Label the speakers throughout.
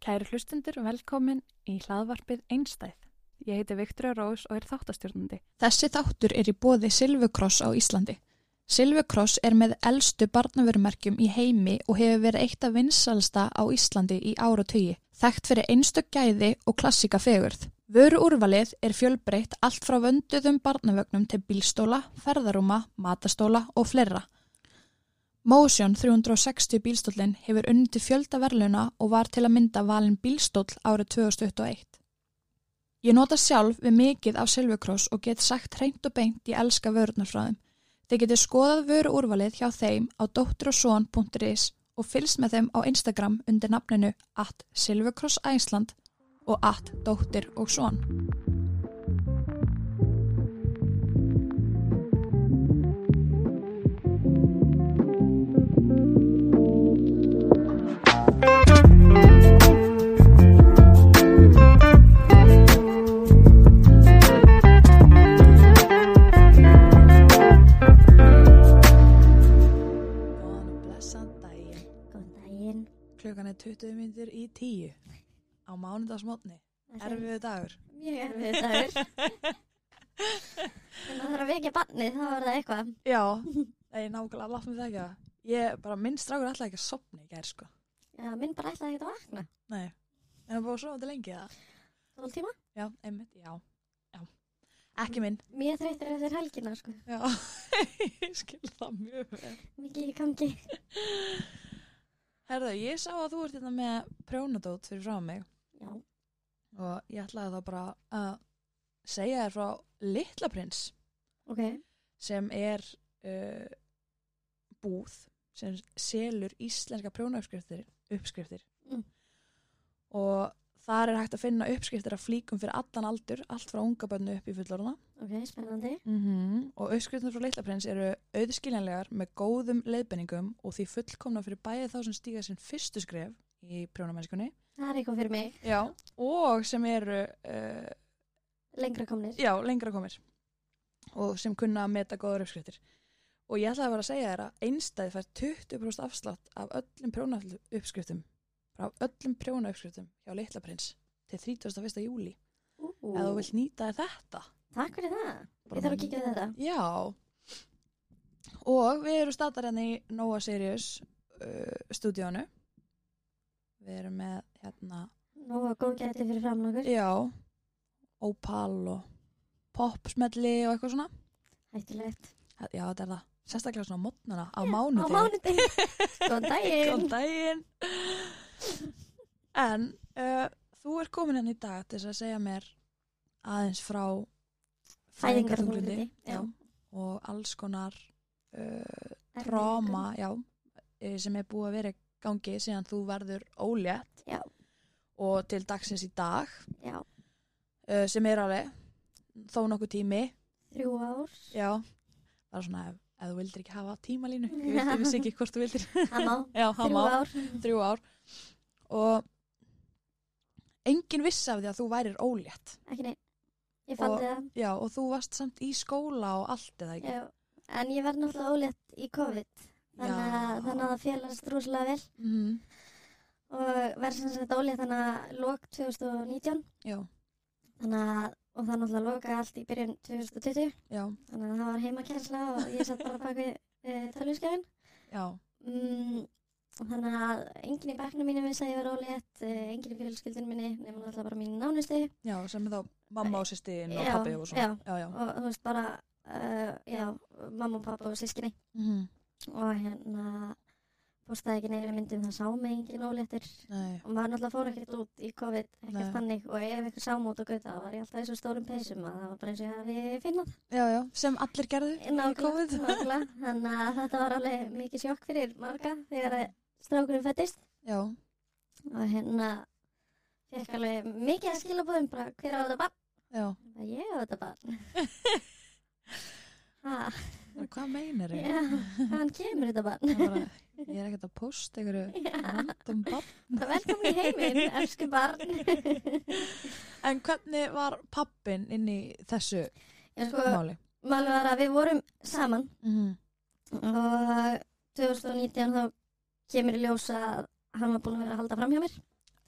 Speaker 1: Kæru hlustundur, velkomin í hlaðvarpið Einstæð. Ég heiti Viktor Rós og er þáttastjórnandi.
Speaker 2: Þessi þáttur er í bóði Silvukross á Íslandi. Silvukross er með elstu barnavörumerkjum í heimi og hefur verið eitt af vinsalsta á Íslandi í ára tugi, þekkt fyrir einstök gæði og klassika fegurð. Vöruúrvalið er fjölbreytt allt frá vönduðum barnavögnum til bílstóla, ferðarúma, matastóla og fleira. Motion 360 bílstólinn hefur unnið til fjölda verðluna og var til að mynda valin bílstóll árið 2021. Ég nota sjálf við mikið af Silvukross og get sagt hreint og beint ég elska vörurnar frá þeim. Þið getið skoðað vöru úrvalið hjá þeim á dótturogson.is og fylgst með þeim á Instagram undir nafninu at Silvukross Æsland og at dóttir og son. Góðan og blessan daginn.
Speaker 3: Góðan daginn.
Speaker 2: Klukkan er 20 minnir í 10 á mánudagsmotni. Erfiðu dagur.
Speaker 3: Mjög erfið dagur. En það þarf að vekja barnið, þá er það eitthvað.
Speaker 2: Já, það er nákvæmlega látt með það ekki að. Ég bara minn strákur alltaf ekki að sopna í gær sko.
Speaker 3: Já, minn bara ætlaði ekki að vakna.
Speaker 2: Nei, en það búið að sofa þetta lengi eða?
Speaker 3: 12 tíma.
Speaker 2: Já, einmitt, já, já. Ekki minn.
Speaker 3: Mér er þreyttur eftir helgina, sko.
Speaker 2: Já, ég skil það mjög vel.
Speaker 3: Mikið í gangi.
Speaker 2: Herðu, ég sá að þú ert hérna með prjónadót fyrir frá mig
Speaker 3: Já.
Speaker 2: og ég ætlaði þá bara að segja þér frá Litla Prins
Speaker 3: Ok.
Speaker 2: sem er uh, búð sem selur íslenska prjónauppskriftir uppskriftir.
Speaker 3: Mm.
Speaker 2: Og þar er hægt að finna uppskriftir af flíkum fyrir allan aldur, allt frá unga bönnu upp í fullorðuna.
Speaker 3: Ok, spennandi.
Speaker 2: -hmm. og uppskriftin frá Leitlaprins eru auðskiljanlegar með góðum leiðbenningum og því fullkomna fyrir bæði þá sem stíga sinn fyrstu skref í prjónamennskunni
Speaker 3: Það er eitthvað fyrir mig.
Speaker 2: já. og sem eru uh,
Speaker 3: Lengra komnir.
Speaker 2: já, lengra komir og sem kunna að meta góðar uppskriftir og ég ætlaði bara að segja þér að einstæði fær 20% afslátt af öllum prjóna uppskriftum frá öllum prjóna uppskriftum hjá Leitlaprins til 31. júli
Speaker 3: Ú,
Speaker 2: eða þú vilt nýta þér þetta
Speaker 3: Takk fyrir það.
Speaker 2: Bara
Speaker 3: Ég þarf að kíkja við þetta.
Speaker 2: Já og við erum statar hérna í Nóa Sirius uh, stúdíónu við erum með hérna
Speaker 3: Nó að góð gæti fyrir framan okkur.
Speaker 2: já, Opal og popsmelli og eitthvað svona
Speaker 3: Hættilegt.
Speaker 2: já þetta er það, sérstaklega svona á mótnana á
Speaker 3: Á
Speaker 2: mánudegi
Speaker 3: mánudegi. Góðan
Speaker 2: Góðan
Speaker 3: daginn.
Speaker 2: daginn en uh, þú er komin hérna í dag til þess að segja mér aðeins frá
Speaker 3: Fæðingarþunglyndi,
Speaker 2: já,
Speaker 3: já.
Speaker 2: og alls konar uh, tráma, já, eh, sem er búið að vera í gangi síðan þú verður ólétt
Speaker 3: Já.
Speaker 2: og til dagsins í dag
Speaker 3: Já.
Speaker 2: uh, sem er alveg þó nokkuð tími,
Speaker 3: Þrjú ár.
Speaker 2: já það er svona ef, ef þú vildir ekki hafa tímalínu ég vildi- ég vissi ekki hvort þú vildir
Speaker 3: Hamá.
Speaker 2: já, hann
Speaker 3: Þrjú
Speaker 2: má,
Speaker 3: ár.
Speaker 2: þrjú ár og enginn vissi af því að þú værir ólétt
Speaker 3: Ekki neitt. Ég fann
Speaker 2: Og-
Speaker 3: það.
Speaker 2: já, og þú varst samt í skóla og allt eða ekki
Speaker 3: Já, en ég verð náttúrulega ólétt í COVID þannig að
Speaker 2: Já.
Speaker 3: þannig að það félast rúslega vel
Speaker 2: mm,
Speaker 3: og verð sem sagt ólétt þannig að lok 2019
Speaker 2: já,
Speaker 3: þannig að og það náttúrulega lokaði allt í byrjun 2020
Speaker 2: já,
Speaker 3: þannig að það var heimakensla og ég satt bara bak við e, tölvuskjáin
Speaker 2: já,
Speaker 3: mm, og þannig að enginn í bekknum mínum vissi að ég var ólétt e, enginn í fjölskyldunum minni nema náttúrulega bara mín nánustu
Speaker 2: já sem er þá mamma og sýstin og
Speaker 3: Já,
Speaker 2: pabbi og svona já, já.
Speaker 3: og þú veist bara e, já, mamma og pappa og sískinni
Speaker 2: Mm,
Speaker 3: og hérna postaði ekki neyri myndum það sá mig enginn óléttur
Speaker 2: nei,
Speaker 3: og maður náttúrulega fór ekkert út í COVID ekkert
Speaker 2: Nei.
Speaker 3: þannig og ef eitthvað sá mót og gauta þá var ég alltaf í svo stórum peysum að það var bara eins og ég hafi finnað
Speaker 2: já, já, sem allir gerðu í
Speaker 3: Nákvæmlega,
Speaker 2: COVID
Speaker 3: nákvæmlega. þannig að þetta var alveg mikið sjokk fyrir marga þegar að strákurinn fættist
Speaker 2: já,
Speaker 3: og hérna fekk alveg mikið að skila búðum bara hver á þetta barn
Speaker 2: já,
Speaker 3: Bara, ég á þetta barn ha,
Speaker 2: hvað meinar ég?
Speaker 3: já, hvaðan kemur þetta barn
Speaker 2: Bara, ég er ekkert að posta einhverju random babb
Speaker 3: velkomin í heiminn, elsku barn
Speaker 2: En hvernig var pappin inn í þessu
Speaker 3: Já, sko,
Speaker 2: máli?
Speaker 3: málið var að við vorum saman
Speaker 2: Mm,
Speaker 3: og 2019 þá kemur í ljós að hann var búin að vera að halda fram hjá mér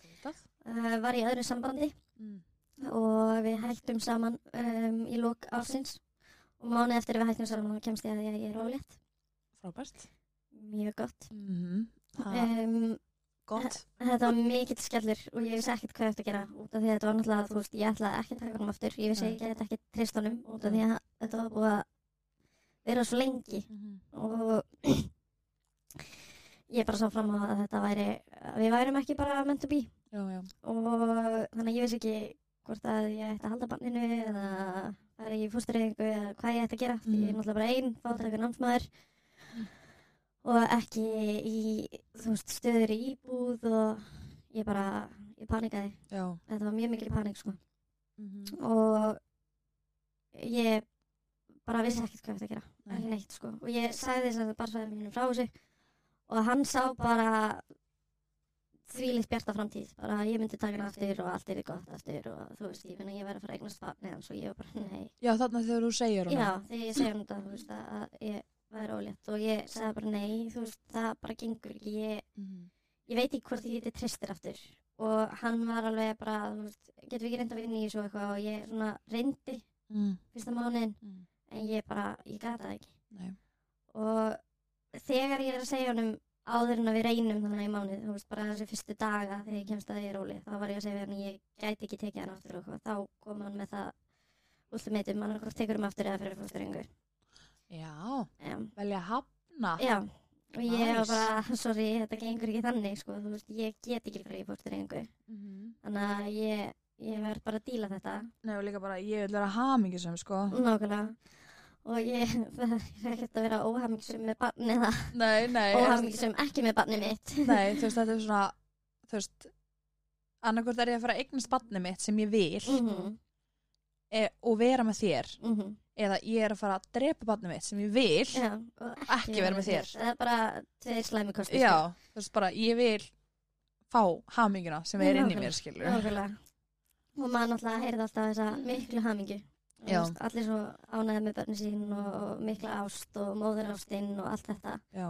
Speaker 2: Auðvitað.
Speaker 3: uh, var í öðru sambandi
Speaker 2: Mm,
Speaker 3: og við hættum saman um, í lok ársins og mánuð eftir að við hættum saman þá kemst ég að því að ég er ólétt
Speaker 2: Frábært.
Speaker 3: mjög gott
Speaker 2: Mm -hmm.
Speaker 3: um,
Speaker 2: Gott.
Speaker 3: þetta var mikill skellur og ég vissi ekkert hvað ég ætti að gera út af því að þetta var náttúrulega þú veist, ég ætlaði ekki að taka honum aftur ég vissi
Speaker 2: Nei.
Speaker 3: ekki að þetta ekki trist honum út af því að þetta var búið að vera svo lengi
Speaker 2: Mhm.
Speaker 3: og ég bara sá fram á að þetta væri að við værum ekki bara meant to be
Speaker 2: Já, já.
Speaker 3: og þannig að ég veist ekki hvort að ég ætti að halda banninu eða fara í fóstureyðingu eða hvað ég ætti að gera mm.
Speaker 2: Mm.
Speaker 3: ég er náttúrulega bara einn, fátækur námsmaður og ekki í þú veist, stöður í íbúð og ég bara, ég panikaði
Speaker 2: Já.
Speaker 3: þetta var mjög mikil panik sko
Speaker 2: Mm
Speaker 3: og ég bara vissi ekkert hvað ég ætti að gera
Speaker 2: Nei.
Speaker 3: ekki neitt sko og ég sagði þess að barsvæðum mínum frá þessu og hann sá bara þvílitt bjarta framtíð bara ég myndi taka hann aftur og allt er gott aftur og þú veist ég finna ég væri að fara að eignast barn eða svo ég var bara nei
Speaker 2: já, þarna þegar þú segir hún.
Speaker 3: já þegar ég segi hann þetta þú veist að að ég væri ólétt og ég sagði bara nei þú veist það bara gengur ekki ég,
Speaker 2: Mm-hmm.
Speaker 3: ég veit ekki hvort ég geti tristir aftur og hann var alveg bara þú veist getum við ekki reynda að vinna í þessu og eitthvað og ég svona reyndi
Speaker 2: Mm.
Speaker 3: fyrsta mánuðin
Speaker 2: Mm.
Speaker 3: en ég bara ég gata það ekki
Speaker 2: Nei.
Speaker 3: og þegar ég er að segja honum áður en að við reynum þannig í mánuð þú veist bara þessi fyrstu daga þegar ég kemst að því róli þá var ég að segja hann ég gæti ekki tekið hann aftur og eitthvað. þá kom hann með það ultimatum, hann okkur tekur hann aftur eða fyrir fósturringu
Speaker 2: Já,
Speaker 3: um,
Speaker 2: velja hafna.
Speaker 3: já, og ég
Speaker 2: Nice.
Speaker 3: var bara sorry, þetta gengur ekki þannig sko, þú veist, ég get ekki fyrir fósturringu
Speaker 2: Mhm.
Speaker 3: þannig að ég, ég verð bara að díla þetta
Speaker 2: Nei, og líka bara, ég vil vera hamingisum, sko.
Speaker 3: nákvæmlega og ég, það er ekkert að vera óhafmyggsum með barni eða
Speaker 2: Nei, nei.
Speaker 3: óhafmyggsum ekki með barni mitt
Speaker 2: Nei, þú veist, þetta er svona, þú veist, annarkvort er ég að fara að eignast barnið mitt sem ég vil
Speaker 3: Mhm,
Speaker 2: e og vera með þér
Speaker 3: mhm.
Speaker 2: eða ég er að fara að drepa barnið mitt sem ég vil
Speaker 3: Já, og
Speaker 2: ekki vera með þér.
Speaker 3: Það er bara tveir sko. slæmi kosti.
Speaker 2: Já, þú veist, bara ég vil fá haminguna sem er inn í mér, skilur.
Speaker 3: Nákvæmlega. Og maður náttúrulega heyrði alltaf þessa miklu hamingu.
Speaker 2: Já.
Speaker 3: Allir svo ánæði með börnin sín og mikla ást og móðurástinn og allt þetta.
Speaker 2: Já.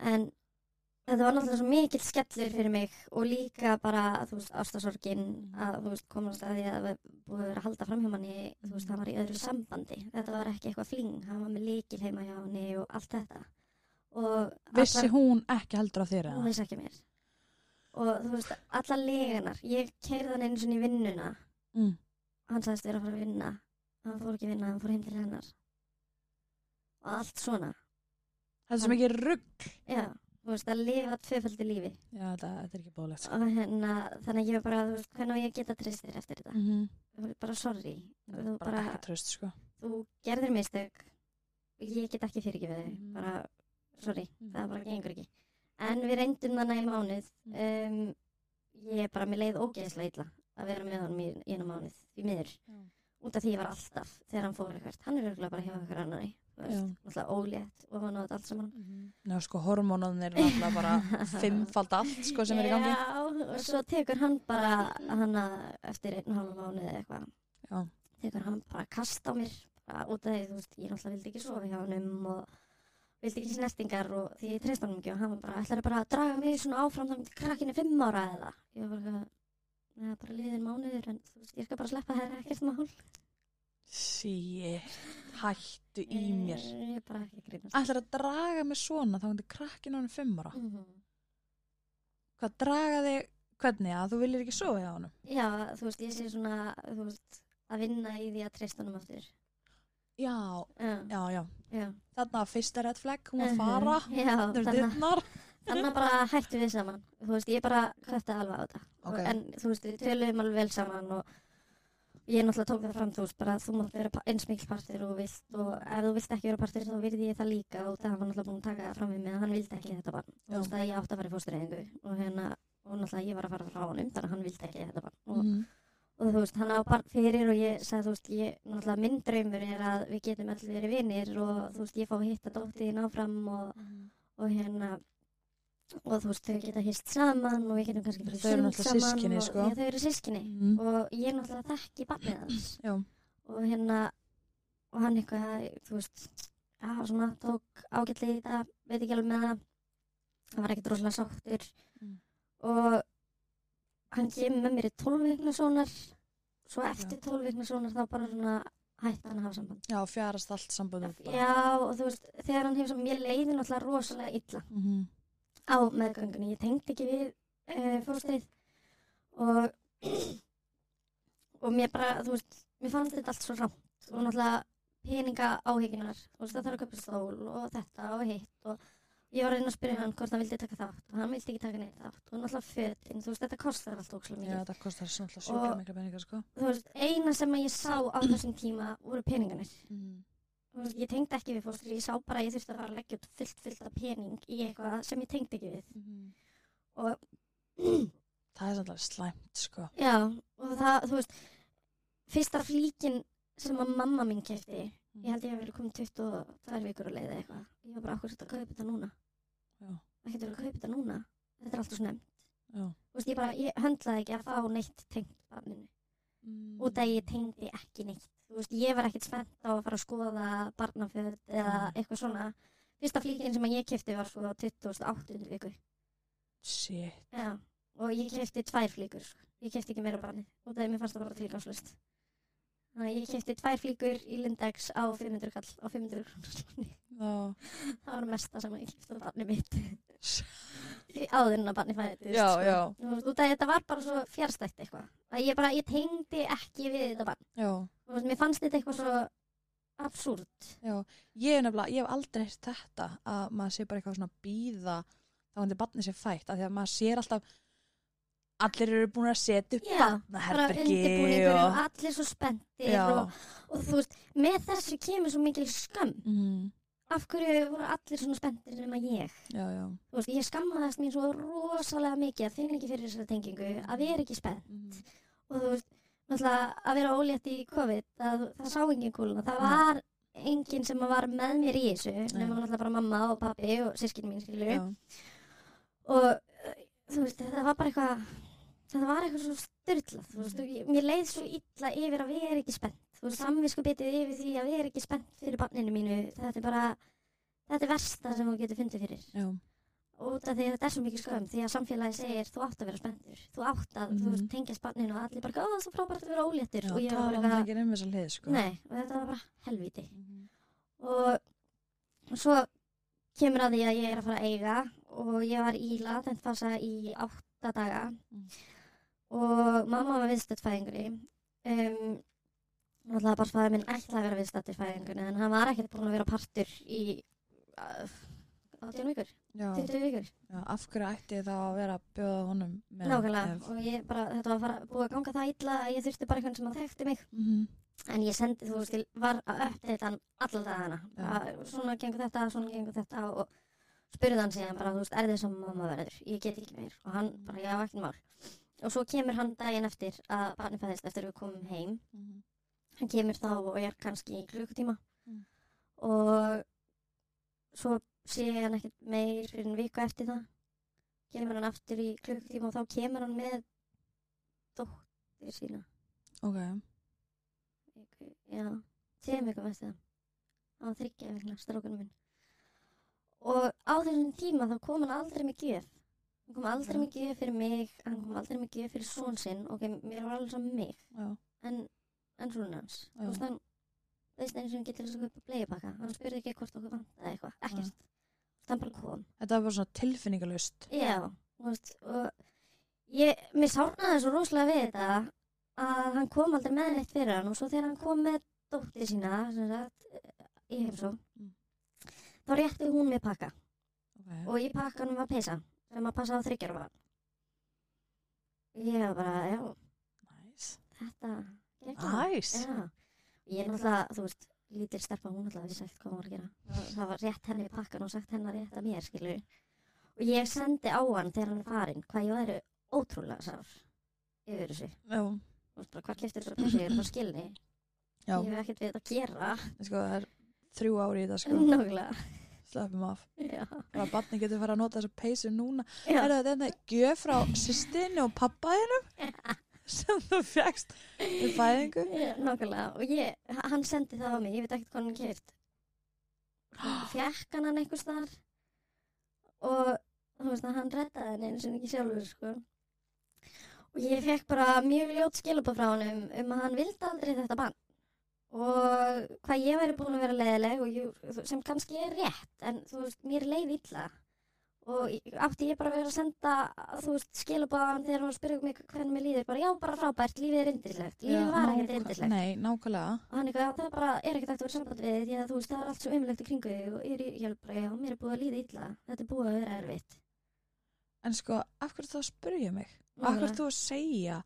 Speaker 3: En þetta var náttúrulega svo mikill skellur fyrir mig og líka bara, þú veist, ástasorgin að, þú veist, komast að því að við búið að vera að halda framhjá manni, þú veist, hann var í öðru sambandi. Þetta var ekki eitthvað fling, hann var með líkil heima hjá henni og allt þetta. Og
Speaker 2: Vissi hún ekki heldur á þér
Speaker 3: hún
Speaker 2: eða?
Speaker 3: vissi ekki mér og þú veist, alla leganar ég keirði hann einu sinni í vinnuna
Speaker 2: Mm.
Speaker 3: hann sagðist vera að fara að vinna hann fór ekki að vinna, hann fór heim til hennar og allt svona
Speaker 2: Þetta er svo mikið rugg.
Speaker 3: já, þú veist, að lifa tvöfaldi lífi
Speaker 2: Já, þetta, þetta er ekki sko. bóðlegt,
Speaker 3: og hérna, þannig að ég var bara, þú veist, hvernig á ég að geta trist þér eftir þetta,
Speaker 2: -hmm.
Speaker 3: þú veist, bara sorry
Speaker 2: Bara,
Speaker 3: þú Mm-hmm. bara,
Speaker 2: ekki tröst, sko.
Speaker 3: þú gerðir mistök og ég get ekki fyrirgefið þau
Speaker 2: Mhm.
Speaker 3: bara, sorry,
Speaker 2: Mhm.
Speaker 3: það bara gengur ekki en við reyndum þannig í mánuð um, ég bara, mér leið ógeðslega illa að vera með honum í í einu mánuð í miður,
Speaker 2: Já.
Speaker 3: út af því ég var alltaf þegar hann fór eitthvað, hann er örgulega bara hjá eitthvað annari þú veist, alltaf ólétt og hann á þetta allt saman
Speaker 2: Já, sko, hormónunir er alltaf bara fimmfald allt, sko, sem er í gangi.
Speaker 3: Já, og svo tekur hann bara hana eftir einn og halva mánuð eða eitthvað.
Speaker 2: Já.
Speaker 3: Tekur hann bara kast á mér bara út af því, þú veist, ég náttúrulega vildi ekki sofa hjá honum og vildi ekki snertingar og því ég treyst honum ekki og hann var bara, ætlar bara að draga mig svona áfram þannig til krakkinu fimm ára eða. Ég var bara, neða, bara liðin mánuður en þú veist, ég skal bara sleppa það er ekkert mál.
Speaker 2: Sí, hættu í mér.
Speaker 3: Eh, Ég er bara ekki að grínast.
Speaker 2: Ætlar að draga mig svona þá hundi krakkin á hann fimm ára.
Speaker 3: Mm
Speaker 2: Hvað draga þig, hvernig að þú viljir ekki sofa hjá honum?
Speaker 3: Já, þú veist, ég sé svona, þú veist, að vinna í því að treyst honum aftur.
Speaker 2: Já,
Speaker 3: Já,
Speaker 2: já, já.
Speaker 3: já.
Speaker 2: Þarna var fyrsta red flag, hún var að
Speaker 3: Mhm.
Speaker 2: fara.
Speaker 3: Já,
Speaker 2: Það eru
Speaker 3: þannig
Speaker 2: dittnar.
Speaker 3: þannig að bara hættum við saman þú veist, ég bara kötti alveg á þetta
Speaker 2: Ok.
Speaker 3: en þú veist, við töluðum alveg vel saman og ég náttúrulega tók það fram þú veist, bara þú mátt vera pa- eins mikil partur og þú vilt og ef þú vilt ekki vera partur þá virði ég það líka og það var náttúrulega búin að taka það fram við mig að hann vildi ekki þetta barn
Speaker 2: Já.
Speaker 3: þú veist, að ég átti að fara í fóstureyðingu og hérna, og náttúrulega ég var að fara frá honum þannig að hann vildi ekki þetta barn og,
Speaker 2: Mhm.
Speaker 3: og þú veist, hann á barn fyrir og ég sagði, þú veist, ég, náttúrulega minn draumur er að við getum allir verið vinir og þú veist, ég fá að hitta dóttiðin áfram og
Speaker 4: Mhm.
Speaker 3: og hérna og þú veist þau geta hýst saman og við getum kannski farið í
Speaker 2: Þau eru
Speaker 3: sund
Speaker 2: náttúrulega
Speaker 3: saman
Speaker 2: systkini,
Speaker 3: og,
Speaker 2: sko.
Speaker 3: já, þau eru sískinni
Speaker 2: Mhm.
Speaker 3: og ég er náttúrulega þekki barnið hans
Speaker 2: Já.
Speaker 3: og hérna og hann eitthvað þú veist já, svona tók ágætlega í þetta veit ekki alveg með það hann var ekkert rosalega sáttur
Speaker 2: Mm.
Speaker 3: og hann kemur með mér í 12 vikna sónar svo eftir 12 vikna sónar þá bara svona hætti hann að hafa samband
Speaker 4: Já, fjarast allt sambandum
Speaker 3: já og þú veist þegar hann hefur svo mér leiði náttúrulega rosalega illa
Speaker 4: mm -hmm.
Speaker 3: á meðgöngunni ég tengdi ekki við uh, fórstæð og og mér bara þú veist mér fannst þetta allt svo rámt og náttúrulega peninga áhygginar þú veist það þarf að köpa stól og þetta og hitt og ég var að reyna að spyrja hann hvort hann vildi taka þátt og hann vildi ekki taka neitt þátt og náttúrulega fötin þú veist þetta kostar allt ókslega
Speaker 4: Já,
Speaker 3: mikið
Speaker 4: þetta kostar svona alltaf sjúkla
Speaker 3: Og-
Speaker 4: mikla peningar sko
Speaker 3: þú veist eina sem að ég sá á þessum tíma voru peningarnir
Speaker 4: mm.
Speaker 3: Þú veist, ég tengdi ekki við fórstæð ég sá bara að ég þurfti að fara að leggja upp fullt fullt af pening í eitthvað sem ég tengdi ekki við
Speaker 4: Mhm.
Speaker 3: og
Speaker 4: Það er alltaf slæmt sko
Speaker 3: Já, og það, þú veist, fyrsta flíkin sem að mamma mín kefti,
Speaker 4: Mhm.
Speaker 3: ég held ég að vera komin 22 vikur að leiða eitthvað. Ég var bara okkur að kaupa þetta núna.
Speaker 4: Já.
Speaker 3: Það getur að kaupa þetta núna. Þetta er alltaf snemt.
Speaker 4: Já.
Speaker 3: Þú veist, ég bara, ég höndlaði ekki að fá neitt tengt barninu.
Speaker 4: Mm.
Speaker 3: Út að ég tengdi ekki neitt. Þú veist, ég var ekkert spennt á að fara að skoða barnaföld eða
Speaker 4: Mm.
Speaker 3: eitthvað svona. Fyrsta flíkin sem að ég kefti var sko 28 viku.
Speaker 4: Shit
Speaker 3: Já, og ég kefti tvær flíkur. sko. Ég kefti ekki meira barni og það er mér fannst það bara tilgangslust. Þannig að ég kefti tvær flíkur í Lindex á 500 kall, á 500 krónarslunni.
Speaker 4: Já,
Speaker 3: Það var mesta sem ég kefti á barni mitt. Því áður en að barni fæðist. sko.
Speaker 4: já, já.
Speaker 3: Þú veist, út af því þetta var bara svo fjárstætt eitthvað. Að ég bara, ég tengdi ekki við þetta barn.
Speaker 4: já.
Speaker 3: Þú veist, mér fannst þetta eitthvað svo absúrt.
Speaker 4: Ég, er nefnilega, ég hef aldrei heyrt þetta að maður sé bara eitthvað svona býða þá hann til barnið sér fætt af því að maður sér alltaf allir eru búin að setja upp
Speaker 3: Já, bara
Speaker 4: barnaherbergi
Speaker 3: undirbúningur og
Speaker 4: og
Speaker 3: allir svo spenntir
Speaker 4: Já,
Speaker 3: og, og þú veist, með þessu kemur svo mikil skömm.
Speaker 4: mm,
Speaker 3: af hverju voru allir svona spenntir nema ég
Speaker 4: já, já.
Speaker 3: þú veist, ég skammaðast mín svo rosalega mikið að finna ekki fyrir þessari tengingu að vera ekki spennt
Speaker 4: Mm.
Speaker 3: og þú veist, náttúrulega að vera ólétt í COVID að það sá engin kúluna það var enginn sem var með mér í þessu nema náttúrulega bara mamma og pappi og sískinn mín skilur
Speaker 4: Já,
Speaker 3: og uh, þú veist, þetta var bara eitthvað þetta var eitthvað svo styrlað þú veist, og ég, mér leið svo illa yfir að vera ekki spennt þú veist, samvisku bitið yfir því að vera ekki spennt fyrir barninu mínu, þetta er bara þetta er versta sem þú getur fundið fyrir
Speaker 4: já,
Speaker 3: út af því að þetta er svo mikið skömm því að samfélagi segir, þú átt að vera spenntur þú átt að, þú
Speaker 4: Mhm.
Speaker 3: veist, tengjast barninu og allir bara, ó, það er svo frábært að vera óléttur
Speaker 4: já
Speaker 3: og ég var
Speaker 4: tala
Speaker 3: bara,
Speaker 4: hann
Speaker 3: eitthvað,
Speaker 4: ekki um þessa hlið sko
Speaker 3: nei, og þetta var bara helvíti
Speaker 4: Mhm.
Speaker 3: og svo kemur að því að ég er að fara að eiga og ég var í latent fasa í átta daga
Speaker 4: Mm.
Speaker 3: og mamma var viðstætt fæðingri um, náttúrulega bara fæður minn ætlaði að vera viðstætt í fæðingunni en hann var ekkert búin að vera partur í uh, 18 vikur,
Speaker 4: Já,
Speaker 3: 20 vikur
Speaker 4: já, af hverju ætti ég þá að vera að bjóða honum með
Speaker 3: nákvæmlega
Speaker 4: ef-
Speaker 3: og ég bara, þetta var bara búið að ganga það illa að ég þurfti bara einhvern sem að þekkti mig
Speaker 4: Mhm,
Speaker 3: en ég sendi, þú veist, ég var að uppdata hann alla dagana bara, svona gengur þetta, svona gengur þetta og spurði hann síðan bara, þú veist, er þið sem mamma verður ég get ekki meir og hann bara, já, ekkert mál og svo kemur hann daginn eftir að barni fæðist eftir við komum heim
Speaker 4: mhm.
Speaker 3: hann kemur þá og er kannski í klukkutíma
Speaker 4: Mm.
Speaker 3: og svo sé ég hann ekkert meir fyrir en viku eftir það kemur hann aftur í klukkutíma og þá kemur hann með dóttir sína
Speaker 4: Ok,
Speaker 3: viku, já, tveim vikum eftir það. Það var þryggja vikna, strákunum minn. Og á þessum tíma þá kom hann aldrei með gjöf. Hann kom
Speaker 4: Já.
Speaker 3: aldrei með gjöf fyrir mig, hann kom aldrei með gjöf fyrir són sinn, ok, mér var alveg saman mig,
Speaker 4: já,
Speaker 3: en, en svona hans.
Speaker 4: Já.
Speaker 3: Þú veist, hann, veist einu sem getur þess að kaupa bleipakka, hann spurði ekki hvort okkur vantaði eitthvað, ekkert. Þú veist, hann bara kom.
Speaker 4: þetta var bara svona tilfinningalust
Speaker 3: Já, þú veist, og ég, mér sárnaði svo rosalega við þetta að hann kom aldrei með neitt fyrir hann og svo þegar hann kom með dótti sína, sem sagt, í heimsó,
Speaker 4: Mm.
Speaker 3: þá rétti hún mér pakka
Speaker 4: okay.
Speaker 3: og í pakkanum var peysa sem að passa á þryggjara var. Ég var bara, já,
Speaker 4: Nice.
Speaker 3: þetta, geggjað.
Speaker 4: Nice.
Speaker 3: Já, ég er náttúrulega, þú veist, lítil stelpa, hún náttúrulega vissi ekkert hvað hún var að gera. Það- Það var rétt henni í pakkan og sagt henni að rétta mér, skilur. Og ég sendi á hann þegar hann er farinn, hvað ég væri ótrúlega sár yfir þessu.
Speaker 4: Já,
Speaker 3: Þú veist bara, hvað keftur þessu peysu, ég er bara skilni.
Speaker 4: já,
Speaker 3: Ég hef ekkert við þetta að gera,
Speaker 4: sko það er þrjú ári í þetta sko
Speaker 3: nákvæmlega.
Speaker 4: Slöfum af
Speaker 3: Já,
Speaker 4: Bara að barni getur fara að nota þessa peysu núna
Speaker 3: já,
Speaker 4: Er þetta þetta gjöf frá sýstinni og pappaðinum sem þú fegst við fæðingu?
Speaker 3: já, nákvæmlega. Og ég, hann sendi það á mig, ég veit ekkert hvað hann keft. Fjekk hann hann einhvers þar og þú veist að hann reddaði henni eins og ekki sjálfur, sko. Og Og ég fekk bara mjög ljót skilabóð frá hann um að hann vildi aldrei þetta bann. Og hvað ég væri búin að vera leiðileg og ég, þú- sem kannski er rétt, en þú veist, mér leið illa. Og ég- átti ég bara að vera að senda, þú veist, skilabóðan þegar hann spurði mig hvernig mér líður, bara já, bara frábært, lífið er yndislegt, lífið var ekkert yndislegt.
Speaker 4: Nei, nákvæmlega.
Speaker 3: Og hann eitthvað, það bara er ekkert hægt að vera í samband við því að þú veist, það er allt svo umlegt í kringu þig og ég er í- ég er bara, já, mér er búið að líða illa, þetta er búið að vera erfitt.
Speaker 4: En sko, af hverju þá spurði ég mig? Af hverju þú að segja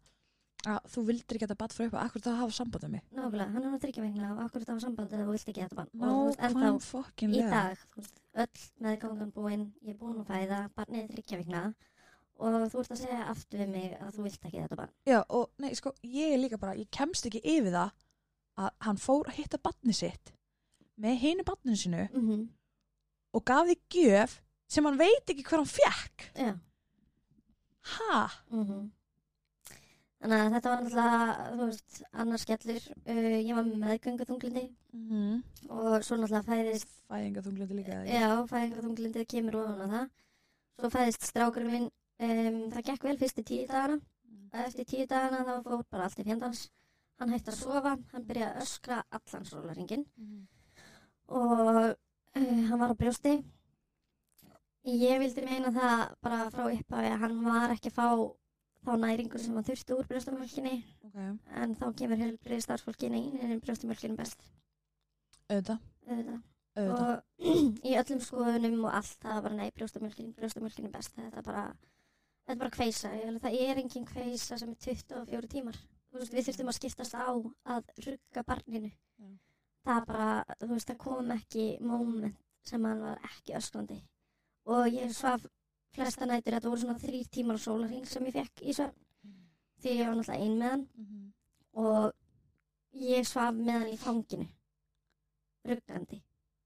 Speaker 4: að þú vildir ekki að þetta bat frá upp af hverju þá að hafa samband um mig?
Speaker 3: Nákvæmlega, hann er að tryggja vegna og akkur þetta á samband eða þú vilt ekki þetta bann. Og þú veist, ennþá
Speaker 4: Nákvæm fokkin
Speaker 3: í dag, þú veist, öll meðgangan búinn, ég er búin að fæða, barnið er þryggja vegna og þú ert að segja aftur við mig að þú vilt ekki þetta bann.
Speaker 4: Já, og nei, sko, ég er líka bara, ég kemst ekki yfir það að hann fór að hitta batni sitt með hinu batninu sinu
Speaker 3: Mm -hmm.
Speaker 4: og gaf því gjöf sem hann veit ekki hver hann fekk.
Speaker 3: Já.
Speaker 4: Ha?
Speaker 3: Mhm. Þannig að þetta var náttúrulega, þú veist, annars skellur. Uh, ég var meðgöngu þunglindi Mhm.
Speaker 4: Mm.
Speaker 3: og svo náttúrulega fæðist
Speaker 4: Fæðinga þunglindi líka. eða ekki?
Speaker 3: Já, fæðingarþunglindið kemur ofan á það. Svo fæðist strákurinn minn, um, það gekk vel fyrstu tíu dagana. Eftir tíu dagana þá fór bara allt í fjandans. Hann hætti að sofa, hann byrjaði að öskra allan sólaringin
Speaker 4: Mhm.
Speaker 3: og uh, hann var á brjósti. Ég vildi meina það bara frá upphafi að hann var ekki að fá þá næringu sem hann þurfti úr brjóstamölkinni
Speaker 4: Ok,
Speaker 3: en þá kemur helbriði starfsfólkinni inn en brjóstamölkinni best.
Speaker 4: auðvitað,
Speaker 3: Auðvitað.
Speaker 4: auðvitað.
Speaker 3: og í öllum skoðunum og allt það var bara nei, brjóstamjölkin, brjóstamjölkin er best þetta er bara, þetta er bara kveisa Ég vil- það er engin kveisa sem er 24 tímar Þú veist, við þurftum að skiptast á að rugga barninu
Speaker 4: Já.
Speaker 3: það bara, þú veist, það kom ekki moment sem hann var ekki öskrandi og ég svaf flesta nætur, þetta voru svona þrýr tímar á sólarhing sem ég fekk í svefn
Speaker 4: Mm.
Speaker 3: því ég var náttúrulega ein með hann
Speaker 4: Mhm.
Speaker 3: og ég svaf með hann í fanginu ruggandi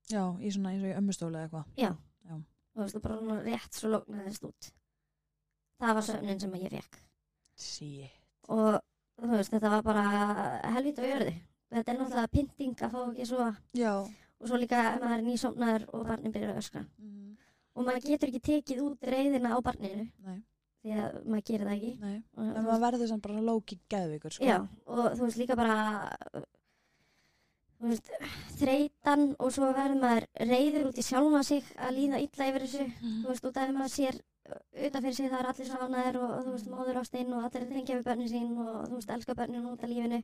Speaker 4: Já, í svona eins og í ömmustóli eða eitthvað.
Speaker 3: þú veist, og bara svona rétt svo lognaðist út. Það var söfnin sem ég fekk.
Speaker 4: Sí.
Speaker 3: Og þú veist, þetta var bara helvítið á jörðu. Þetta er náttúrulega pynting að fá ekki svo.
Speaker 4: Já.
Speaker 3: Og svo líka ef maður er nýsomnaður og barnin byrjar að öskra.
Speaker 4: Mm.
Speaker 3: Og maður getur ekki tekið út reyðina á barninu.
Speaker 4: Nei.
Speaker 3: Því að maður gerir það ekki.
Speaker 4: Nei,
Speaker 3: Og,
Speaker 4: en maður verður samt bara lóki geðvikur, sko.
Speaker 3: Já, og þú veist líka bara þú veist, þreytan og svo verður maður reyður út í sjálfa sig að líða illa yfir þessu þú veist, út af því maður sér utan fyrir sig það er allir svo ánæður og, þú veist, móður ástinn og allir tengja við börnin sín og þú veist, elska börnin út af lífinu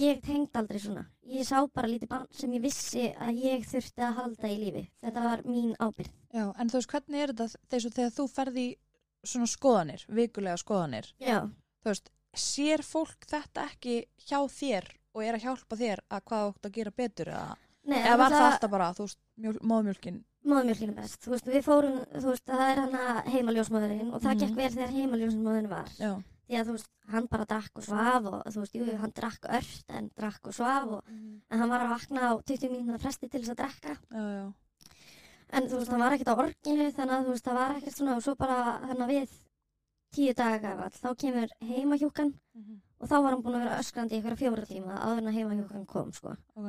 Speaker 3: ég tengd aldrei svona ég sá bara lítið barn sem ég vissi að ég þurfti að halda í lífi þetta var mín ábyrgð
Speaker 4: Já, en þú veist, hvernig er þetta þess að þegar þú ferði svona skoðanir, vikulega skoðanir,
Speaker 3: já,
Speaker 4: þú veist, sér fólk þetta ekki hjá þér og er að hjálpa þér að hvað þú átt að gera betur eða,
Speaker 3: Nei,
Speaker 4: eða var það
Speaker 3: náttúrulega-
Speaker 4: alltaf bara, þú veist, mjöl, móðmjölkin,
Speaker 3: móðumjölkinu best, þú veist, við fórum, þú veist, það er hana heimaljósmóðurinn og það
Speaker 4: Mhm.
Speaker 3: gekk vel þegar heimaljósmóðurinn var.
Speaker 4: já,
Speaker 3: Því að, þú veist, hann bara drakk og svaf og, þú veist, jú, jú, hann drakk ört en drakk og svaf og en hann var að vakna á 20 mínúna fresti til þess að drakka.
Speaker 4: já, já,
Speaker 3: En, þú veist, hann var ekkert á orginu þannig að, þú veist, það var ekkert svona og svo bara, þannig að við tíu daga all, þá kemur heimahjúkan og þá var hann búin að vera öskrandi í eitthvað fjóra tíma áður en að heimahjúkan kom, sko.
Speaker 4: ok,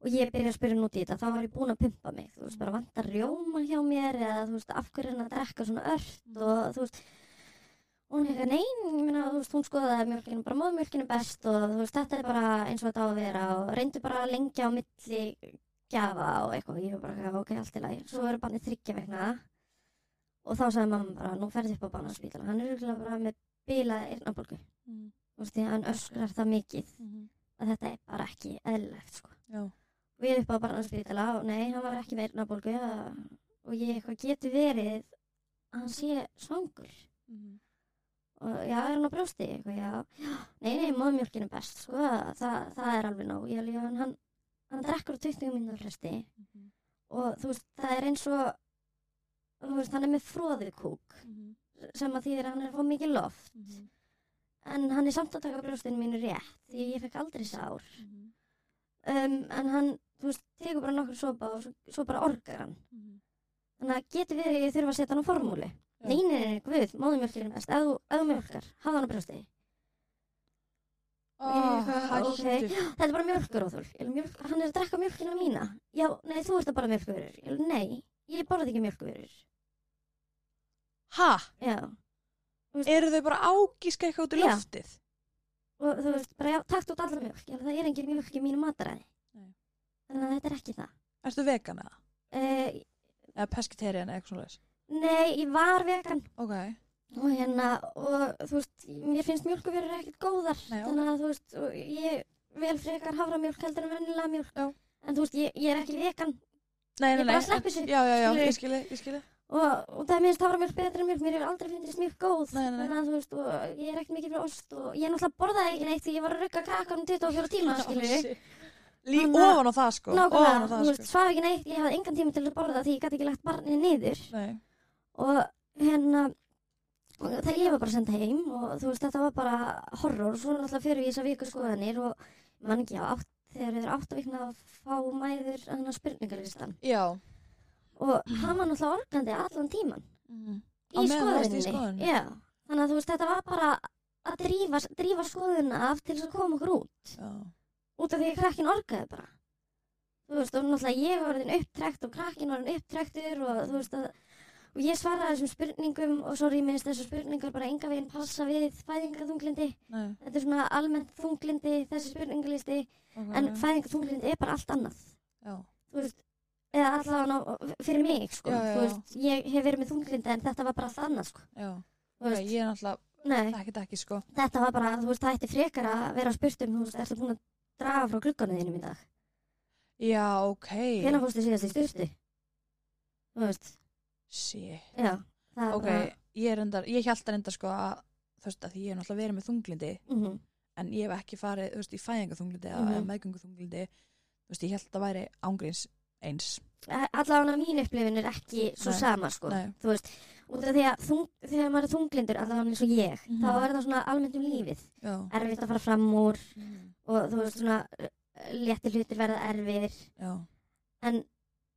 Speaker 3: og ég byrja að spyrja hann út í þetta, þá var ég búin að pumpa mig, þú veist, bara vantar rjóma hjá mér eða, þú veist, af hverju er hann að drekka svona ört og, þú veist, og hún eitthvað, nein, ég minna, þú veist, hún skoðaði mjölkinu, bara móðmjölkinu best og, þú veist, þetta er bara eins og þetta á að vera og reyndu bara að lengja á milli gjafa og eitthvað, og ég var bara, ok, allt í lagi, svo er bannið þryggja vegna og þá sagði mamma bara, nú ferði upp á bannarspítala, hann er örugglega bara með bilaða eyrnabólgu,
Speaker 4: mm
Speaker 3: þú veist, því að hann öskrar það mikið
Speaker 4: -hmm.
Speaker 3: að þetta er bara ekki eðlilegt, sko
Speaker 4: já,
Speaker 3: við upp á barnaspítala og nei, hann var ekki með eyrnabólgu eða- og ég eitthvað getur verið að hann sé svangur Mhm. og já, er hann á brjósti eitthvað, já, já, nei, nei, móðmjölkin er best sko, það, það er alveg nóg ég, alveg, já, en hann, hann drekkur á 20 minnum flesti
Speaker 4: Mhm.
Speaker 3: og þú veist, það er eins og þú veist, hann er með fróðukúk
Speaker 4: Mhm.
Speaker 3: sem að þýðir að hann er að fá mikið loft en hann er samt að taka brjóstinu mínu rétt því ég fekk aldrei sár um, en hann, þú veist, tekur bara nokkur sopa og svo, svo bara orgar hann
Speaker 4: Mhm.
Speaker 3: þannig að getur verið að ég þurfa að setja hann á formúli
Speaker 4: Já.
Speaker 3: nei, nei, nei, guð, móðumjölkir er best ef þú- ef þú mjölkar, hafa hann á brjósti
Speaker 4: Ó,
Speaker 3: Ég-
Speaker 4: hættu,
Speaker 3: ok. þetta er bara mjölkuróþur mjölk, hann er að drekka mjölkina mína já, nei, þú ert að bara mjölkuvörur Ég alveg, nei, ég borði ekki mjölkuvörur
Speaker 4: ha,
Speaker 3: já, og þú veist,
Speaker 2: Eru þau bara ágíska eitthvað út í
Speaker 3: Já.
Speaker 2: loftið?
Speaker 3: og þú veist, bara já, takt út allar mjölk en það er engin mjölk í mínu mataræði
Speaker 2: Nei.
Speaker 3: þannig að þetta er ekki það
Speaker 2: Ertu vegan eða?
Speaker 3: uh,
Speaker 2: Eða pescetarian eða eitthvað svona leis?
Speaker 3: nei, ég var vegan
Speaker 2: Ok.
Speaker 3: og hérna, og þú veist mér finnst mjölkuverur ekkert góðar
Speaker 2: Nei, já.
Speaker 3: þannig að þú veist, og ég vel frekar haframjölk heldur en vennilega mjölk
Speaker 2: Já.
Speaker 3: en þú veist, ég, ég er ekki vegan
Speaker 2: Nei,
Speaker 3: Ég
Speaker 2: nei, nei.
Speaker 3: bara sleppi þessu,
Speaker 2: Já, já, já,
Speaker 3: skilurðu?
Speaker 2: ég skilji, ég skilji.
Speaker 3: og, og það er minnst haframjölk betra en mjölk mér er aldrei finnst mjölk góð
Speaker 2: Nei, nei, nei.
Speaker 3: þannig að þú veist, og ég er ekkert mikið fyrir ost og ég náttúrulega borðaði ekki neitt því ég var að rugga krakkanum um 24 tíma, skilur
Speaker 2: Oh,
Speaker 3: við
Speaker 2: shit. Lí,
Speaker 3: Þannig að-
Speaker 2: ofan á það sko. Ofan á
Speaker 3: Nákvæmlega,
Speaker 2: það
Speaker 3: þú
Speaker 2: sko.
Speaker 3: veist, svaf ekki neitt, ég hafði engan tíma til að borða því ég gæti ekki lagt barnið niður
Speaker 2: Nei.
Speaker 3: og hérna, og það ég var bara senda heim og þú veist, þetta var bara horror, svo náttúrulega fyrir við í þessar viku skoðanir og mann ekki á átt, þegar þeir eru átt að vikna að fá mæður þannig að spurningalistan
Speaker 2: Já.
Speaker 3: og hann var náttúrulega organdi allan tíman
Speaker 2: Mhm. Á
Speaker 3: í
Speaker 2: meðan þú varst í skoðun?
Speaker 3: skoðaninni, já, þannig að þú veist, þetta var bara að drífa, drífa skoðuna af til þess að koma okkur út
Speaker 2: Já.
Speaker 3: út af því að krakkin orgaði bara þú veist, og náttúrulega ég var orðin upptrekt og krakkin var orðin upptrektur og þú veist að og ég svaraði þessum spurningum og sorry, mér finnst þessar spurningar bara enga veginn passa við fæðingathunglindi
Speaker 2: Nei.
Speaker 3: þetta er svona almennt þunglindi, þessi spurningalisti
Speaker 2: ok,
Speaker 3: en
Speaker 2: ok.
Speaker 3: fæðingathunglindi er bara allt annað
Speaker 2: Já.
Speaker 3: þú veist, eða allavega fyrir mig, sko,
Speaker 2: Já, já,
Speaker 3: þú veist ég hef verið með þunglindi en þetta var bara allt annað, sko
Speaker 2: Já.
Speaker 3: þú
Speaker 2: Ok,
Speaker 3: veist,
Speaker 2: Ég er náttúrulega
Speaker 3: nei,
Speaker 2: ekkert ekki sko.
Speaker 3: þetta var bara, þú veist, það ætti frekar að vera spurt um, þú veist, ertu búin að draga frá glugganu þínum í dag
Speaker 2: Já, ok.
Speaker 3: Hvenær Hérna fórstu síðast í styrtu? Þú veist,
Speaker 2: Shit.
Speaker 3: já. Það er
Speaker 2: Ok,
Speaker 3: bara...
Speaker 2: ég er endar, ég held að enda sko að þú veist að því ég er náttúrulega verið með þunglindi
Speaker 3: mhm,
Speaker 2: en ég hef ekki farið, þú veist, í fæðingaþunglindi mm
Speaker 3: Mhm.
Speaker 2: eða meðgönguþunglindi þú veist, ég held að það væri ángríns eins
Speaker 3: Allavega mín upplifin er ekki svo
Speaker 2: Nei.
Speaker 3: sama, sko.
Speaker 2: Nei.
Speaker 3: Þú veist, út af því að þung, þegar maður er þunglindur, allavega eins og ég,
Speaker 2: Mhm.
Speaker 3: þá er það svona almennt um lífið.
Speaker 2: Já,
Speaker 3: Erfitt að fara fram úr
Speaker 2: mm.
Speaker 3: og þú veist, svona eh, léttir hlutir verða erfiðir.
Speaker 2: já,
Speaker 3: En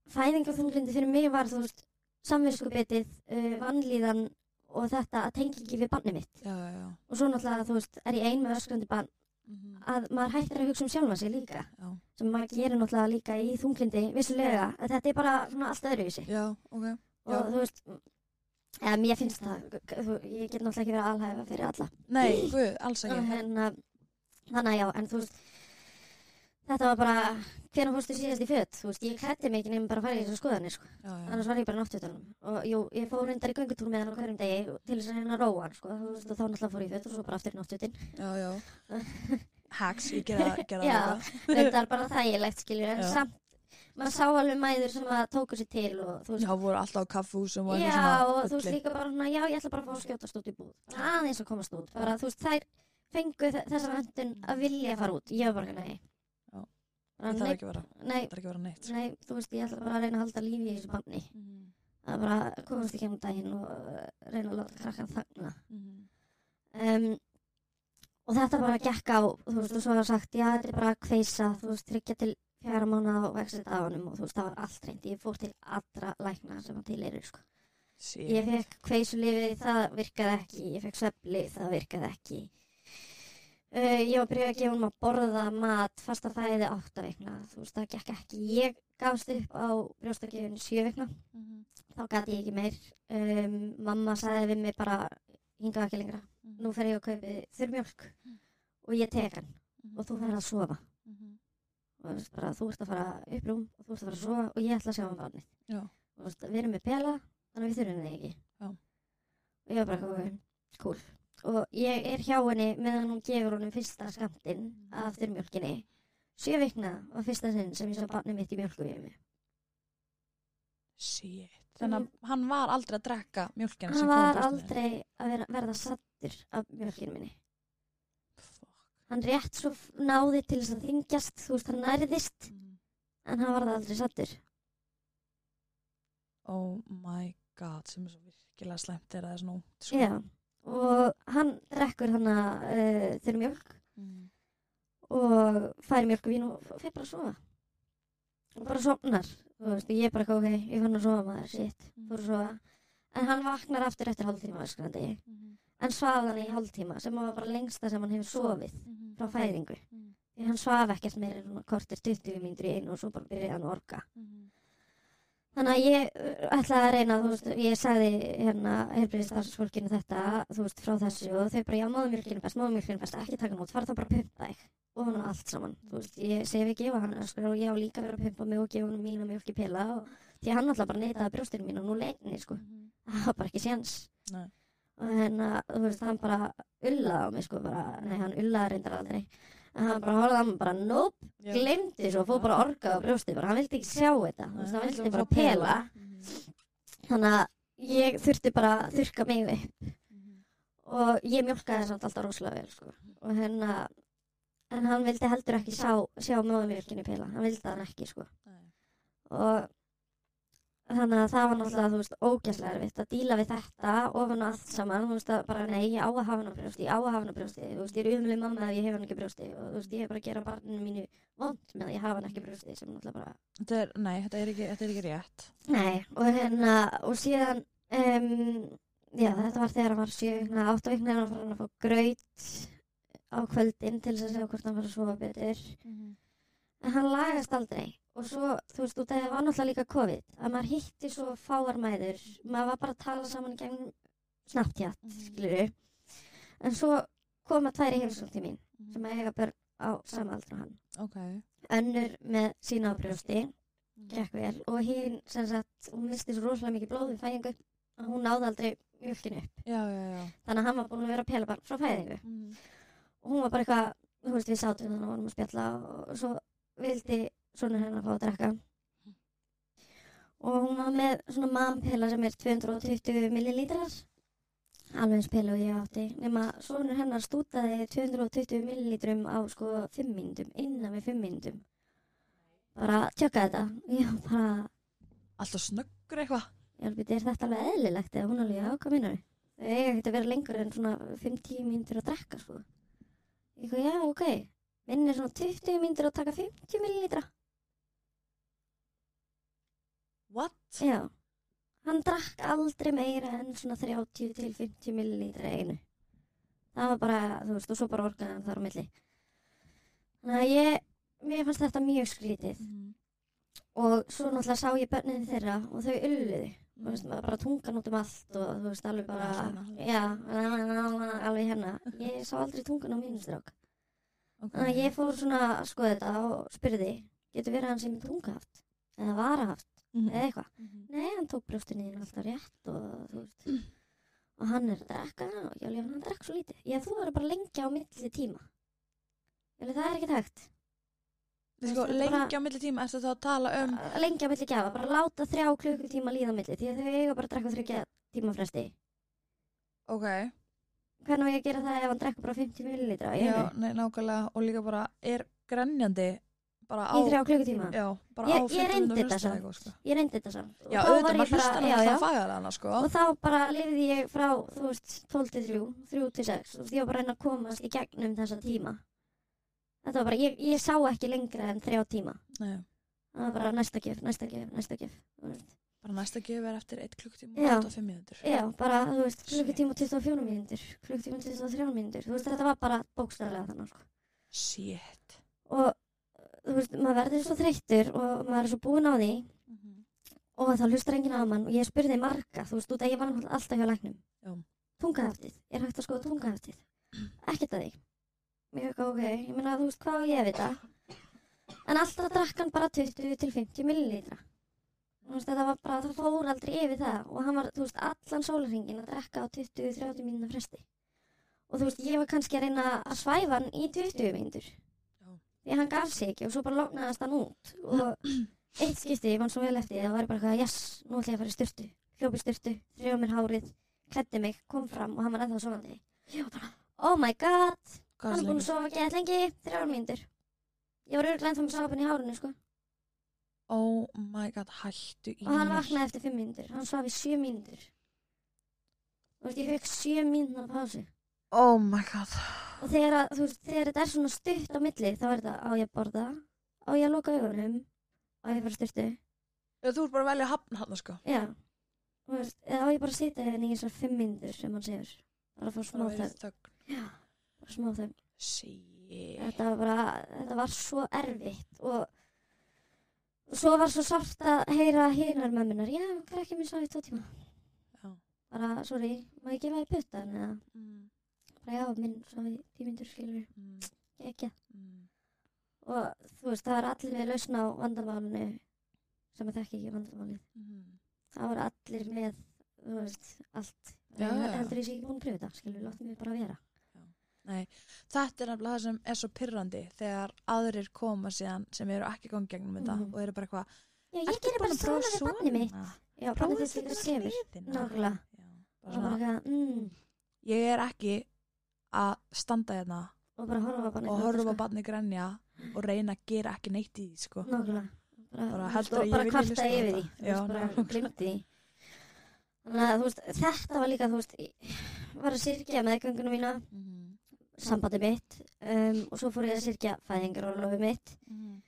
Speaker 3: fæðingaþunglindi fyrir mig var, þú veist, samvinskupitið, uh, vannlíðan og þetta að tengja ekki við barnið mitt.
Speaker 2: já, já, já.
Speaker 3: Og svo náttúrulega, þú veist, er ég ein með öskrandi barn
Speaker 2: Mhm.
Speaker 3: að maður hættir að hugsa um sjálfa sig líka.
Speaker 2: já,
Speaker 3: sem maður gerir náttúrulega líka í þunglindi vissulega, en þetta er bara svona allt öðruvísi
Speaker 2: já, ok já.
Speaker 3: og þú veist eða mér finnst það, þú- ég get náttúrulega ekki verið alhæfa fyrir alla
Speaker 2: Nei, guð, alls ekki
Speaker 3: en, uh, þannig að já, en þú veist þetta var bara hvernig fórstu síðast í fött, þú veist, ég klætti mig ekki nefnum bara að fara í þessu skoðanir, sko.
Speaker 2: já, já.
Speaker 3: annars var ég bara náttúrutunum og jú, ég fór reyndar í göngutúr með hann á hverjum degi til þess að reyna að róa hann, sko, þú veist, og þá náttúrulega fór ég í fött og svo bara aftur í náttútin
Speaker 2: já, já Hacks, ég gera, gera
Speaker 3: Já.
Speaker 2: það líka.
Speaker 3: reyndar bara þægilegt, skiljur, en
Speaker 2: Já.
Speaker 3: samt maður sá alveg mæður sem að tóku sér til og þú veist,
Speaker 2: Já, voru alltaf á kaffúsum og eitthvað
Speaker 3: Já,
Speaker 2: svona
Speaker 3: og þú veist
Speaker 2: bulli.
Speaker 3: líka bara svona, já, ég ætla bara að fá að skjótast út í búð. Bara Aðeins að komast út. Bara, þú veist, þær fengu þe- þessa vöndun að vilja fara út. Ég var bara, nei.
Speaker 2: Já.
Speaker 3: Bara,
Speaker 2: Það er
Speaker 3: nei,
Speaker 2: ekki að vera,
Speaker 3: nei,
Speaker 2: það er ekki að vera neitt
Speaker 3: nei, þú veist, ég ætla bara að reyna að halda lífi í þessu banni.
Speaker 2: Mhm.
Speaker 3: Að bara komast í kemum daginn og uh, reyna að láta krakkan þagna.
Speaker 2: Mhm.
Speaker 3: Um, og þetta bara gekk á, þú veist, og svo var sagt, já, þetta er bara að kveisa, þú veist, tryggja til fjara mánuða og vexit af honum og þú veist, það var allt reynd. Ég fór til allra lækna sem að til eru, sko.
Speaker 2: Shit.
Speaker 3: Ég fekk kveisulifið, það virkaði ekki. Ég fekk sveflið, það virkaði ekki. Uh, ég var byrjuð að gefa hún að borða mat, fasta fæði átta vikna. Þú veist, það gekk ekki. Ég gafst upp á brjóstakefinu sjö vikna.
Speaker 2: Mhm.
Speaker 3: Þá gæti ég ekki meir. Um, mamma sagði við mig bara, hingað ekki lengra.
Speaker 2: Mhm.
Speaker 3: Nú fer ég að kaupi þurrmjólk og ég tek hann
Speaker 2: Mhm.
Speaker 3: og þú fer að sofa.
Speaker 2: Mhm.
Speaker 3: Og þú veist bara, þú ert að fara upp rúm og þú ert að fara að sofa og ég ætla að sjá hann barnið.
Speaker 2: Já.
Speaker 3: Þú veist, við erum með pela, þannig að við þurfum þig ekki.
Speaker 2: Já.
Speaker 3: Og ég var bara eitthvað, ok, cool. Og ég er hjá henni meðan hún gefur honum fyrsta skamtinn af þurrmjölkinni. Sjö vikna var fyrsta sinn sem ég sá barnið mitt í mjölkuvími.
Speaker 2: Shit. Þannig að hann var aldrei að drekka mjölkina
Speaker 3: Hann
Speaker 2: sem kom
Speaker 3: var
Speaker 2: brjóstinu.
Speaker 3: aldrei að vera, verða sattur af mjölkinu minni.
Speaker 2: Fuck.
Speaker 3: Hann rétt svo f- náði til þess að þingjast, þú veist, hann nærðist,
Speaker 2: Mhm.
Speaker 3: en hann varða aldrei sattur.
Speaker 2: Oh my god, sem er svo virkilega slæmt þegar það er svona ungt sko.
Speaker 3: Já, og hann drekkur þannig uh, þurrmjölk
Speaker 2: Mm.
Speaker 3: og fær mjölkuvín og fer bara að sofa og bara sofnar þú veist, ég er bara ok, ég fann að sofa maður, shit,
Speaker 2: mhm,
Speaker 3: fór að sofa en hann vaknar aftur eftir hálftíma öskrandi
Speaker 2: mhm,
Speaker 3: en svaf hann í hálftíma sem var bara lengsta sem hann hefur sofið frá fæðingu
Speaker 2: Mhm. mhm,
Speaker 3: því hann svaf ekkert meira en svona kortir 20 mínútur í einu og svo bara byrjaði hann að orga Þannig að ég uh, ætlaði að reyna, þú veist, ég sagði hérna helbriðistarsfólkinu þetta, þú veist, frá þessu og þau bara, já, móðumjölkinu best, móðumjölkinu best, ekki taka nót, fara þá bara að pumpa þig og hann allt saman, þú veist, ég segi við gefa hann, sko, og ég á líka verið að pumpa mig og gefa hann mína mjölk í pila og því að hann alltaf bara neytaði brjóstinu mín og nú leikni, sko, það var bara ekki séns.
Speaker 2: Nei.
Speaker 3: Og hérna, þú veist, hann bara ullaði á mig, sko, bara, nei, hann ullaði reyndar aldrei, en hann bara horfði á mig bara, nope,
Speaker 2: Já.
Speaker 3: glemdi svo, fór bara orgað á brjóstið bara, hann vildi ekki sjá þetta, þú veist, hann
Speaker 2: Nei,
Speaker 3: vildi
Speaker 2: hann
Speaker 3: bara
Speaker 2: vildi bara
Speaker 3: pela þannig að ég þurfti bara að þurka mig upp
Speaker 2: Mhm.
Speaker 3: og ég mjölkaði samt alltaf rosalega vel sko. og hérna en hann vildi heldur ekki sjá, sjá móðumjölkinni pela, hann vildi hann ekki sko.
Speaker 2: Nei.
Speaker 3: og þannig að það var náttúrulega þú veist, ógæslega erfitt að díla við þetta ofan á allt saman, þú veist að bara nei, ég á að hafa hann á brjósti, ég á að hafa hann á brjósti þú veist, ég er umlega mamma ef ég hef hann ekki á brjósti og þú veist, ég er bara að gera barninu mínu vond með að ég hafa hann ekki á brjósti sem náttúrulega bara
Speaker 2: Þetta er, nei, þetta er ekki, þetta er ekki rétt.
Speaker 3: Nei, og hérna, og síðan, um, já, þetta var þegar hann var sjö vikna, átta vikna hann var hann að fá graut á kvöldin til þess að sjá hvort hann var að sofa betur. En hann lagast aldrei. Og svo, þú veist, út af því að það var náttúrulega líka COVID, að maður hitti svo fáar mæður, maður var bara að tala saman í gegnum snapptjátt, mm. skilur En svo koma tværi heimsókn til mín, sem að eiga börn á sama aldra og hann.
Speaker 2: Ok.
Speaker 3: Önnur með sína á brjósti, gekk vel og hinn sem sagt, hún misti svo rosalega mikið blóð við fæðingu að hún náði aldrei mjölkinu upp.
Speaker 2: Já, já, já.
Speaker 3: þannig að hann var búin að vera að pela bara frá fæðingu og hún var bara eitthvað, þú veist við sátum þannig að vorum að spjalla og svo vildi svona hennar fá að drekka og hún var með svona mampela sem er 220 millilítrar alveg eins pela og ég átti nema svona hennar stútaði 220 millilítrum á sko 5 mínútum innan við 5 mínútum bara tjökka þetta ég var bara
Speaker 2: Alltaf snöggur eitthvað.
Speaker 3: Já, býtti, er þetta alveg eðlilegt eða hún alveg, já, hvað minnur við? Þau eiga ekkert að vera lengur en svona 5-10 mínútur að drekka, sko. Ég hvað, já, ok, minn er svona 20 mínútur að taka 50 millilítra.
Speaker 2: What?
Speaker 3: Já, hann drakk aldrei meira en svona 30 til 50 millilítra í einu. Það var bara, þú veist, og svo bara orgaði hann þar á milli. Þannig að ég, mér fannst þetta mjög skrítið og svo náttúrulega sá ég börnin þeirra og þau ulluðu. þú veist, maður bara tungan út um allt og þú veist, alveg bara,
Speaker 2: Allan, allan.
Speaker 3: já, alveg hérna. Ég sá aldrei tungan á mínu strák. Þannig að ég fór svona að skoða þetta og spurði, getur verið að hann sem er tungahaft? Eða varahaft?
Speaker 2: Mhm.
Speaker 3: Eða eitthvað? Nei, hann tók brjóstinni þín alltaf rétt og þú veist, og hann er að drekka og ég alveg, hann drekk svo lítið. Já, þú verður bara lengja á milli tíma. Ég alveg, það er ekki hægt.
Speaker 2: Sko,
Speaker 3: Þetta er bara-
Speaker 2: lengi á milli tíma ertu þá að tala um...
Speaker 3: að lengja á milli gjafa, bara láta þrjá klukkutíma líða á milli, því að þau eiga bara að drekka þryggja tíma fresti.
Speaker 2: Ok.
Speaker 3: Hvernig á ég að gera það ef hann drekka bara 50 millilitra í
Speaker 2: Já,
Speaker 3: einu?
Speaker 2: nei, nákvæmlega. Og líka bara, er grenjandi bara á...
Speaker 3: Í þrjá klukkutíma.
Speaker 2: Já, bara
Speaker 3: Ég-
Speaker 2: á 15
Speaker 3: ég reyndi
Speaker 2: mínútur
Speaker 3: þetta
Speaker 2: hlusta
Speaker 3: samt.
Speaker 2: eitthvað, sko.
Speaker 3: Ég reyndi þetta samt. Og
Speaker 2: Já,
Speaker 3: þá var
Speaker 2: auðvitað,
Speaker 3: ég
Speaker 2: maður hlustar hann
Speaker 3: já,
Speaker 2: alltaf
Speaker 3: já.
Speaker 2: að fæða hana, sko.
Speaker 3: Og þá bara lifði ég frá, þú veist, 12 til 3, 3 til 6 og því ég var bara að reyna að komast í gegnum þessa tíma. Þetta var bara, ég, ég sá ekki lengra en þrjá tíma.
Speaker 2: Nei,
Speaker 3: Það var bara næsta gef, næsta gef, næsta gef. þú veist.
Speaker 2: bara næsta gjöf er eftir 1 klukktíma
Speaker 3: Já.
Speaker 2: og 25 mínútur.
Speaker 3: Já, bara, þú veist,
Speaker 2: Shit.
Speaker 3: klukkutíma og 24 mínútur, klukkutíma og 23 mínútur. Þú veist, þetta var bara bókstæðlega þannig, sko.
Speaker 2: Shit.
Speaker 3: og þú veist, maður verður svo þreyttur og maður er svo búinn á því Mhm. og það hlustar enginn á mann og ég spurði marga, þú veist, út að ég var náttúrulega alltaf hjá læknum
Speaker 2: Já.
Speaker 3: tungahaftið, er hægt að skoða tungahaftið ekkert að því mér hefði ok, ég meina, þú veist, hvað á ég að vita en alltaf drakk hann bara 20 til 50 millilitra þú veist, þetta var bara, það fór aldrei yfir það og hann var, þú veist, allan sólarringin að drakka á 20-30 mínuna fresti og þú veist, ég var kannski að reyna að svæfa hann í 20 mínútur því að hann gaf sig ekki og svo bara lognaðast hann út og eitt skipti ég vann svo vel eftir því, það var bara eitthvað, yes, nú ætla ég að fara í styrtu hljópi styrtu, þrjóða mér hárið klætti mig, kom fram og hann var ennþá sofandi ég var bara, oh my god
Speaker 2: Hvað
Speaker 3: hann
Speaker 2: er
Speaker 3: er búin að sofa ekki eitthvað lengi, þrjóðar mínútur ég var örglega ennþá með sápan í hárinu sko.
Speaker 2: Oh my god, hættu í
Speaker 3: og hann
Speaker 2: mér.
Speaker 3: vaknaði eftir fimm mínútur hann svaf í sjö mínútur og ég fekk sjö mínútur á pásu
Speaker 2: Oh my god.
Speaker 3: og þegar, að, þú veist, þegar þetta er svona stutt á milli þá er þetta á ég að borða á ég að loka augunum á ég að fara í styrtu
Speaker 2: Já, þú ert bara að velja að hafna hann, sko.
Speaker 3: Já, þú veist, eða á ég bara að sitja hérna í þessar fimm myndur sem hann segir bara að fá smá
Speaker 2: Bara verið
Speaker 3: þögn,
Speaker 2: þögn.
Speaker 3: fá smá þögn
Speaker 2: Shit.
Speaker 3: þetta var bara, þetta var svo erfitt og svo var svo sárt að heyra hinar mömmunar, já, krakki minn svaf í tvo tíma
Speaker 2: Já.
Speaker 3: bara, sorry, má ég gefa þér puttan eða,
Speaker 2: Mm,
Speaker 3: bara já, minn svaf í tímindur skilur, ekki
Speaker 2: mm,
Speaker 3: og þú veist, það var allir með lausn á vandamálinu sem að þekki ekki vandamálið
Speaker 2: mm.
Speaker 3: það var allir með, þú veist, allt
Speaker 2: Já, já, já.
Speaker 3: ég heldur ég sé ekki búin að pröfu þetta skilur, láttu mig bara að vera
Speaker 2: Þetta er nefnilega það sem er svo pyrrandi þegar aðrir koma síðan sem eru ekki gangið gegnum þetta
Speaker 3: Mhm.
Speaker 2: og eru bara eitthvað
Speaker 3: já, ég gerði bara svona við banni mitt já, banni þess líka semur Nákvæmlega. og bara,
Speaker 2: Svona,
Speaker 3: eitthvað, mm,
Speaker 2: ég er ekki að standa hérna
Speaker 3: og bara horfa á sko. bannið
Speaker 2: og horfa á barni grenja og reyna að gera ekki neitt í því sko.
Speaker 3: Nákvæmlega.
Speaker 2: Bara
Speaker 3: Bara,
Speaker 2: heldur
Speaker 3: og
Speaker 2: að ég
Speaker 3: bara
Speaker 2: vilji hlusta
Speaker 3: kvarta
Speaker 2: á
Speaker 3: yfir
Speaker 2: þetta.
Speaker 3: því. Þú
Speaker 2: Já,
Speaker 3: veist, bara
Speaker 2: nákvæmlega.
Speaker 3: glimti því. Þannig að þú veist, þetta var líka, þú veist, ég var að syrkja meðgönguna mína,
Speaker 2: Mhm,
Speaker 3: sambandi mitt um, og svo fór ég að syrkja fæðingar og lofi mitt
Speaker 2: mhm,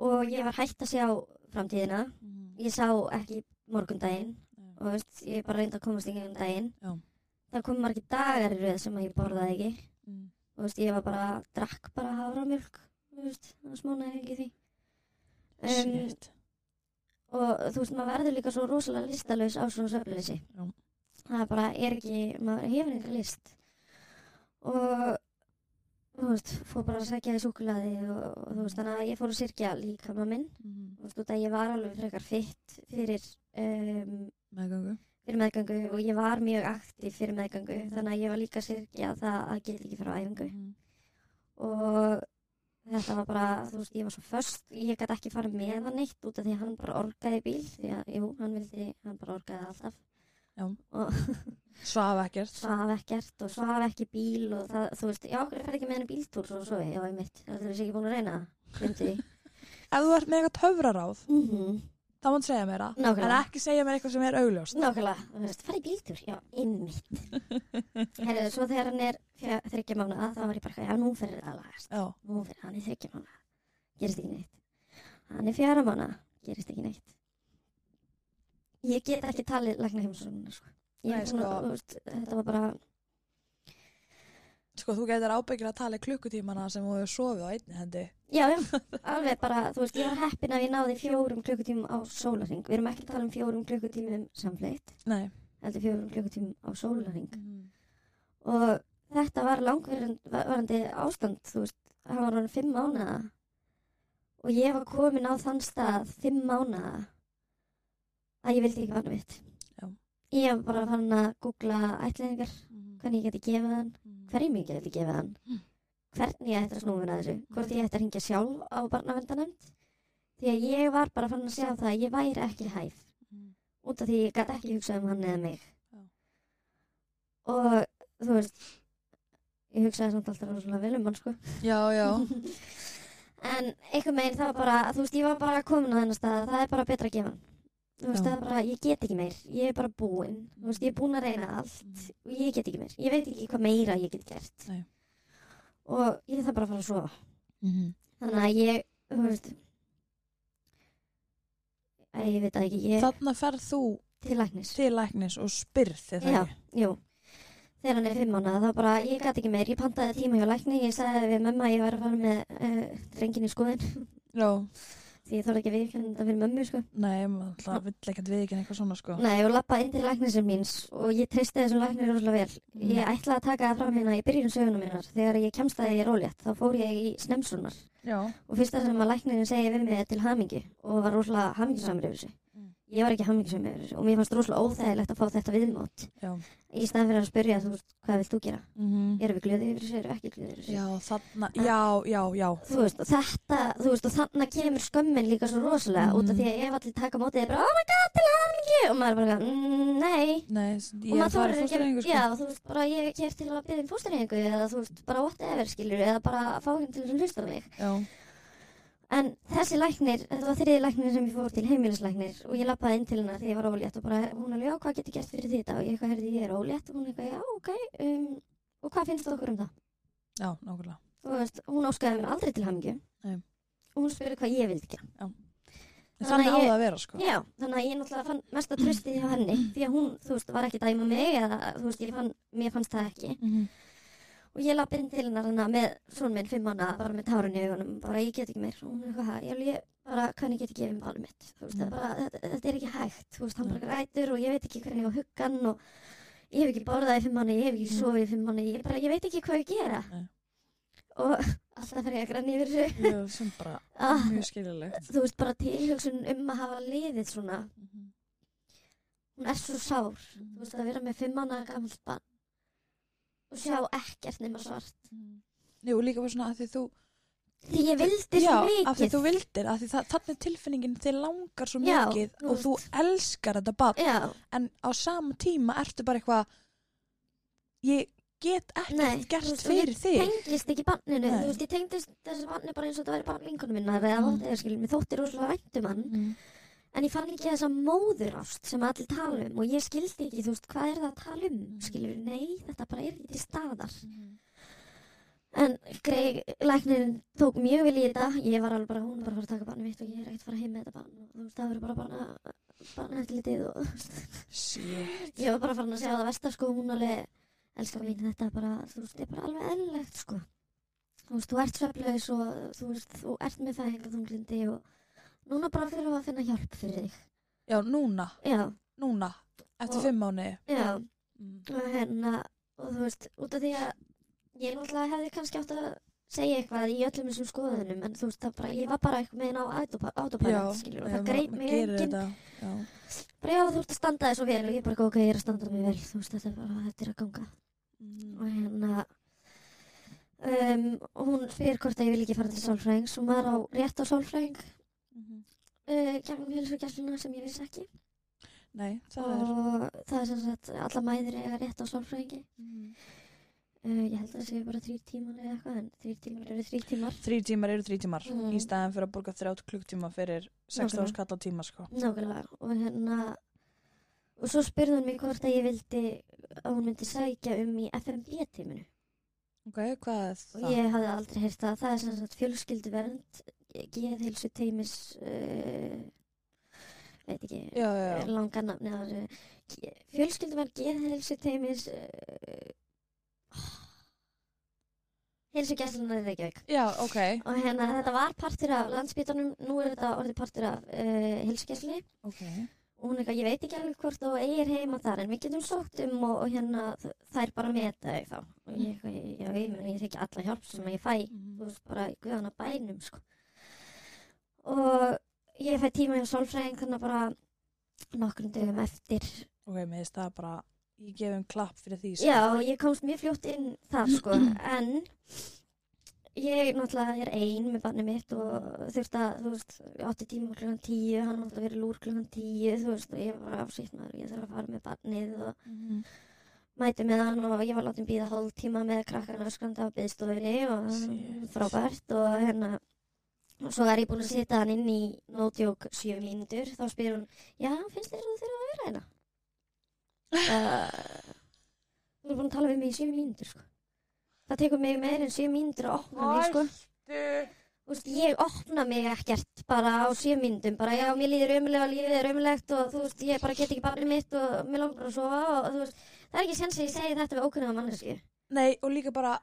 Speaker 3: og ég var hægt að sjá framtíðina.
Speaker 2: mhm.
Speaker 3: Ég sá ekki morgundaginn
Speaker 2: Nei.
Speaker 3: og þú veist, ég bara reyndi að komast í gegnum daginn.
Speaker 2: Já.
Speaker 3: Það kom margir dagar í röð sem að ég borðaði ekki.
Speaker 2: Mm.
Speaker 3: Þú veist, ég var bara, drakk bara haframjölk, þú veist, það smánaði ekki því. Um,
Speaker 2: Shit.
Speaker 3: og þú veist, maður verður líka svo rosalega listalaus á svona söfnleysi
Speaker 2: Já.
Speaker 3: það er bara, er ekki, maður hefur eitthvað list og þú veist, fór bara að sækja í súkulaði og, og þú veist, þannig að ég fór að syrkja líkama minn,
Speaker 2: Mhm.
Speaker 3: þú veist, út að ég var alveg frekar fitt fyrir um,
Speaker 2: Meðgöngu.
Speaker 3: fyrir meðgangu og ég var mjög aktiv fyrir meðgangu, þannig að ég var líka að syrkja það að geta ekki fyrir æfingu
Speaker 2: Mhm.
Speaker 3: og þetta var bara, þú veist, ég var svo först, ég gæti ekki farið með hann eitt út af því að hann bara orgaði í bíl, því að, jú, hann vildi, hann bara orgaði alltaf.
Speaker 2: Já.
Speaker 3: Og
Speaker 2: Svaf ekkert.
Speaker 3: svaf ekkert og svaf ekki í bíl og það, þú veist, já, hverju fer ekki með hann í bíltúr svo svo, já, ég mitt, það er ekki búin að reyna það, glemdi því.
Speaker 2: Ef þú ert með eitthvað töfraráð,
Speaker 3: Mm -hmm.
Speaker 2: þá máttu segja mér það. En
Speaker 3: Nákvæmlega,
Speaker 2: ekki segja mér eitthvað sem er augljóst.
Speaker 3: nákvæmlega, þú veist, farið í bíltúr, já, einmitt. Herðu, svo þegar hann er fjö- þriggja mánuða, þá var ég bara, já, nú fer þetta að lagast.
Speaker 2: Já.
Speaker 3: nú fyrir hann í þryggja mánu gerist ekki neitt hann er fjara mánu, gerist ekki neitt ég get ekki talið lagna heimsóknuna sko. Ég
Speaker 2: Nei,
Speaker 3: er svona,
Speaker 2: sko.
Speaker 3: þú veist, þetta var bara
Speaker 2: Sko, þú getur ábyggilega að tala í klukkutímana sem þú hefur sofið á einni hendi.
Speaker 3: já, já, alveg bara, þú veist, ég var heppin að ég náði fjórum klukkutímum á sólaring við erum ekki að tala um fjórum klukkutímum samfleitt
Speaker 2: Nei.
Speaker 3: heldur fjórum klukkutímum á sólaring
Speaker 2: Mm-hmm.
Speaker 3: og þetta var langvarandi ástand, þú veist hann var hann fimm mánuða og ég var komin á þann stað fimm mánuða að ég vildi ekki barna mitt
Speaker 2: Já.
Speaker 3: ég var bara fann að googla ætlingar, hvernig ég geti gefið hann hverjum ég geti gefið hann
Speaker 2: Mm.
Speaker 3: hvernig ég ætti að snúfina þessu hvort ég ætti að hringja sjálf á barnavendanemnd því að ég var bara fann að sjá það að ég væri ekki hæf Mm-hmm. út af því ég gæti ekki hugsað um hann eða mig
Speaker 2: Já.
Speaker 3: og þú veist ég hugsaði samt alltaf rosalega vel um hann sko
Speaker 2: Já, já.
Speaker 3: en einhvern veginn það var bara þú veist ég var bara komin á þennan stað það er bara betra að gefa hann þú veist
Speaker 2: Já.
Speaker 3: það er bara ég get ekki meir ég er bara búinn þú veist ég er búinn að reyna allt
Speaker 2: Mhm.
Speaker 3: og ég get ekki meir ég veit ekki hvað meira ég get gert
Speaker 2: Nei.
Speaker 3: og ég þarf bara að fara að sofa Mm-hmm.
Speaker 4: Mhm.
Speaker 3: þannig að ég þú veist Æ, ég veit það ekki, ég
Speaker 2: Þannig ferð þú
Speaker 3: til læknis
Speaker 2: til læknis og spyrð þig það
Speaker 3: Já,
Speaker 2: ekki.
Speaker 3: jú. Þegar hann er fimm mánuða, þá bara, ég gæti ekki meir, ég pantaði tíma hjá lækni, ég sagði við mömmu að ég var að fara með uh, drengin í skoðin,
Speaker 2: Já.
Speaker 3: því ég þorði ekki að viðkjöna þetta fyrir mömmu, sko.
Speaker 2: Nei, maður alltaf vill ekkert við ekki eitthvað svona, sko.
Speaker 3: Nei, og lappaði inn til læknisum míns og ég treysti þessum læknir rosalega vel. Ég ætlaði að taka það fram hérna í byrjun sögunum minnar, þegar ég kemst að ég er ólétt, þá fór ég í snemsunar.
Speaker 2: Já.
Speaker 3: Og fyrsta sem að læknirinn segi við mig er til hamingi og var rosalega hamingisamur yfir þessu. Ég var ekki hamingisamur yfir þessu og mér fannst rosalega óþægilegt að fá þetta viðmót.
Speaker 2: Já.
Speaker 3: Í staðan fyrir að spyrja, þú veist, hvað vilt þú gera?
Speaker 2: Mhm.
Speaker 3: Erum við glöðið yfir þessu, erum við ekki glöðið yfir þessu?
Speaker 2: Já, þannig, já, já, já.
Speaker 3: þú veist, og þetta, þú veist, og þannig kemur skömmin líka svo rosalega út af því að ef allir taka á mótið er bara, oh my god, til hamingju og maður bara, mm, nei
Speaker 2: Nei, s-
Speaker 3: og
Speaker 2: ég
Speaker 3: maður
Speaker 2: farið
Speaker 3: þorir
Speaker 2: fóstureyðingu, sko.
Speaker 3: já, þú veist, bara ég er hér til að byrja um fóstureyðingu eða þú veist, bara whatever, skilur eða bara að fá henn til að hlusta á mig
Speaker 2: Já.
Speaker 3: en þessi læknir, þetta var þriði læknir sem ég fór til heimilislæknir og ég lappaði inn til hennar þegar ég var ólétt og bara, hún alveg, já, hvað getur gert fyrir þetta og ég eitthvað, herði, ég er ólétt og hún eitthvað, já, ok, um, og hvað finnst okkur um það?
Speaker 2: Já, nákvæmlega.
Speaker 3: Þú veist, hún óskaði mér aldrei til hamingju
Speaker 2: Nei.
Speaker 3: og hún spurði hvað ég vildi gera
Speaker 2: En Þannig
Speaker 3: Þannig að
Speaker 2: á
Speaker 3: ég-
Speaker 2: það að vera, sko.
Speaker 3: Já, þannig að ég náttúrulega fann mesta tröstið hjá henni því að hún, þú veist, var ekki að dæma mig eða, þú veist, ég fann, mér fannst það ekki
Speaker 2: Mhm.
Speaker 3: og ég lappi inn til hennar hana með svona minn fimm manna bara með tárun í augunum, bara ég get ekki meir og hún er eitthvað, "Ha?" ég, alveg, ég bara, hvernig get ég gefið mér barnið mitt, þú veist, það er bara, þetta, þetta er ekki hægt, þú veist, hann bara grætur og ég veit ekki hvernig ég á huggan og ég hef ekki borðað í fimm manna, ég hef ekki sofið í fimm manna, ég bara, ég veit ekki hvað ég gera
Speaker 2: Nei.
Speaker 3: og alltaf fer ég að grann yfir þessu,
Speaker 2: Jú, sem bara
Speaker 3: ah,
Speaker 2: mjög skiljulegt.
Speaker 3: þú veist, bara tilhugsun um að hafa liðið svona, hún er svo sár þú veist að vera með fimm manna gamalt barn og sjá ekkert nema svart
Speaker 2: Jú, líka bara svona að því þú,
Speaker 3: því ég vildi
Speaker 2: já,
Speaker 3: svo
Speaker 2: af því
Speaker 3: mikið
Speaker 2: þú vildir, af því það, þannig tilfinningin þið langar svo
Speaker 3: Já,
Speaker 2: mikið
Speaker 3: þú
Speaker 2: og þú elskar þetta barn
Speaker 3: já,
Speaker 2: en á sama tíma ertu bara eitthvað, ég get
Speaker 3: Nei,
Speaker 2: ekkert gert
Speaker 3: þú veist, og ég
Speaker 2: fyrir þig.
Speaker 3: tengist ekki barninu
Speaker 2: Nei.
Speaker 3: þú veist ég tengdist þessu barni bara eins og þetta væri barn vinkunum minnar eða
Speaker 2: Mm.
Speaker 3: mm. eða skilur, mér þótti rosalega væntum hann en ég fann ekki þessa móðurást sem allir tala um og ég skildi ekki, þú veist, hvað er það að tala um skilur, nei, þetta bara er ekki til staðar En Greg, læknirinn tók mjög vel í þetta, ég var alveg bara, hún er bara að fara að taka barnið mitt og ég er ekkert að fara heim með þetta barn og þú veist, það verður bara barna, barnaeftirlitið og
Speaker 2: Shit.
Speaker 3: ég var bara farin að segja það vestar sko, hún alveg, elskar mín, þetta er bara, þú veist, er bara alveg eðlilegt sko. Þú veist, þú ert sveflaus og þú veist, þú ert með fæðingatunglindi og núna bara fyrir að finna hjálp fyrir þig.
Speaker 2: Já, núna,
Speaker 3: Já,
Speaker 2: núna, eftir
Speaker 3: Og-
Speaker 2: fimm mánu.
Speaker 3: já, og hérna, og þú veist, út af því að ég náttúrulega hefði kannski átt að segja eitthvað í öllum þessum skoðunum en þú veist það bara, ég var bara eitthvað meginn á autopilot, skilur, og það greip mig enginn
Speaker 2: Já,
Speaker 3: bara já, þú ert að standa þér svo vel og ég bara, ok, ég er að standa mig vel þú veist, þetta er bara, þetta er að ganga
Speaker 2: Mm.
Speaker 3: og hérna um, og hún spyr hvort að ég vil ekki fara til sálfræðings og maður á rétt á sálfræðing uh, gegnum hilsugjæsluna sem ég vissi ekki
Speaker 2: Nei, það er...
Speaker 3: og það er sem sagt, alla mæður eiga rétt á sálfræðingi
Speaker 2: Mhm.
Speaker 3: uh, ég held að það séu bara þrýr tímar eða eitthvað en þrýr tímar eru þrýr tímar
Speaker 2: Þrý tímar eru þrý tímar
Speaker 3: Mm.
Speaker 2: í staðan fyrir að borga þrjátt klukktíma fyrir 16
Speaker 3: Nákvæmlega.
Speaker 2: skall á tíma sko.
Speaker 3: Nákvæmlega og hérna og svo spurði hún mig hvort að ég vildi að hún myndi sækja um í FMB tíminu
Speaker 2: Ok, hvað er það?
Speaker 3: og ég hafði aldrei heyrt það það er sem sagt fjölskylduvernd geðheilsu teimis uh, veit ekki
Speaker 2: Já, já, já.
Speaker 3: langa nafni það er, uh, fjölskylduvernd geðheilsu teimis uh, heilsu gæslunar ah. Reykjavík
Speaker 2: Já, ok.
Speaker 3: og hérna þetta var partur af landsbytunum nú er þetta orðið partur af uh, heilsugæslu
Speaker 2: Ok.
Speaker 3: og hún er eitthvað, ég veit ekki alveg hvort og eigir heima þar en við getum sótt um og, og hérna þ- þær bara meta þau þá og ég, eitthvað, já, ég, meni, ég þekki alla hjálp sem ég fæ þú veist bara í guðana bænum sko. og ég fæ tíma hjá sálfræðing þannig að bara nokkrum dögum eftir
Speaker 2: Ok, mér finnst það bara, ég gef um klapp fyrir því sko.
Speaker 3: já, ég komst mjög fljótt inn þar sko, en ég náttúrulega er ein með barnið mitt og þurft að, þú veist, ég átti tíma klukkan tíu, hann átti að vera lúr klukkan tíu, þú veist, og ég var afsýtt maður, ég þarf að fara með barnið og
Speaker 2: Mhm.
Speaker 3: mæti með hann og ég var látið býða hálf tíma með krakkana öskranda á byðstofinni og
Speaker 2: Shit.
Speaker 3: frábært og hérna og svo er ég búin að setja hann inn í nótjók sjö mínútur, þá spyr hún já, finnst þér að þú þurfa að vera hérna? uh, þú er búin að tala við mig í sjö mínútur sko. það tekur mig meir en sjö mínútur að opna mig sko. Þú veist, ég opna mig ekkert bara á sjö mínútum, bara já, mér líður ömulega, lífið er ömulegt og þú veist, ég bara get ekki barnið mitt og mér langar að sofa og þú veist, það er ekki sens að ég segi þetta við ókunnaða mannesku.
Speaker 2: Nei, og líka bara,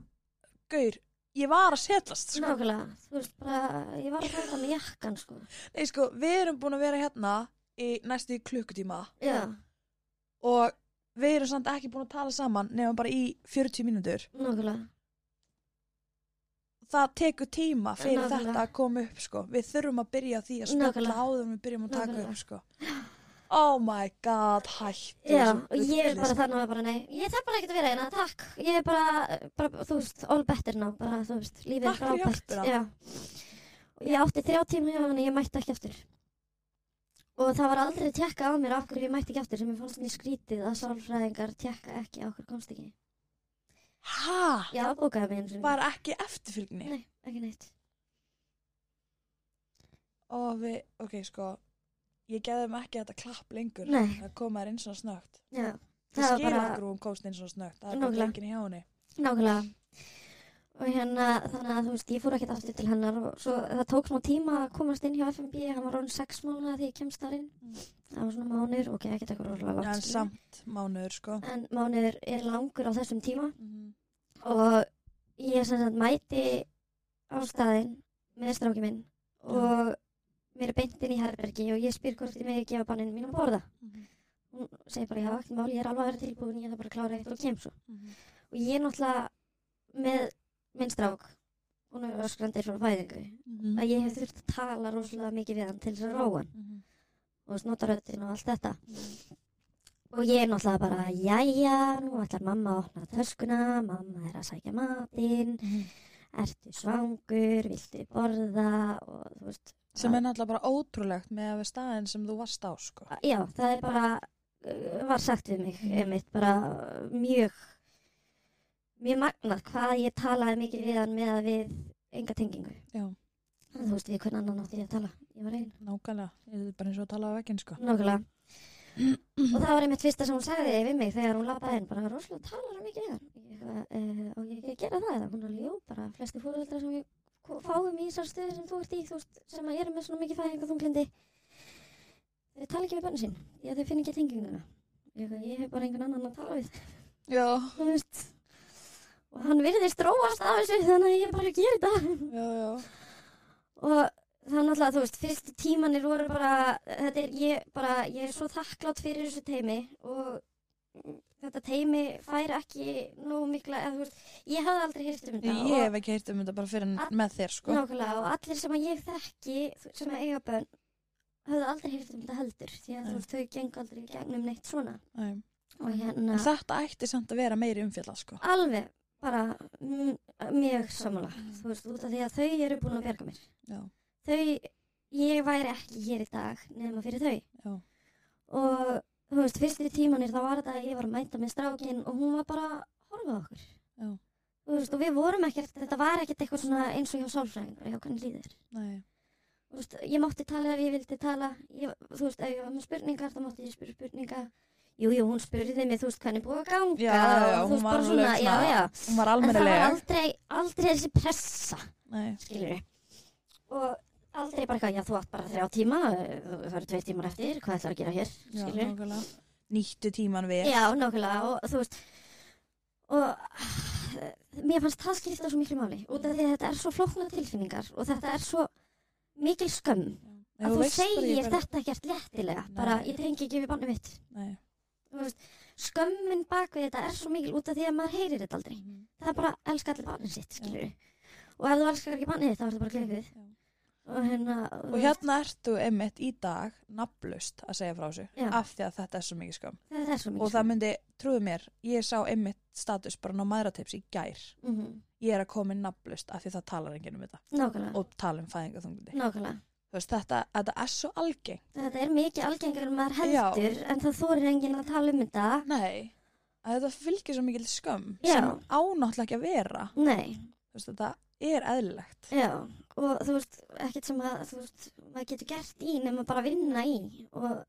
Speaker 2: gaur, ég var að setlast sko.
Speaker 3: Nákvæmlega, þú veist, bara, ég var að fara með jakkan, sko.
Speaker 2: Nei, sko, við erum búin að vera hérna í næstu í klukkutíma
Speaker 3: Já,
Speaker 2: og við erum samt ekki búin að tala saman nefnum bara í 40 mínútur.
Speaker 3: nákvæmlega,
Speaker 2: það tekur tíma fyrir
Speaker 3: Nákvæmlega.
Speaker 2: þetta að koma upp sko. við þurfum að byrja á því að spjalla
Speaker 3: Nákvæmlega.
Speaker 2: áður en við byrjum að taka
Speaker 3: Nákvæmlega.
Speaker 2: upp sko. oh my god, hættu
Speaker 3: já,
Speaker 2: þessu
Speaker 3: og ég er
Speaker 2: bulli,
Speaker 3: bara
Speaker 2: sko.
Speaker 3: þannig að bara, nei, ég þarf bara ekkert að vera hérna, takk, ég er bara, bara, þú veist, all better now, bara, þú veist, lífið er
Speaker 2: Takk fyrir
Speaker 3: frábært.
Speaker 2: hjálpina.
Speaker 3: Já, og ég átti þrjá tíma hjá hann, ég mætti ekki aftur. Og það var aldrei tjekka á mér af hverju ég mætti ekki aftur, sem ég fannst mér skrítið að sálfræðingar tjekka ekki á hverju komst ekki.
Speaker 2: ha,
Speaker 3: Ég afbókaði mig eins og
Speaker 2: var ekki eftirfylgni
Speaker 3: Nei, ekki neitt.
Speaker 2: og við, ok sko ég geðum ekki þetta klapp lengur
Speaker 3: Nei,
Speaker 2: að koma þér inn svona snögt
Speaker 3: já,
Speaker 2: það
Speaker 3: það var
Speaker 2: skilur
Speaker 3: bara...
Speaker 2: okkur og hún komst inn svona snögt það er bara
Speaker 3: Nákvæmlega.
Speaker 2: lengin hjá henni
Speaker 3: Nákvæmlega. Og hérna, þannig að þú veist, ég fór ekkert aftur til hennar og svo það tók smá tíma að komast inn hjá FMB, hann var orðin sex mánuða þegar ég kemst þar inn. Það var svona mánuður, ok, ekkert eitthvað rosalega langt.
Speaker 2: en
Speaker 3: skilur.
Speaker 2: samt mánuður sko
Speaker 3: En mánuður er langur á þessum tíma
Speaker 2: Mhm.
Speaker 3: og ég sem sagt mæti á staðinn með stráki minn og mér er beint inn í herbergi og ég spyr hvort ég með gefa banninu mín að borða.
Speaker 4: Mhm.
Speaker 3: Hún segir bara, já, ekki mál, ég er alveg að vera tilbúin, ég þarf bara að klára eitt og kem svo.
Speaker 2: Mhm,
Speaker 3: Og ég er náttúrulega með minn strák, hún er öskrandi frá fæðingu,
Speaker 2: Mm.
Speaker 4: Mhm.
Speaker 3: að ég hef þurft að tala rosalega mikið við hann til þess að róa hann
Speaker 4: Mhm.
Speaker 3: og snota röddinn og allt þetta. Og ég er náttúrulega bara, jæja, nú ætlar mamma að opna töskuna, mamma er að sækja matinn,
Speaker 4: Mhm.
Speaker 3: ertu svangur, viltu borða og þú veist.
Speaker 2: sem er náttúrulega bara ótrúlegt með að við staðin sem þú varst á sko.
Speaker 3: Já, það er bara, uh, var sagt við mig, einmitt, bara uh, mjög, mjög magnað hvað ég talaði mikið við hann með að við enga tengingu.
Speaker 2: Já.
Speaker 3: Þú veist, við hvernig annan átti ég að tala, ég var einn.
Speaker 2: Nákvæmlega, ég er bara eins og að tala á veginn sko.
Speaker 3: Nákvæmlega. og það var einmitt fyrsta sem hún sagði við mig þegar hún lappaði inn, bara rosalega talar hann mikið við hann. Ég, uh, og ég ekki að gera það eða hún alveg, jú, bara flesti fóröldra sem við ko- fáum í þessar stöðu sem þú ert í, þú veist, sem að eru með svona mikið fæðing og þunglindi, þau tala ekki við bönn sín, því að þau finn ekki tenginguna. Ég, ég hef bara engan annan að tala við,
Speaker 2: Já.
Speaker 3: þú veist. Og hann virðist róast af þessu, þannig að ég bara gera þetta.
Speaker 2: Já, já.
Speaker 3: og það er náttúrulega, þú veist, fyrstu tímanir voru bara, þetta er, ég bara, ég er svo þakklátt fyrir þessu teimi og mm, þetta teimi fær ekki nóg mikla, eða þú veist, ég hafði aldrei hýrt um þetta.
Speaker 2: Ég hef ekki heyrt um þetta bara fyrir
Speaker 3: Að-
Speaker 2: með þér
Speaker 3: og,
Speaker 2: sko.
Speaker 3: nákvæmlega, og allir sem að ég þekki, þú- sem að eiga bönn, hafði aldrei hýrt um þetta heldur, því að
Speaker 2: Nei.
Speaker 3: þú veist, þau geng aldrei í gegnum neitt svona.
Speaker 2: Nei.
Speaker 3: Og
Speaker 2: En
Speaker 3: hérna,
Speaker 2: Þetta ætti samt að vera meiri umfjöla sko.
Speaker 3: alveg, bara, mm, mjög sammála, þú veist, út af því að þau eru búin að berga mér.
Speaker 2: Mm. Já.
Speaker 3: þau, ég væri ekki hér í dag nema fyrir þau.
Speaker 2: Já.
Speaker 3: Og þú veist, fyrstu tímanir þá var þetta að ég var að mæta með strákin og hún var bara að horfa á okkur.
Speaker 2: Já.
Speaker 3: Þú veist, og við vorum ekkert, þetta var ekkert eitthvað svona eins og hjá sálfræðingur, hjá hvernig líður.
Speaker 2: Nei.
Speaker 3: Þú veist, ég mátti tala ef ég vildi tala, ég, þú veist, ef ég var með spurningar, þá mátti ég spyrja spurninga. Jú, jú, hún spurði mig, þú veist, hvernig búið að ganga.
Speaker 2: Já, já, já,
Speaker 3: og
Speaker 2: hún
Speaker 3: þú
Speaker 2: var
Speaker 3: veist, bara
Speaker 2: alveg
Speaker 3: svona,
Speaker 2: svona-
Speaker 3: já, já.
Speaker 2: Hún var
Speaker 3: En það var
Speaker 2: almennilega.
Speaker 3: aldrei, aldrei þessi pressa
Speaker 2: Nei.
Speaker 3: skilur og aldrei bara eitthvað, já þú átt bara þrjá tíma eh, þú- það eru tveir tímar eftir, hvað ætlar að gera hér
Speaker 2: Já,
Speaker 3: skilur,
Speaker 2: nákvæmlega. Nýttu tíman við.
Speaker 3: já nákvæmlega og þú veist og eh, mér fannst það skipta svo miklu máli út af því að þetta er svo flókna tilfinningar og þetta er svo mikil skömm
Speaker 2: Ef
Speaker 3: að þú
Speaker 2: veist bara, ég
Speaker 3: segir
Speaker 2: bara-
Speaker 3: þetta ekkert léttilega
Speaker 2: Nei.
Speaker 3: bara ég tengi ekki við bannu mitt
Speaker 2: Nei.
Speaker 3: Þú veist, skömmin bak við þetta er svo mikil út af því að maður heyrir þetta aldrei það er bara að elska allir barnið sitt skilur og ef þú elskar ekki barnið þitt þá er það bara glöfið
Speaker 2: Já.
Speaker 3: og hérna
Speaker 2: Mhm. Og hérna ertu einmitt í dag nafnlaust að segja frá þessu
Speaker 3: Já.
Speaker 2: af því að þetta er svo mikið skam.
Speaker 3: þetta er svo mikil
Speaker 2: Og það myndi, trúðu mér, ég sá einmitt status bara ná maðratips í gær.
Speaker 3: mm -hmm.
Speaker 2: Ég er að koma inn nafnlaust af því það talar enginn um þetta
Speaker 3: nákvæmlega,
Speaker 2: og tala um fæðingaþungli.
Speaker 3: nákvæmlega
Speaker 2: Þú veist, þetta, þetta er svo algeng.
Speaker 3: þetta er mikið algengar en maður
Speaker 2: Já.
Speaker 3: heldur en það þorir enginn að tala um þetta
Speaker 2: Nei, að þetta fylgir svo mikil skömm
Speaker 3: Já.
Speaker 2: sem ánáttlega ekki að vera.
Speaker 3: nei,
Speaker 2: Þú veist, þetta er eðlilegt.
Speaker 3: já og þú veist, ekkert sem að þú veist, maður getur gert í nema bara vinna í og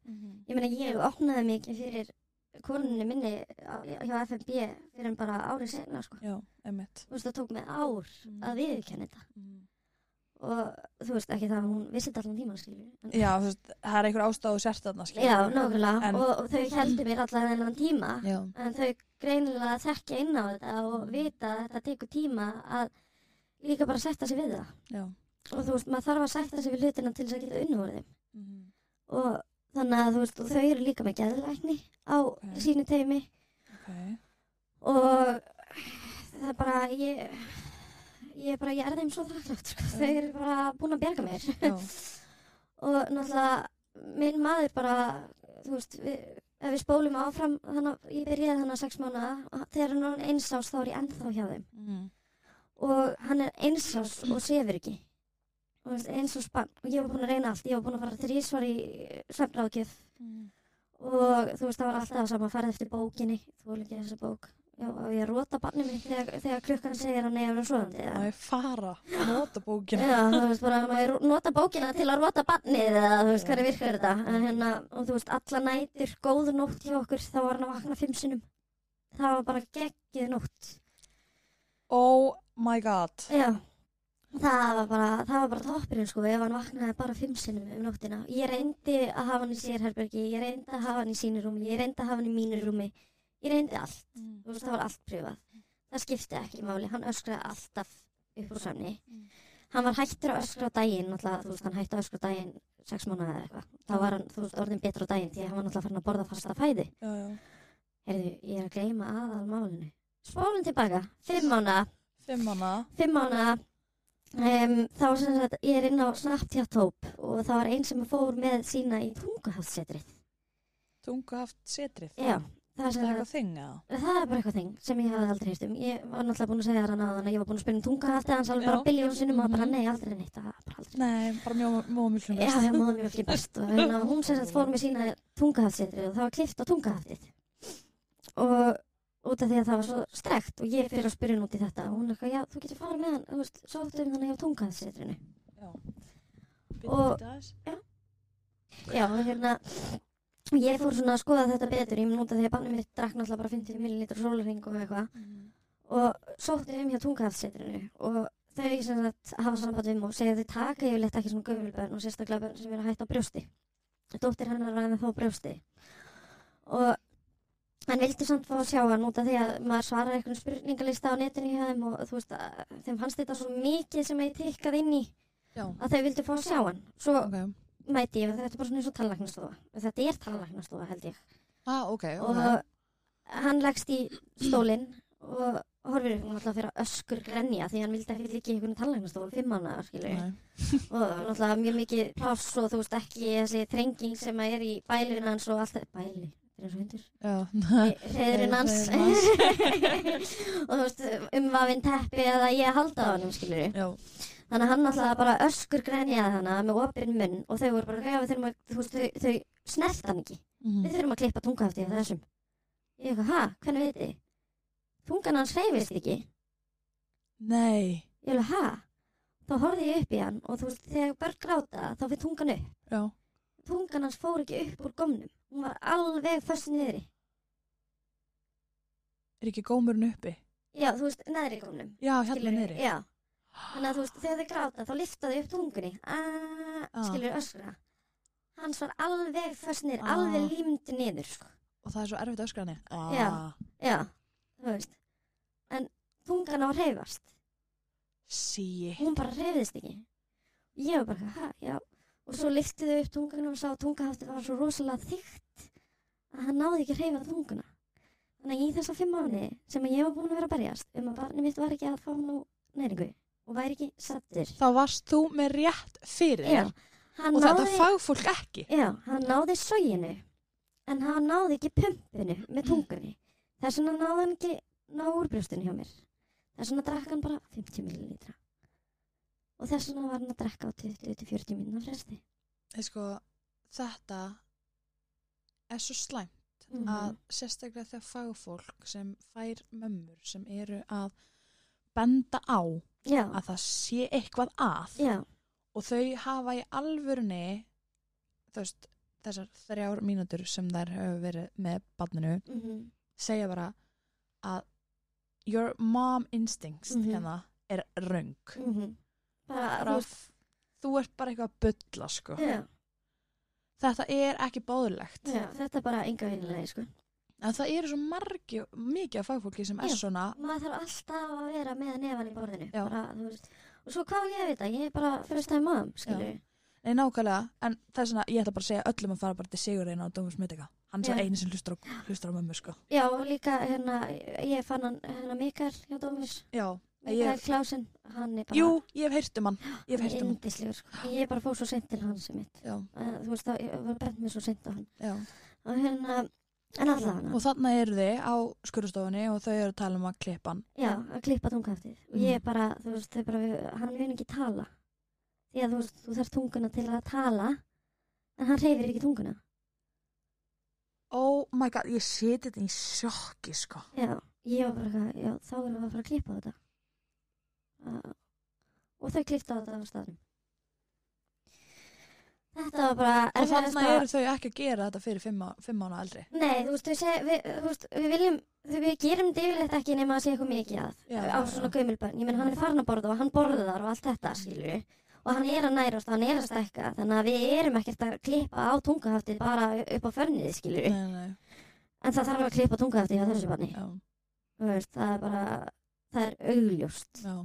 Speaker 3: ég meina ég opnaði mikið fyrir konunni minni á- hjá FNB fyrir en bara árið senna sko.
Speaker 2: Já, einmitt.
Speaker 3: þú veist, það tók mig ár að viðurkenna þetta
Speaker 2: Mm.
Speaker 3: og þú veist ekki það að hún vissi þetta allan tíma skilur en,
Speaker 2: Já, þú veist, það er einhver ástæðu sérstæðna, skilur.
Speaker 3: já, nákvæmlega
Speaker 2: En-
Speaker 3: og, og þau heldur mér allan þennan tíma
Speaker 2: Já.
Speaker 3: en þau greinilega þekki inn á þetta og vita að þetta tekur tíma að líka bara sætta sig við það
Speaker 2: Já.
Speaker 3: og þú veist, maður þarf að sætta sig við hlutina til þess að geta unnúður þeim
Speaker 2: Mhm.
Speaker 3: og þannig að þú veist, og þau eru líka með geðlækni á sínu teimi
Speaker 2: Ok.
Speaker 3: og það er bara ég ég er bara, ég er þeim svo þakklátt sko. þau eru bara búin að bjarga mér
Speaker 2: Já.
Speaker 3: og náttúrulega minn maður bara þú veist, við, ef við spólum áfram þannig að ég byrjaði þannig að sex mánuða og þegar hann er eins ás þá er ég ennþá hjá þeim
Speaker 2: Mm.
Speaker 3: og hann er eins ás og sefur ekki og veist, eins ás bann og ég var búin að reyna allt, ég var búin að fara þrísvar í svefnráðgjöf og þú veist það var alltaf sama farið eftir bókinni, þú vil ekki þessa bók Já, og ég róta barnið mitt þegar, þegar klukkan segir hann eða svoðandi
Speaker 2: Það er fara, nota bókina.
Speaker 3: Já, þú veist bara, maður nota bókina til að rota barnið eða þú veist hvernig virkar þetta en hérna, og þú veist, alla nætur, góð nótt hjá okkur, þá var hann að vakna fimm sinnum það var bara geggið nótt
Speaker 2: Oh my god.
Speaker 3: Já, það var bara það var bara toppurinn sko, ef hann vaknaði bara fimm sinnum um nóttina, ég reyndi að hafa hann í sérherbergi, ég reyndi að hafa hann í sínu rúmi ég reyndi að hafa hann í mínu rúmi ég reyndi allt, þú veist, það var allt prifað það skipti ekki máli, hann öskraði alltaf upp úr sömni
Speaker 2: Mm.
Speaker 3: hann var hættur að öskra á daginn náttúrulega, þú veist, hann hætti að öskra á daginn sex mánuði eða eitthvað, þá var hann, þú veist, orðin betur á daginn því að hann var náttúrulega farin að borða fasta fæði
Speaker 2: já, já.
Speaker 3: heyrðu, ég er að gleyma aðal málinu spólum tilbaka, fimm mánuða
Speaker 2: Fimm hana.
Speaker 3: fimm mánuða um, þá var sem sagt, ég er inn á Snapchat-hóp og það var einn sem fór með sína í tunguhafssetrið
Speaker 2: Tungu haft setrið.
Speaker 3: já, það er
Speaker 2: Það er
Speaker 3: sem sagt
Speaker 2: eitthvað þing eða?
Speaker 3: Það er bara eitthvað þing sem ég hafði aldrei hýrt um. Ég var náttúrulega búin að segja þér hann að að ég var búin að spyrja um tunga eftir hans alveg bara
Speaker 2: Já.
Speaker 3: biljón sinnum og bara
Speaker 2: Mhm.
Speaker 3: nei, aldrei neitt, það er bara aldrei.
Speaker 2: Nei, bara mjög móðmjöldum
Speaker 3: Já, ég móði mjög ekki best og hérna, hún sem sagt fór með sína tungahaftsetri og það var klift á tungahaftið. Og út af því að það var svo strekt og ég fyrir að spyrja hún út í þetta og hún er eitthvað, já, þú getur farið með hann, þú veist, sóttu um þannig á tungahaftsetrinu. og- Já, og hérna, ég fór svona að skoða þetta betur, ég mun út af því að bannum mitt drakk náttúrulega bara 50 millilítur sólarring og eitthvað og sótti um hjá tungahafssetrinu og þau sem sagt hafa samband við mig og segja að þau taka yfirleitt ekki svona gömul börn og sérstaklega börn sem eru hægt á brjósti dóttir hennar var með þá brjósti og hann vildi samt fá að sjá hann út af því að maður svarar einhvern spurningalista á netinu hjá þeim og þú veist að þeim fannst þetta svo mikið sem ég tikkað inn í
Speaker 2: Já.
Speaker 3: að þau vildi fá að sjá hann svo
Speaker 2: Ok.
Speaker 3: mæti ég og þetta er bara svona eins og tannlæknastofa þetta er tannlæknastofa held ég
Speaker 2: Ah, ok,
Speaker 3: og
Speaker 2: ok.
Speaker 3: hann leggst í stólinn og horfir upp og náttúrulega fyrir að öskur grenja því hann vildi ekki líka í einhvern tannlæknastól fimm mánuðar skilur
Speaker 2: Nei.
Speaker 3: og náttúrulega mjög mikið pláss og þú veist ekki þessi þrenging sem að er í bælun hans og allt þetta bæli, þetta er eins og hundur
Speaker 2: Já.
Speaker 3: hreðurinn hans
Speaker 2: Hreiðrun hans.
Speaker 3: og þú veist umvafinn teppi eða ég halda á hann skilur
Speaker 2: Já.
Speaker 3: þannig að hann náttúrulega bara öskur grenjaði hana með opinn munn og þau voru bara "Já, við þurfum að, þú veist, þau, þau snert hann ekki við
Speaker 2: Mhm.
Speaker 3: þurfum að klippa tungahaftið af þessum ég eitthvað, ha, hvernig veit þið tungan hans hreyfist ekki
Speaker 2: Nei.
Speaker 3: ég alveg, ha, þá horfði ég upp í hann og þú veist, þegar börn gráta þá fyrir tungan upp
Speaker 2: Já.
Speaker 3: tungan hans fór ekki upp úr gómnum hún var alveg föst niðri
Speaker 2: Er ekki gómurinn uppi?
Speaker 3: já, þú veist, neðri gómnum
Speaker 2: Já, hérna
Speaker 3: Skilurðu?
Speaker 2: niðri.
Speaker 3: já, þannig að þú veist, þegar þau gráta þá liftaðu upp tungunni aaa,
Speaker 2: Ah.
Speaker 3: skilur öskra hans var alveg föst niður,
Speaker 2: Ah.
Speaker 3: alveg límd niður sko.
Speaker 2: Og það er svo erfitt öskrani. Ah.
Speaker 3: Já. já, þú veist en tungan á að hreyfast
Speaker 2: Sí.
Speaker 3: hún bara reyðist ekki ég var bara, hæ, já og svo lyfti þau upp tungunum og sá að tungahaftið var svo rosalega þykkt að hann náði ekki að reyfa tunguna þannig að í þessa fimm mánuði sem að ég var búin að vera að berjast um að barni mitt var ekki að fá nú næringu og væri ekki sattur
Speaker 2: Þá varst þú með rétt fyrir
Speaker 3: já,
Speaker 2: þér.
Speaker 3: hann
Speaker 2: Og þetta
Speaker 3: náði
Speaker 2: fagfólk ekki.
Speaker 3: já, hann náði sóginu en hann náði ekki
Speaker 2: Mm.
Speaker 3: pumpinu með tungunni þess vegna náði hann ekki ná úrbrjóstinu hjá mér þess vegna drakk hann bara 50 millilitra og þess vegna var hann að drakka á 20-40 mínúna fresti
Speaker 2: Nei, sko, þetta er svo slæmt
Speaker 3: mm
Speaker 2: að sérstaklega þegar fagfólk sem fær mömmur sem eru að benda á
Speaker 3: já,
Speaker 2: að það sé eitthvað að
Speaker 3: já,
Speaker 2: og þau hafa í alvörni veist, þessar þrjár mínútur sem þær hefur verið með barninu
Speaker 3: mm
Speaker 2: segja bara að your mom instincts
Speaker 3: Mhm.
Speaker 2: hérna er röng
Speaker 3: bara,
Speaker 2: bara,
Speaker 3: þú
Speaker 2: þú,
Speaker 3: veist,
Speaker 2: ert bara eitthvað að bulla sko.
Speaker 3: já,
Speaker 2: þetta er ekki bóðlegt
Speaker 3: já, þetta er bara enga vinnilega sko.
Speaker 2: en það eru svo margi, mikið af fagfólki sem er
Speaker 3: Já.
Speaker 2: svona
Speaker 3: maður þarf alltaf að vera með nefan í borðinu
Speaker 2: Já.
Speaker 3: bara, þú veist, og svo hvað á ég að vita ég er bara fyrir stæði maður, skilur já.
Speaker 2: Nei, nákvæmlega, en það er svona, ég ætla bara að segja öllum að fara bara til Sigurreina og Dómus Mittega. Hann er
Speaker 3: Já.
Speaker 2: yeah. eini sem hlustar á, hlustar á mömmu, sko.
Speaker 3: og líka hérna, ég fann hann hérna Mikael hjá Dómis
Speaker 2: Já.
Speaker 3: Mikael ég... Klausen, hann er bara
Speaker 2: Jú, ég hef heyrt um hann. Ég hef heyrt um hann.
Speaker 3: Yndislegur, sko. Ég bara fór svo sent til hans sem mitt.
Speaker 2: Já,
Speaker 3: Þú veist þá, ég var bent mér svo sent á hann.
Speaker 2: já.
Speaker 3: Og hérna, en alltaf hann.
Speaker 2: Og þarna eru þið á skurðstofunni og þau eru að tala um að klippa hann.
Speaker 3: Já, að klippa tungahaftið. Og
Speaker 2: Mm.
Speaker 3: ég bara, þú veist, þau bara, við- hann vil ekki tala. Því að þú veist, þú þarf tunguna til að tala, en hann reyfir ekki tunguna.
Speaker 2: Oh my god, ég seti þetta í sjokki, sko.
Speaker 3: Já, ég var bara, eitthvað, já, þá erum við að fara að klippa þetta. Uh, og þau klippta þetta á staðnum. Þetta var bara...
Speaker 2: Og þarna
Speaker 3: erfiðasta-
Speaker 2: eru þau ekki að gera þetta fyrir fimm, á, fimm ána aldrei.
Speaker 3: Nei, þú veist, við, seg, við, þú veist, við viljum, þú, við gerum þetta yfirleitt ekki nema að sé eitthvað mikið að
Speaker 2: Já,
Speaker 3: á
Speaker 2: já,
Speaker 3: svona
Speaker 2: já.
Speaker 3: gömulbarn. Ég menn, hann er farin að borða og hann borðar og allt
Speaker 2: Mm.
Speaker 3: þetta, skilur Og hann er að nærast og hann er að stækka, þannig að við erum ekkert að klippa á tungahaftið bara upp á förnið, skilur
Speaker 2: Nei, nei, nei,
Speaker 3: En það þarf að klippa tungahaftið hjá þessu barni.
Speaker 2: já.
Speaker 3: Þú veist, það er bara, það er augljóst
Speaker 2: já,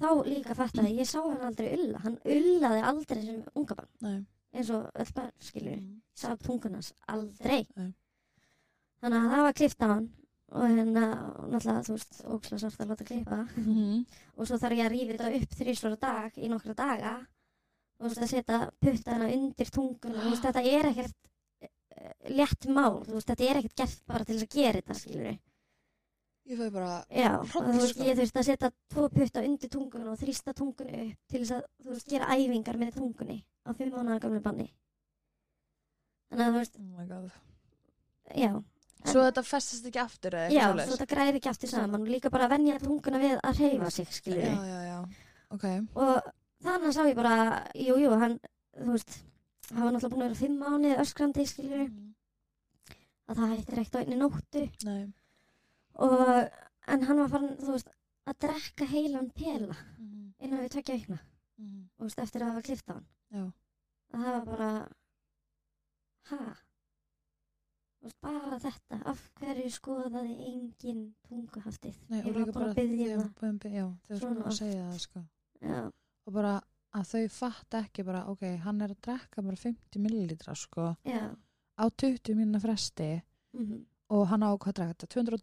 Speaker 3: þá líka fattaði ég, ég sá hann aldrei ulla hann ullaði aldrei sem unga barn
Speaker 2: nei
Speaker 3: eins og öll barn skilur ég
Speaker 2: mm,
Speaker 3: sá tungunans aldrei
Speaker 2: Nei.
Speaker 3: þannig að það var klift á hann og hérna, og náttúrulega, þú veist, ókslega sárt að láta klippa
Speaker 2: mhm,
Speaker 3: og svo þarf ég að rífi þetta upp þrísvara dag í nokkra daga og þú veist að setja puttana undir tunguna þú veist þetta er ekkert eh, létt mál, þú veist þetta er ekkert gert bara til þess að gera þetta skilur
Speaker 2: ég fæði bara
Speaker 3: já, og þú veist
Speaker 2: Hrollur, sko.
Speaker 3: ég þurfti að setja tvo putta undir tunguna og þrýsta tungunu upp til þess að þú veist gera æfingar með tungunni á fimm mánuða gamlu banni þannig að þú veist,
Speaker 2: oh my god
Speaker 3: já
Speaker 2: svo þetta festist ekki aftur eða
Speaker 3: já,
Speaker 2: eitthvað
Speaker 3: svo
Speaker 2: svoleiðis?
Speaker 3: þetta græðir ekki aftur saman og líka bara að venja tunguna við að hreyfa sig skilur
Speaker 2: já, já, já, ok
Speaker 3: og þannig sá ég bara jú, jú, hann, þú veist hann var náttúrulega búin að vera fimm mánuði öskrandi skilur
Speaker 2: Mhm,
Speaker 3: að það hættir ekkert á einni nóttu
Speaker 2: nei
Speaker 3: og, en hann var farin, þú veist að drekka heilan pela
Speaker 2: mhm,
Speaker 3: innan við tvekja vikna,
Speaker 2: mhm,
Speaker 3: þú veist, eftir að hafa klift á hann
Speaker 2: já,
Speaker 3: að það var bara ha þú veist, bara þetta, af hverju skoðaði engin tunguhaftið
Speaker 2: nei,
Speaker 3: ég
Speaker 2: og
Speaker 3: var
Speaker 2: líka
Speaker 3: bara
Speaker 2: bara
Speaker 3: að byggja
Speaker 2: já,
Speaker 3: um
Speaker 2: búin að biðja- já, þau
Speaker 3: Svona
Speaker 2: sko að
Speaker 3: oft.
Speaker 2: segja það sko
Speaker 3: það já,
Speaker 2: og bara að þau fatt ekki bara, ok, hann er að drekka bara 50 millilitra sko
Speaker 3: já,
Speaker 2: á 20 mínuna fresti
Speaker 3: mm
Speaker 2: og hann á hvað að drekka þetta, 200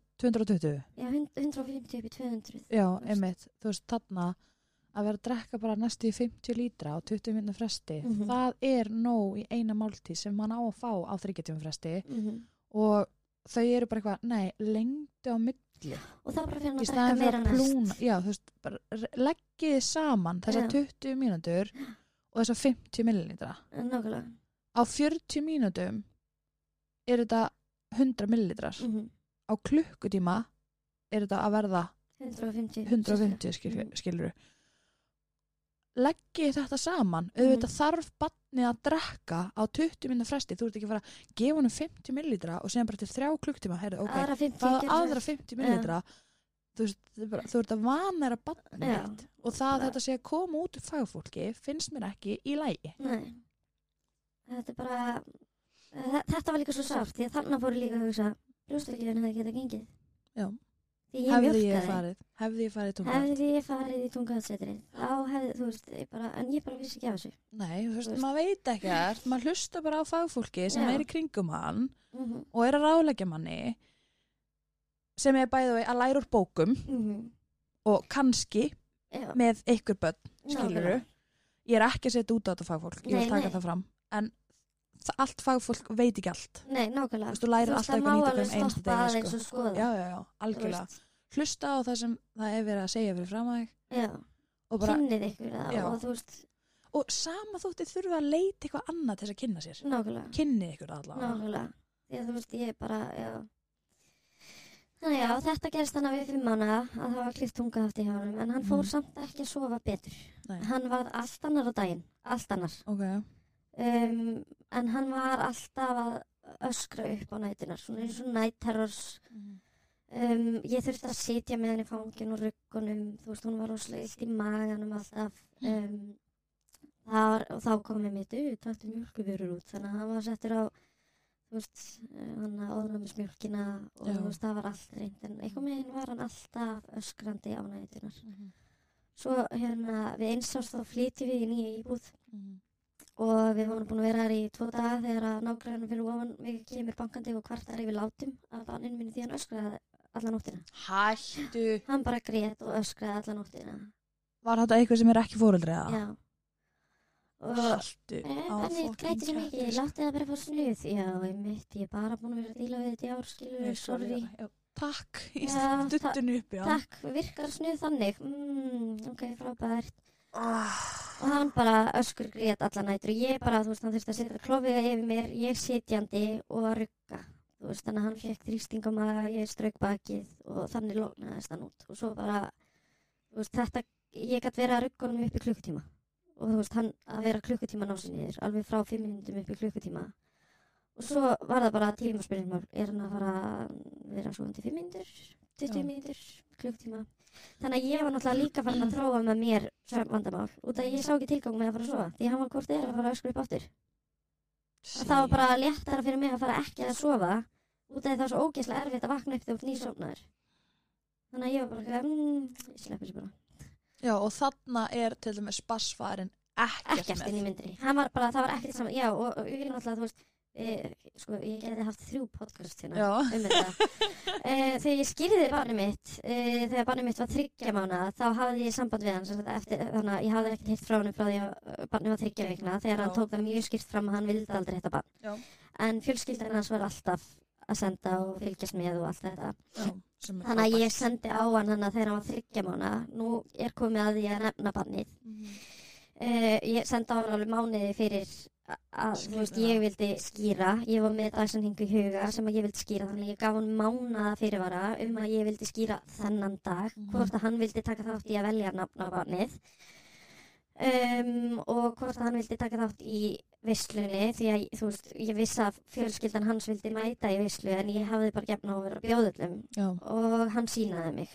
Speaker 2: 220
Speaker 3: já 100 150 upp í 200
Speaker 2: já,
Speaker 3: veist.
Speaker 2: einmitt, þú veist, þarna að vera að drekka bara næstu í 50 lítra á 20 mínuna fresti,
Speaker 3: Mhm.
Speaker 2: það er nóg í eina máltíð sem hann á að fá á 30 mínuna fresti
Speaker 3: mm
Speaker 2: og þau eru bara eitthvað, nei, lengdu á milli
Speaker 3: og það bara fyrir hann
Speaker 2: í
Speaker 3: að drekka
Speaker 2: staðan fyrir
Speaker 3: meira
Speaker 2: að
Speaker 3: næst
Speaker 2: plúna já, þú veist, bara re- leggið þið saman þessar
Speaker 3: Já.
Speaker 2: 20 mínútur og þessar 50 millilitra
Speaker 3: Eh, Nákvæmlega.
Speaker 2: á 40 mínútum er þetta 100 millilitrar
Speaker 3: Mm
Speaker 2: á klukkutíma er þetta að verða
Speaker 3: 150.
Speaker 2: 150 skil,
Speaker 3: Mhm.
Speaker 2: skilur leggið þetta saman auðvitað
Speaker 3: Mm.
Speaker 2: þarf barnið að drekka á 20 mínútur fresti, þú ert ekki að fara að gefa honum 50 millilitra og segja bara til þrjá klukkutíma heyrðu, ok,
Speaker 3: Aðra 50.
Speaker 2: það
Speaker 3: gerir
Speaker 2: aðra 50 millilitra þú veist, þetta er bara- þú ert að vanera barnið
Speaker 3: Já.
Speaker 2: þitt og það að
Speaker 3: Bara-
Speaker 2: þetta sé að koma út úr fagfólki finnst mér ekki í lægi
Speaker 3: Nei. Þetta er bara, eh, þe- þetta var líka svo sárt því að þannig fóru líka að hugsa, brjóstakjöfun hefði getað gengið.
Speaker 2: Já.
Speaker 3: Því ég
Speaker 2: hefði
Speaker 3: mjölkaði.
Speaker 2: ég farið, hefði ég farið tungan
Speaker 3: Hefði ég farið í tungaðsetrið. Þá hefði, þú veist, ég bara, en ég bara vissi ekki af þessu.
Speaker 2: nei, þú veist,
Speaker 3: Þú veist.
Speaker 2: maður veit ekkert maður hlusta bara á fagfólki sem
Speaker 3: Já.
Speaker 2: er í kringum hann
Speaker 3: Mm -hmm.
Speaker 2: og er að ráleggja manni sem er bæðið að læra úr bókum og kannski
Speaker 3: Mhm. Já.
Speaker 2: með einhver börn, skilur
Speaker 3: nákvæmlega.
Speaker 2: ég er ekki að setja út á þetta fagfólk, ég vil
Speaker 3: Nei,
Speaker 2: taka
Speaker 3: nei.
Speaker 2: það fram en þa- allt fagfólk veit ekki allt
Speaker 3: Nei,
Speaker 2: Þú
Speaker 3: nákvæmlega.
Speaker 2: veist, þú lærir
Speaker 3: veist,
Speaker 2: alltaf
Speaker 3: það
Speaker 2: eitthvað
Speaker 3: má
Speaker 2: nýtt á
Speaker 3: alveg
Speaker 2: hverjum einasta
Speaker 3: stoppa
Speaker 2: degi,
Speaker 3: aðeins
Speaker 2: sko.
Speaker 3: og
Speaker 2: já,
Speaker 3: skoða.
Speaker 2: já, já, algjörlega
Speaker 3: Þú veist,
Speaker 2: hlusta á það sem það er verið að segja fyrir fram að þig
Speaker 3: Já,
Speaker 2: og, bara,
Speaker 3: kynnið ykkur það
Speaker 2: Já.
Speaker 3: og þú veist,
Speaker 2: og sama þótti þurfa að leita eitthvað annað til þess að kynna sér
Speaker 3: nákvæmlega.
Speaker 2: kynni ykkur það allavega
Speaker 3: Nákvæmlega. Því að þú veist, ég er bara, já. Þannig já, þetta gerist hann að við fimm mánuða að það var klift tunga aftur hjá honum, en hann fór
Speaker 2: Mhm.
Speaker 3: samt ekki að sofa betur.
Speaker 2: Nei.
Speaker 3: Hann var allt annar á daginn, allt annar.
Speaker 2: okay.
Speaker 3: Um, en hann var alltaf að öskra upp á nætunar, svona eins og nætterrors. Mhm, Um, ég þurfti að sitja með henni fangin og ruggunum, þú veist, hún var rosalega illt í maganum alltaf. Um, það var, og þá komið mitt, "Ú, taktu mjölkuvörur út, þannig að hann var settur á, þú veist, eh, hann að óðnumismjölkina og
Speaker 2: Já.
Speaker 3: þú veist, það var allt reynd, en einhvern veginn var hann alltaf öskrandi á nætunar. Svo hérna, við einsást þá flytjum við í nýja íbúð og við vorum búin að vera þar í tvo daga þegar að nágræðanum fyrir ofan mig kemur bankandi og kvartar yfir látum að banninu minni því hann öskraði alla nóttina.
Speaker 2: hættu
Speaker 3: Hann bara grét og öskraði alla nóttina.
Speaker 2: var þetta eitthvað sem er ekki fóreldri
Speaker 3: Já.
Speaker 2: eða?
Speaker 3: Og Eh,
Speaker 2: hættu Ah. á
Speaker 3: Bennið
Speaker 2: fucking
Speaker 3: græti sér mikið,
Speaker 2: kjafti,
Speaker 3: látið það bara fá snuð Já, ég mitt, ég er bara búin að vera að díla við þetta í ár,
Speaker 2: sko.
Speaker 3: skilur, sorry
Speaker 2: Já, takk,
Speaker 3: Já,
Speaker 2: duttinu upp já.
Speaker 3: Takk, virkar snuð þannig mm, Ok, frábært
Speaker 2: Ah,
Speaker 3: Og hann bara öskur grét allan nætur og ég bara, þú veist, hann þurfti að setja klófiða yfir mér ég sitjandi og að rugga þú veist, þannig að hann fekk þrýsting á maður ég strauk bakið og þannig lognaðist hann út og svo bara þú veist, þetta, ég gætt verið að rugga honum upp í klukkutíma og þú veist, hann að vera klukkutíma ná sér niður, alveg frá fimm minnundum upp í klukkutíma og svo var það bara tímaspyrirmál, er hann að fara að vera svo undir fimm minnundur 20
Speaker 2: Já.
Speaker 3: minnundur, klukkutíma Þannig að ég var náttúrulega líka farin að þróa með mér vandamál út að ég sá ekki tilgang með að fara að sofa því hann var hvort eð er að fara að öskra upp aftur og það var bara léttara fyrir mig að fara ekki að sofa út að það var svo ógeðslega erfitt að vakna upp þegar út nýsofnar Þannig að ég var bara, eitthvað, mm, ég sleppi þessu bara.
Speaker 2: Já, og þarna er til dæmis bassfarin ekkert,
Speaker 3: Ekkert inn
Speaker 2: með.
Speaker 3: í myndri. Hann var bara, það var ekkert saman, já, og, og ég er náttúrulega, þú veist, e, sko, ég gerði haft þrjú podcast hérna.
Speaker 2: Já,
Speaker 3: um þetta. Eh, þegar ég skýrði barnið mitt, eh, þegar barnið mitt var þryggja mánu, þá hafði ég samband við hann, sem sagt, eftir, þannig að ég hafði ekkert hitt frá hann frá því að eh, barnið var þryggja veikna, þegar hann
Speaker 2: Já.
Speaker 3: tók það mjög skýrt fram að hann vildi aldrei þetta barn.
Speaker 2: Já.
Speaker 3: En fjölskyldan hans var alltaf að senda og fylgjast með og allt þetta.
Speaker 2: já, sem er
Speaker 3: Þannig að ég
Speaker 2: frábært.
Speaker 3: sendi á hann hann að þegar hann var þryggja mánu, nú er komið að ég að nefna barnið. Uh, ég sendi á hann alveg mánuði fyrir a- að, þú veist,
Speaker 2: Skýra.
Speaker 3: ég vildi skýra ég var með dagsanningu í huga sem að ég vildi skýra þannig að ég gaf hann mánuða fyrirvara um að ég vildi skýra þennan dag
Speaker 2: Mhm.
Speaker 3: hvort að hann vildi taka þátt í að velja nafn á barnið um, og hvort að hann vildi taka þátt í vislunni því að, þú veist, ég vissi að fjölskyldan hans vildi mæta í vislu en ég hafði bara gefna á að vera bjóðullum
Speaker 2: Já,
Speaker 3: og hann sínaði mig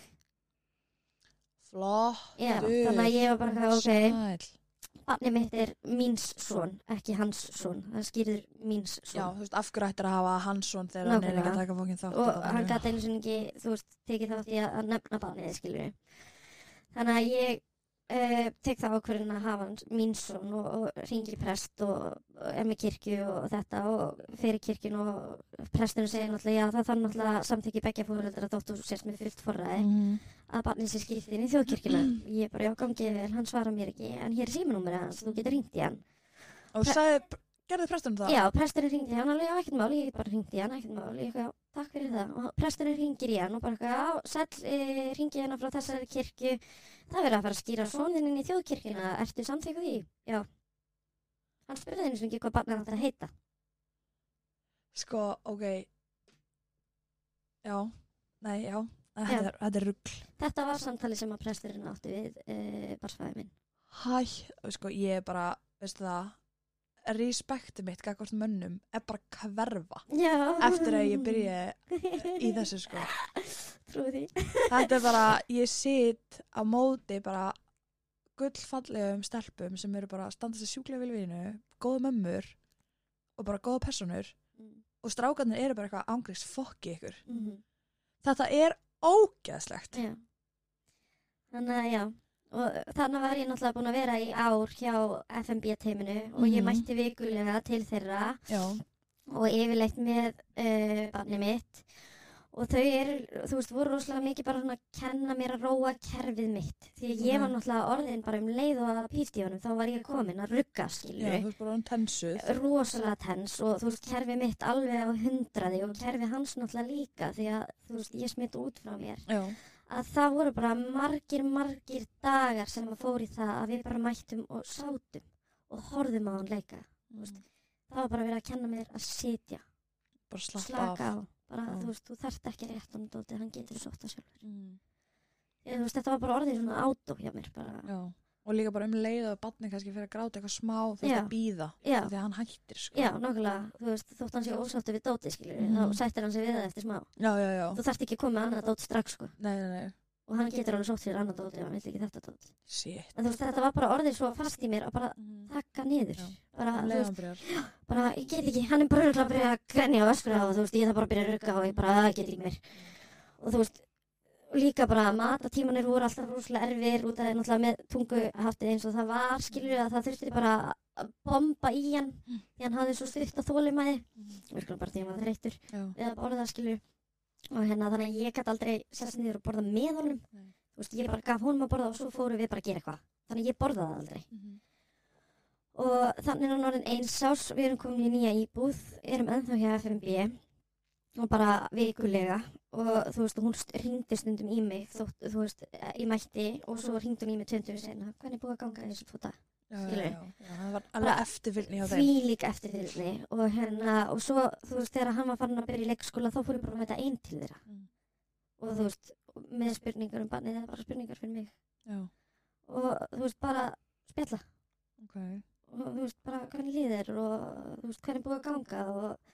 Speaker 2: flott,
Speaker 3: Já,
Speaker 2: Guð.
Speaker 3: þannig að ég var bara, eitthvað, ok,
Speaker 2: sæl.
Speaker 3: Barnið mitt er míns son, ekki hans son. Það skýrður míns
Speaker 2: Já,
Speaker 3: son.
Speaker 2: þú veist, af hverju ættir að hafa hans son þegar hann er ekki að
Speaker 3: Nákvæmlega.
Speaker 2: taka fókin þátt í
Speaker 3: og
Speaker 2: barninu?
Speaker 3: hann gæti einu sinni ekki, þú veist, tekið þátt í að að nefna barnið, skilur við. Þannig að ég uh, tek það ákvörðin að hafa hans míns son og, og ringi prest og, og er með kirkju og þetta og fyrir kirkjun og prestunum segir náttúrulega, já það þarf náttúrulega samþykki begja fóröldra þótt þú sérst með fullt forræði
Speaker 2: Mhm.
Speaker 3: að barnið sé skýrt inn í þjóðkirkjuna. Ég bara, já gangið vel, hann svarar mér ekki, en hér er símanúmerið hans, þú getur ringt í hann.
Speaker 2: Og
Speaker 3: Pre-
Speaker 2: sagði, gerði prestunum það?
Speaker 3: Já, presturinn ringdi í hann alveg, já, ekkert mál, ég bara ringdi í hann, ekkert mál, ég eitthvað, já, takk fyrir það. Og presturinn ringir í hann og bara eitthvað, já, sæll, e, ringi hérna frá þessari kirkju, það verður að fara að skýra sonin inn í þjóðkirkjuna, ertu samþykkuð í? Já. Hann spurði henni sem ekki hvað barnið átt að heita.
Speaker 2: Sko, ok. Já, nei, já,
Speaker 3: Já.
Speaker 2: þetta er, þetta er rugg.
Speaker 3: Þetta var samtali sem að presturinn átti við e, barsfæði minn.
Speaker 2: Hæ, sko, ég er bara, veistu það, respekti mitt gagvart mönnum er bara hverfa
Speaker 3: Já.
Speaker 2: eftir að ég byrjaði í þessu, sko.
Speaker 3: Trúi því.
Speaker 2: Þetta er bara, ég sit á móti bara gullfallegum stelpum sem eru bara að standa sér sjúklega vel við vinnu, góða mömmur og bara góða personur og strákarnir eru bara eitthvað ángriðs fokki ykkur.
Speaker 3: Mm -hmm.
Speaker 2: Þetta er ógeðslegt.
Speaker 3: Já. Þannig að já, og þannig var ég náttúrulega búin að vera í ár hjá FMB-teiminu og ég
Speaker 2: Mhm.
Speaker 3: mætti vikulega til þeirra
Speaker 2: Já,
Speaker 3: og yfirleitt með uh, barnið mitt og þau eru, þú veist, voru rosalega mikið bara svona að kenna mér að róa kerfið mitt því að ég var
Speaker 2: Mhm.
Speaker 3: náttúrulega orðin bara um leið og að pífti honum, þá var ég komin að rugga, skilju
Speaker 2: já þú ert bara um tensuð.
Speaker 3: rosalega tens og þú veist kerfið mitt alveg á hundraði og kerfið hans náttúrulega líka því að þú veist ég smitt út frá mér
Speaker 2: Já,
Speaker 3: að það voru bara margir, margir dagar sem að fóri það að við bara mættum og sátum og horfðum á hann leika. þú veist. Það var bara verið að kenna mér að sitja,
Speaker 2: bara slappa
Speaker 3: slaka
Speaker 2: af.
Speaker 3: á. Bara,
Speaker 2: Já.
Speaker 3: þú veist, þú þarft ekki að rétt honum dótið, hann getur sótt það sjálfur.
Speaker 2: Mm.
Speaker 3: Ég, þú veist, þetta var bara orðið svona átó hjá mér, bara,
Speaker 2: Já, og líka bara um leið og barni kannski fyrir að gráta eitthvað smá þú veist
Speaker 3: Já.
Speaker 2: að býða
Speaker 3: já,
Speaker 2: því að hann hættir sko.
Speaker 3: já, nákvæmlega, þú veist, þótt hann sé ósáttu við dótið, skilur
Speaker 2: Mhm.
Speaker 3: þá sættir hann sig við það eftir smá.
Speaker 2: já, já, já.
Speaker 3: Þú þarft ekki að koma með annað dótið strax, sko,
Speaker 2: Nei, nei, nei,
Speaker 3: og hann getur alveg sótt sér annað dótið, hann vil ekki þetta dótið.
Speaker 2: shit
Speaker 3: En þú veist, þetta var bara orðið svo fast í mér að bara
Speaker 2: mm.
Speaker 3: taka niður,
Speaker 2: Já.
Speaker 3: bara, Mhm. þú veist,
Speaker 2: Leiðanbyrjar
Speaker 3: bara, ég get ekki, hann er bara örugglega að byrja að grenja og öskra og þú veist, ég þarf bara að byrja að rugga og ég bara, það get ekki mér. Og þú veist, líka bara matatímanir voru alltaf rúslega erfir út af því náttúrulega með tunguhaftið eins og það var, skilur að það þurfti bara að bomba í hann því hann hafði svo stutt að þólimæði, virkulega bara því hann var þreyttur
Speaker 2: Já,
Speaker 3: við að borða, skilur og hérna þannig að ég gæti aldrei sérst niður og borða með honum,
Speaker 2: Nei.
Speaker 3: þú veist, ég bara gaf honum að borða og svo fóru við bara að gera eitthvað, þannig að ég borðaði aldrei
Speaker 2: Mhm.
Speaker 3: og þannig er hann orðin eins árs við erum komin í nýja íbúð, erum ennþá hjá FMB og bara vikulega og þú veist, hún ringdi stundum í mig þótt, þú veist, ég mætti og svo ringdi hún í mig tjöndum senna hvernig er búið að ganga þessu tvo dag
Speaker 2: já, já,
Speaker 3: Skilurðu?
Speaker 2: já, já, það var
Speaker 3: Bara
Speaker 2: alveg eftirfylgni hjá þeim
Speaker 3: því líka eftirfylgni og hérna, og svo, þú veist, þegar hann var farin að byrja í leikskóla þá fór ég bara að mæta einn til þeirra
Speaker 2: Mm.
Speaker 3: og þú veist, með spurningar um barnið eða bara spurningar fyrir mig
Speaker 2: Já,
Speaker 3: og þú veist, bara spjalla
Speaker 2: ok
Speaker 3: og þú veist bara hvernig líður og þú veist hvernig búið að ganga og,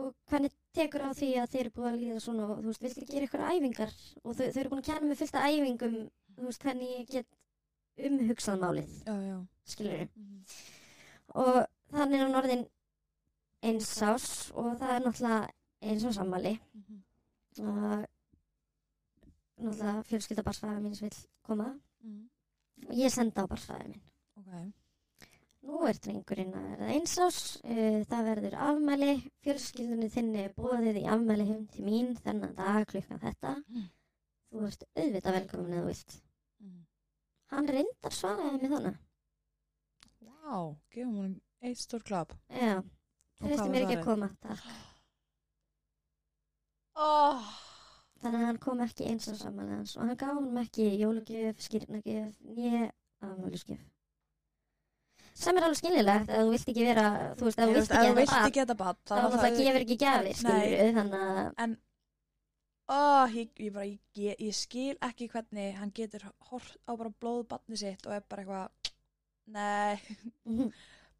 Speaker 3: og hvernig tekur á því að þeir eru búið að líða svona og þú veist viltu gera ykkur æfingar og þau, þau eru búin að kenna mig fullt af æfingum þú veist hvernig ég get umhugsað málið
Speaker 2: Já, já
Speaker 3: skilur
Speaker 2: Mhm.
Speaker 3: og þannig er hann orðin eins ás og það er náttúrulega eins og sammali
Speaker 2: Mhm.
Speaker 3: og náttúrulega fjölskylda barsfæða mín sem vil koma
Speaker 2: Mm.
Speaker 3: og ég senda á barsfæða minn.
Speaker 2: Ok.
Speaker 3: Nú er drengurinn að verða einsás, uh, það verður afmæli, fjölskyldunni þinni er bóðið í afmæli heim til mín þennan dag klukkan þetta.
Speaker 2: Mm.
Speaker 3: Þú ert auðvitað velkomin eða þú vilt.
Speaker 2: Mm.
Speaker 3: Hann reyndar svaraði mig þannig.
Speaker 2: Vá, gefum hún eitt stór klapp.
Speaker 3: Já,
Speaker 2: Og
Speaker 3: treysti
Speaker 2: hvað
Speaker 3: mér
Speaker 2: var
Speaker 3: ekki
Speaker 2: svarið?
Speaker 3: að koma, takk.
Speaker 2: Oh.
Speaker 3: Þannig að hann kom ekki einsás afmæli hans og hann gaf honum ekki jólugjöf, skýrnagjöf, né afmælisgjöf. Sem er alveg skilnilegt, ef þú vilt ekki vera, þú veist, ef þú
Speaker 2: ef
Speaker 3: vilt ekki
Speaker 2: þú
Speaker 3: að
Speaker 2: vilt
Speaker 3: það
Speaker 2: ekki þetta bad,
Speaker 3: þá náttúrulega gefur ekki gjafir, skilur við, þannig að
Speaker 2: Oh, ég, ég, bara, ég, ég, ég skil ekki hvernig hann getur hort á bara blóð badni sitt og er bara eitthvað Nei,
Speaker 3: Mhm.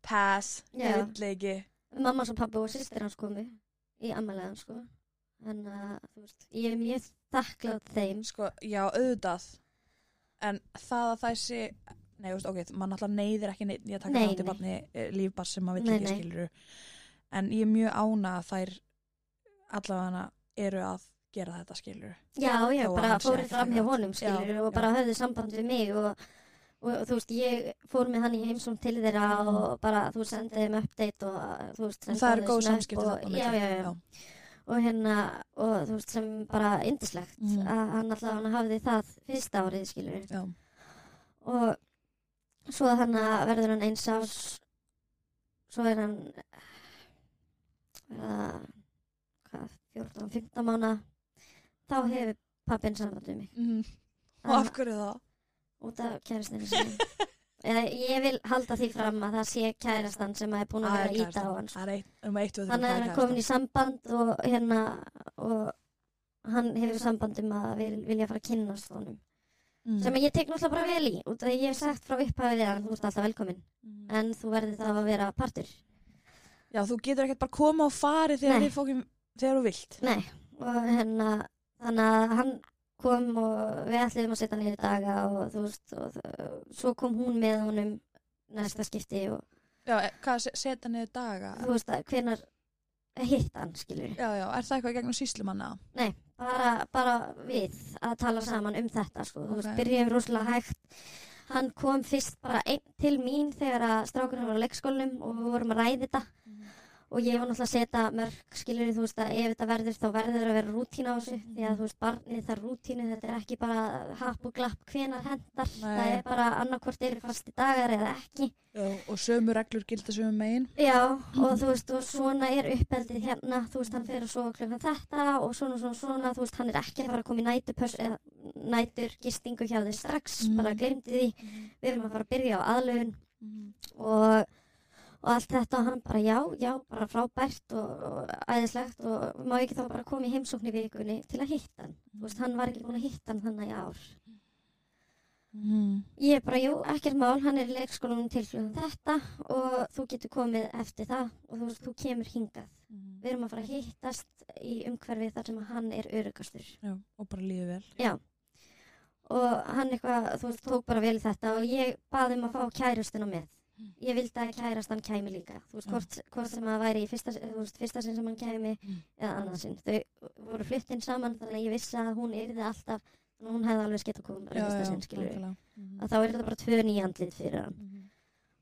Speaker 2: pass,
Speaker 3: Já.
Speaker 2: ég vill ekki
Speaker 3: mamma og pappi og sýstir hans komu í ammæliðan, sko. Þannig að, þú veist, ég er mjög þakklátt þeim.
Speaker 2: Sko, já, auðvitað En það að það sé Nei, þú veist, ok, mann alltaf neyðir ekki neitt Ég taka
Speaker 3: Nei,
Speaker 2: þátt í
Speaker 3: nei.
Speaker 2: badni lífbar sem maður
Speaker 3: Nei,
Speaker 2: vill ekki
Speaker 3: nei.
Speaker 2: skilur En ég er mjög ána að þær allavega eru að gera þetta skilur
Speaker 3: Já, já,
Speaker 2: Þó að
Speaker 3: bara
Speaker 2: hann sé
Speaker 3: fóru
Speaker 2: ekki
Speaker 3: fram hjá
Speaker 2: þakklátt.
Speaker 3: honum, skilur,
Speaker 2: Já,
Speaker 3: og bara höfðu samband við mig og, og þú veist, ég fór með hann í heimsum til þeirra og bara, þú sendiði þeim update og, þú veist,
Speaker 2: Og
Speaker 3: sendiði
Speaker 2: það eru
Speaker 3: þeim
Speaker 2: góð
Speaker 3: snap
Speaker 2: samskipti
Speaker 3: og-
Speaker 2: þarna á
Speaker 3: Já,
Speaker 2: milli.
Speaker 3: já, já. og hérna og þú veist sem bara indislegt
Speaker 2: Mhm.
Speaker 3: að hann alltaf hann hafði það fyrsta árið skilur
Speaker 2: já.
Speaker 3: og svo þannig að verður hann eins ás svo er hann verða hvað, 14-15 mánu þá hefur pappin samband við mig
Speaker 2: Mm. Og
Speaker 3: Hann-
Speaker 2: af hverju það?
Speaker 3: út af kærastinu sinni Eða, ég vil halda því fram að það sé kærastan sem að er búin að
Speaker 2: Það er
Speaker 3: vera íta á
Speaker 2: kærastan.
Speaker 3: hann sko.
Speaker 2: Það er eitt, um eitt við
Speaker 3: þannig að hann er komin í samband og hérna og hann hefur samband um að vil, vilja fara að kynnast honum
Speaker 2: Mm.
Speaker 3: sem ég tek náttúrulega bara vel í út af því ég hef sagt frá upphafið að þú ert alltaf velkomin
Speaker 2: mm.
Speaker 3: en þú verður þá að vera partur
Speaker 2: Já, þú getur ekkert bara koma og fari þegar
Speaker 3: Nei.
Speaker 2: við fókum þegar þú vilt
Speaker 3: nei, og hérna þannig að hann kom og við ætliðum að setja hann í daga og þú veist og, og, svo kom hún með honum næsta skipti og
Speaker 2: Já, e- hvað, se- setja niður daga
Speaker 3: þú veist að hvenar hitt hann skilur
Speaker 2: Já, já, er það eitthvað í gegnum síslumanna?
Speaker 3: bara, bara við að tala saman um þetta sko. þú veist,
Speaker 2: Ok.
Speaker 3: byrjum rosalega hægt hann kom fyrst bara einn til mín þegar að strákurinn var á leikskólinum og við vorum að ræði þetta
Speaker 2: Mhm.
Speaker 3: og ég var náttúrulega að setja mörg skilur þú veist að ef þetta verður þá verður að vera rútína
Speaker 2: Mhm.
Speaker 3: á þessu því að þú veist barnið þar rútínu þetta er ekki bara happ og glapp hvenar hendar
Speaker 2: Nei.
Speaker 3: það er bara annarkvort eru fasti dagar eða ekki
Speaker 2: Já, og sömu reglur gilda sömu megin
Speaker 3: Já, og þú veist, og svona er uppeldið hérna, þú veist, hann fer að sofa klukkan þetta og svona, svona, svona, þú veist, hann er ekki að fara að koma í nætupöss eða nætur gistingu hjá þig strax,
Speaker 2: Mm.
Speaker 3: bara glemdi því, við erum að fara að byrja á aðlöfun
Speaker 2: mm.
Speaker 3: og, og allt þetta og hann bara, já, já, bara frábært og, og æðislegt og má ekki þá bara koma í heimsókn í vikunni til að hitta hann, þú veist, hann var ekki búin að hitta hann þannig í ár.
Speaker 2: Mm.
Speaker 3: Ég bara, jú, ekkert mál, hann er í leikskólanum til klukkan þetta og þú getur komið eftir það og þú veist, þú kemur hingað.
Speaker 2: Mm-hmm.
Speaker 3: Við erum að fara að hittast í umhverfi þar sem að hann er örugastur.
Speaker 2: Já, og bara líði vel
Speaker 3: Já. Og hann eitthvað, þú veist, tók bara vel í þetta og ég baði um að fá kærustuna með. Ég vildi að kærastan kæmi líka. Þú veist,
Speaker 2: Hmm. Já.
Speaker 3: hvort, hvort sem að væri í fyrsta, þú veist, fyrsta sinn sem hann kæmi
Speaker 2: Mm.
Speaker 3: eða annað sinn. Þau voru fluttinn saman þannig að ég vissi að hún yrði alltaf, hún hefði alveg skeitt að koma bara í fyrsta sinn, skilur við.
Speaker 2: nákvæmlega
Speaker 3: Að þá er þetta bara tvö nýjandlit fyrir hann
Speaker 2: Mhm.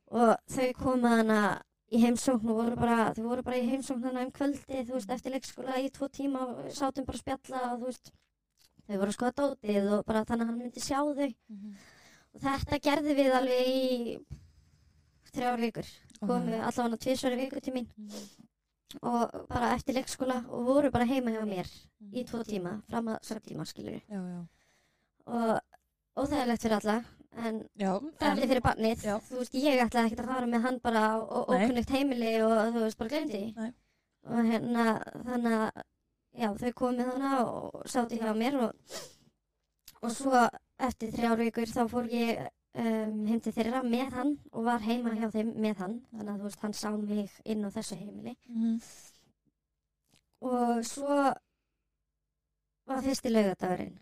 Speaker 3: og þau komu hana í heimsókn og voru bara, þau voru bara í heimsókn hana um kvöldi, þú veist, eftir leikskóla í tvo tíma og sátum bara að spjalla og þú veist, þau voru að skoða dótið og bara þannig að hann myndi sjá þau
Speaker 2: Mhm.
Speaker 3: og þetta gerði við alveg í þrjár vikur,
Speaker 2: Ok.
Speaker 3: komu allavega hana tvisvar í viku til mín
Speaker 2: Mhm.
Speaker 3: og bara eftir leikskóla og voru bara heima hjá mér
Speaker 2: Mhm.
Speaker 3: í tvo tíma, fram að sög tíma skilur
Speaker 2: Já, já
Speaker 3: og óþægilegt fyrir alla en
Speaker 2: Já, en,
Speaker 3: Ferli fyrir barnið,
Speaker 2: Já.
Speaker 3: þú veist, ég ætlaði ekkert að fara með hann bara á á
Speaker 2: Nei.
Speaker 3: ókunnugt heimili og þú veist, bara glemdi
Speaker 2: Nei.
Speaker 3: og hérna, þannig að já, þau komið hana og sátu hjá mér og, og svo eftir þrjár vikur þá fór ég um, heim til þeirra með hann og var heima hjá þeim með hann þannig að þú veist, hann sá mig inn á þessu heimili
Speaker 2: Mhm.
Speaker 3: og svo var fyrsti laugardagurinn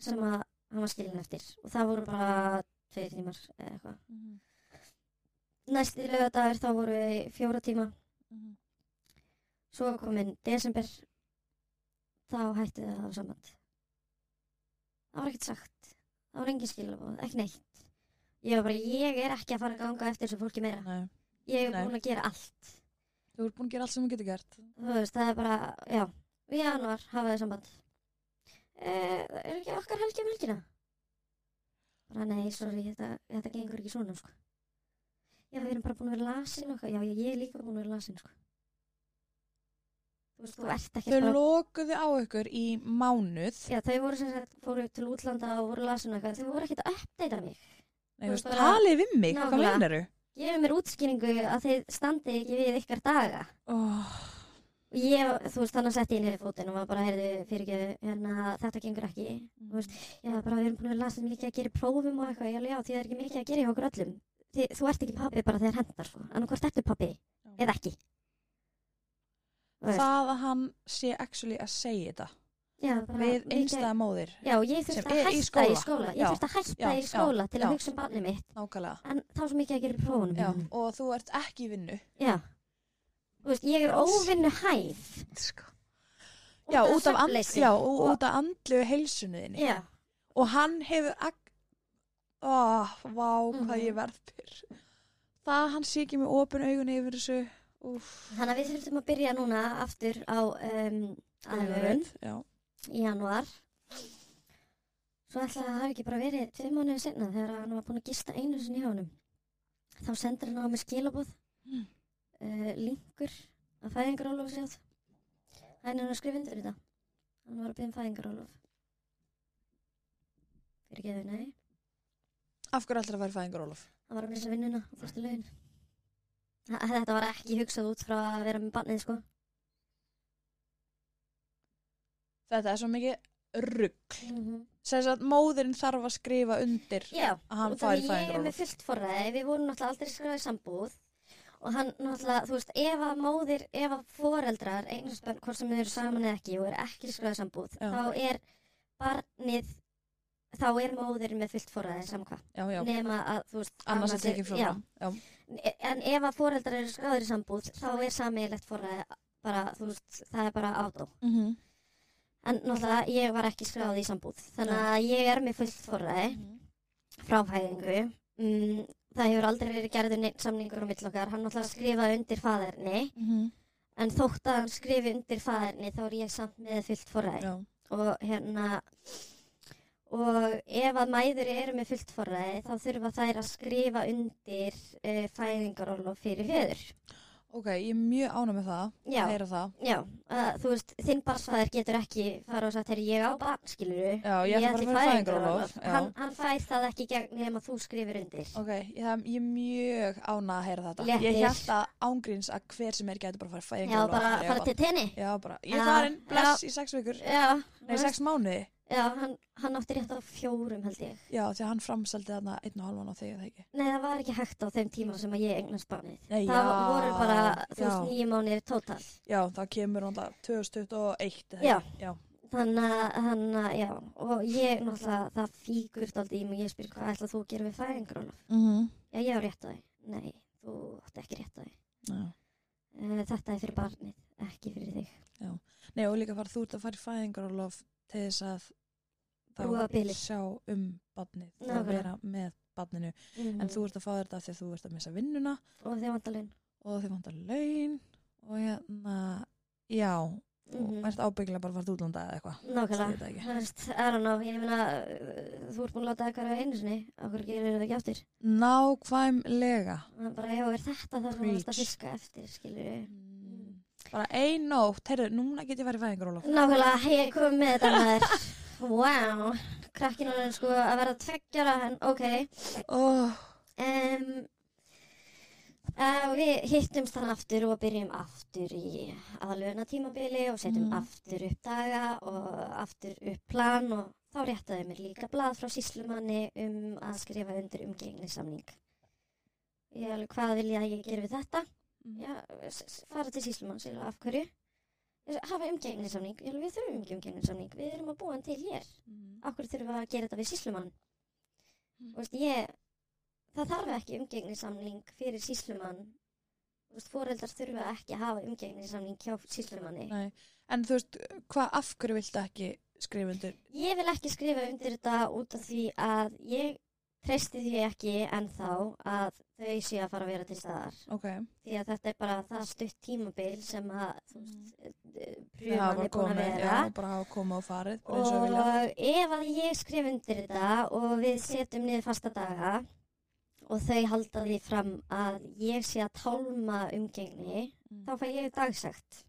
Speaker 3: sem að hann var skilin eftir og það voru bara tveir tímar eða eitthvað
Speaker 2: Mhm.
Speaker 3: næsti lögadagur þá voru við í fjóra tíma
Speaker 2: Mhm.
Speaker 3: svo kominn desember þá hætti það að hafa samband það var ekkert sagt það var engin skilabóð, ekki neitt ég var bara, ég er ekki að fara að ganga eftir þessu fólki meira
Speaker 2: Nei.
Speaker 3: ég er
Speaker 2: Nei.
Speaker 3: búin að gera allt
Speaker 2: Þú ert búin að gera allt sem þú getur gert.
Speaker 3: þú veist, það er bara, já í januar hafa þið samband eh, er ekki okkar helgi um helgina bara nei, sorry þetta, þetta gengur ekki svona sko. já, við erum bara búin að vera lasin okkar. já, ég, ég er líka búin að vera lasin sko. þú veist, þú ert ekki
Speaker 2: Þau lokuðu á ykkur í mánuð.
Speaker 3: Já, þau voru sem sagt, fóru til útlanda og voru lasin okkar, þau voru ekkert að uppdeita mig.
Speaker 2: Nei, þú
Speaker 3: þú
Speaker 2: veist,
Speaker 3: bara-
Speaker 2: talið við mig, hvað
Speaker 3: Nákvæmlega.
Speaker 2: meinar þú?
Speaker 3: Gefið mér útskýringu að þið standið ekki við ykkar daga.
Speaker 2: Oh,
Speaker 3: Og Ég, þú veist, þannig að setja ég niður fótinn og var bara, heyrðu, fyrir ekki, hérna, þetta gengur ekki. Þú veist, já, bara við erum búin að vera lasin mikið að gera í prófum og eitthvað, já, já, því það er ekki mikið að gera hjá okkur öllum. Þi, þú ert ekki pappi bara þegar hendar, sko. Annað hvort ertu pappi, eða ekki. Þú veist,
Speaker 2: það að hann sé actually að segja þetta.
Speaker 3: já, bara
Speaker 2: Við
Speaker 3: mikið-
Speaker 2: einstæða móðir,
Speaker 3: Já, ég
Speaker 2: sem
Speaker 3: þurfti að
Speaker 2: er í
Speaker 3: hætta í skóla.
Speaker 2: skóla.
Speaker 3: Ég
Speaker 2: Já,
Speaker 3: þurfti að hætta
Speaker 2: já,
Speaker 3: í skóla til
Speaker 2: já.
Speaker 3: að hugsa um barnið mitt.
Speaker 2: nákvæmlega.
Speaker 3: En þá sem ekki að gera í prófunum.
Speaker 2: Já,
Speaker 3: mínum.
Speaker 2: og þú ert ekki í vinnu.
Speaker 3: Já. Þú veist, ég er óvinnu hæð. Sko.
Speaker 2: Já, út af, and,
Speaker 3: svefnleysi.
Speaker 2: já, og, út af andlu heilsunuðinni.
Speaker 3: Já.
Speaker 2: Og hann hefur, ag- ó, vá,
Speaker 3: Mhm.
Speaker 2: hvað ég verð pyrr. Það að hann sé ekki með opin augun yfir þessu. Úf,
Speaker 3: Þannig að við þurfum að byrja núna aftur á um, aðlöfun
Speaker 2: Já,
Speaker 3: í janúar. Svo ætla að það hafi ekki bara verið tveim mánuði senna þegar hann var búin að gista einu sinni hjá honum. Þá sendir hann á mig skilabóð,
Speaker 2: Mm.
Speaker 3: uh, linkur að fæðingarólof sjáð. Hann er nú skrifundur í þetta. Hann var að byrja um fæðingarólof. Fyrir geðu, nei.
Speaker 2: af hverju ætlar að vera fæðingur, Ólaf?
Speaker 3: Það var að missa vinnuna á fyrstu laun. Þetta var ekki hugsað út frá að vera með barnið, sko.
Speaker 2: Þetta er svo mikið rugg.
Speaker 3: Mm -hmm.
Speaker 2: Sess að móðirinn þarf að skrifa undir
Speaker 3: Já,
Speaker 2: að hann fær
Speaker 3: og þannig ég er
Speaker 2: fæðingarólof.
Speaker 3: með fullt forræði. Við vorum náttúrulega aldrei skráðið sambúð og hann náttúrulega, þú veist, ef að móðir, ef að foreldrar, einhvers bönn, hvort sem þau eru saman eða ekki og er ekki skráðið sambúð,
Speaker 2: Já.
Speaker 3: þá er barnið, þá er móðir með fullt forræði, saman hvað.
Speaker 2: Já, já,
Speaker 3: Nema að, þú veist,
Speaker 2: annars er
Speaker 3: annars
Speaker 2: tekið frá
Speaker 3: já,
Speaker 2: fram. Já,
Speaker 3: En ef að foreldrar eru skráðir í sambúð, þá er sameiglegt forræði bara, þú veist, það er bara átó.
Speaker 2: mm
Speaker 3: En náttúrulega, ég var ekki skráð í sambúð. Þannig að ég er með fullt forræði frá fæðingu. Mm, það hefur aldrei verið gerður neitt samningur á mill okkar. Hann náttúrulega skrifaði undir fæðarni.
Speaker 2: Mhm.
Speaker 3: En þótt að hann skrifi undir fæðarni, þá er ég samt með fullt forræði.
Speaker 2: já.
Speaker 3: Og hérna, og ef að mæður eru með fullt forræði, þá þurfa þær að skrifa undir uh, fæðingarorlof fyrir fjöður.
Speaker 2: Ok, ég er mjög ánum með það,
Speaker 3: Já,
Speaker 2: að heyra það.
Speaker 3: já. Uh, þú veist, þinn barsfæðar getur ekki fara og sagt, herri, ég á barn, skiluru.
Speaker 2: Já, ég ætla bara að fara fæðingarólof.
Speaker 3: hann, hann fær það ekki gegn nema þú skrifir undir
Speaker 2: Ok, ég, það- ég er mjög ánað að heyra þetta.
Speaker 3: Léttir.
Speaker 2: Ég held að ángríns að hver sem er getur bara að fara
Speaker 3: já,
Speaker 2: fæðingarólof.
Speaker 3: bara fara til tenni
Speaker 2: Já, bara, ég
Speaker 3: Já,
Speaker 2: er farin, bless, í sex vikur.
Speaker 3: já,
Speaker 2: Nei, sex mánuði.
Speaker 3: já hann, hann átti rétt á fjórum held ég
Speaker 2: Já, því að hann framseldi þarna einn og halvan á þig, eða ekki?
Speaker 3: nei, það var ekki hægt á þeim tíma sem að ég eignast barnið
Speaker 2: Nei,
Speaker 3: það
Speaker 2: já,
Speaker 3: voru bara, þú
Speaker 2: já.
Speaker 3: veist, nýju mánuðir tótal
Speaker 2: Já, það kemur hann 2021, eða
Speaker 3: Já.
Speaker 2: ekki? Já.
Speaker 3: þannig að, þannig að, já og ég, náttúrulega, það fíkur daldi í mig ég spyr, hvað ætlað þú að gera við fæðingarólof
Speaker 2: Mm
Speaker 3: já, ég á rétt á því, nei, þú átti ekki rétt á því
Speaker 2: já.
Speaker 3: Eh, þetta er fyrir barnið, ekki fyrir þig
Speaker 2: Nei og líka fara þú ert að fara í fæðingarólof til þess að þá
Speaker 3: Brúa bilið.
Speaker 2: sjá um badnið og
Speaker 3: Nákvæmlega. Mm.
Speaker 2: vera með badninu en þú ert að fá þetta af því að þú ert að missa vinnuna
Speaker 3: og þið vantalinn
Speaker 2: og þið vantar laun og hérna já og ert ábyggilega bara að fara til útlanda eða eitthvað
Speaker 3: Mhm. Nákvæmlega.
Speaker 2: Ég veit það ekki.
Speaker 3: Þú veist, I don't know, ég meina, uh, þú ert búin að láta eitthvað á einu sinni, okkur gerir það ekki áttir.
Speaker 2: nákvæmlega
Speaker 3: Það er bara, já, er þetta það sem þú ert að
Speaker 2: Preach.
Speaker 3: fiska eftir, skilur við.
Speaker 2: Mm. bara ein nótt, heyrðu, núna get ég farið í fæðingarólof
Speaker 3: Nákvæmlega, hei, ég kom með þetta maður. wow, krakkinu er sko að vera tveggjara, en ok.
Speaker 2: oh,
Speaker 3: Um, uh, við hittumst hann aftur og byrjum aftur í aðlöna tímabili og setjum
Speaker 2: Mhm.
Speaker 3: aftur upp daga og aftur upp plan og þá réttaði mér líka blað frá síslumanni um að skrifa undir umgengnissamning. Ég alveg, hvað vil ég að ég gera við þetta?
Speaker 2: Mm.
Speaker 3: Já, s- s- fara til síslumann, segir af hverju? Ég sagði, Hafa umgengnissamning, ég alveg, við þurfum ekki umgengnissamning, við erum að búa hann til hér okkur þurfum við að gera þetta við síslumann
Speaker 2: Mm.
Speaker 3: mm. veist, ég, það þarf ekki umgengnisamning fyrir síslumann Þú veist, foreldrar þurfa ekki að hafa umgengnisamning hjá síslumanni
Speaker 2: Nei. en þú veist, hvað af hverju viltu ekki skrifa undir
Speaker 3: Ég vil ekki skrifa undir þetta út af því að ég treysti því ekki ennþá að þau séu að fara að vera til staðar
Speaker 2: ok,
Speaker 3: því að þetta er bara það stutt tímabil sem að þú veist,
Speaker 2: það
Speaker 3: pröfum
Speaker 2: var Mm.
Speaker 3: er búin að
Speaker 2: komið
Speaker 3: vera
Speaker 2: já, bara hafa komið og farið bara eins og
Speaker 3: og
Speaker 2: vilja
Speaker 3: ef að ég skrif undir þetta og við setjum niður fasta daga og þau halda því fram að ég sé að tálma umgengni
Speaker 2: Mm.
Speaker 3: þá fæ ég dagsekt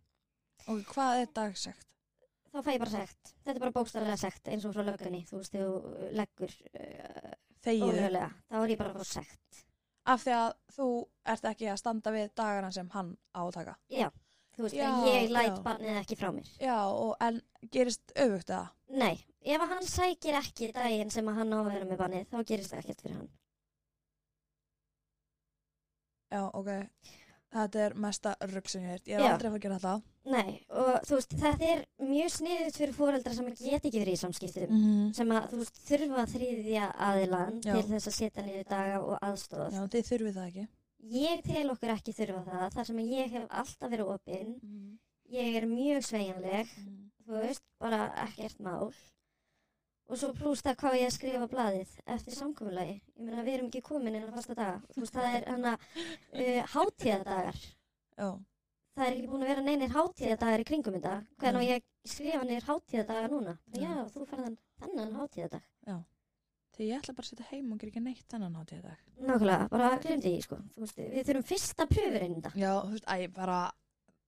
Speaker 2: ok, hvað er dagsekt?
Speaker 3: þá fæ ég bara sekt, þetta er bara bókstaflega sekt eins og frá löggunni, þú veist, þú leggur uh,
Speaker 2: þegið
Speaker 3: ólögulega, þá er ég bara að fá sekt
Speaker 2: af því að þú ert ekki að standa við dagana sem hann á að taka
Speaker 3: já, þú veist,
Speaker 2: Já,
Speaker 3: ég læt
Speaker 2: já.
Speaker 3: barnið ekki frá mér
Speaker 2: já, og en gerist öfugt eða
Speaker 3: nei, ef að hann sækir ekki daginn sem að hann á að vera með barnið, þá gerist það ekkert fyrir hann
Speaker 2: já, ok, þetta er mesta rugg sem ég heirt, ég er
Speaker 3: Já.
Speaker 2: aldrei að fara að gera þetta
Speaker 3: Nei, og þú veist, þetta er mjög sniðut fyrir fóreldra sem geta ekki verið í samskiptum
Speaker 2: -hmm.
Speaker 3: sem að þú veist, þurfa þriðja aðilan
Speaker 2: Já.
Speaker 3: til þess að setja niður daga og aðstóð
Speaker 2: já, þið þurfið það ekki
Speaker 3: Ég tel okkur ekki þurfa það þar sem að ég hef alltaf verið opinn
Speaker 2: mm
Speaker 3: ég er mjög sveigjanleg þú veist, bara ekkert mál og svo plúst það hvað ég að skrifa á blaðið eftir samkomulagi ég meina, við erum ekki komin inn á fasta daga þú veist, það er hana uh, hátíðadagar
Speaker 2: já,
Speaker 3: það er ekki búin að vera neinir hátíðadagar í kringum þetta hvernig á ég að skrifa niður hátíðadagar núna
Speaker 2: Já.
Speaker 3: já, þú færðan þennan hátíðadag
Speaker 2: því ég ætla bara að setja heim og gera ekki neitt þennan hátíð í dag
Speaker 3: nákvæmlega, bara glemdi ég sko Þú veist, við þurfum fyrsta pröfurinn þetta
Speaker 2: já, þú veist, æ, bara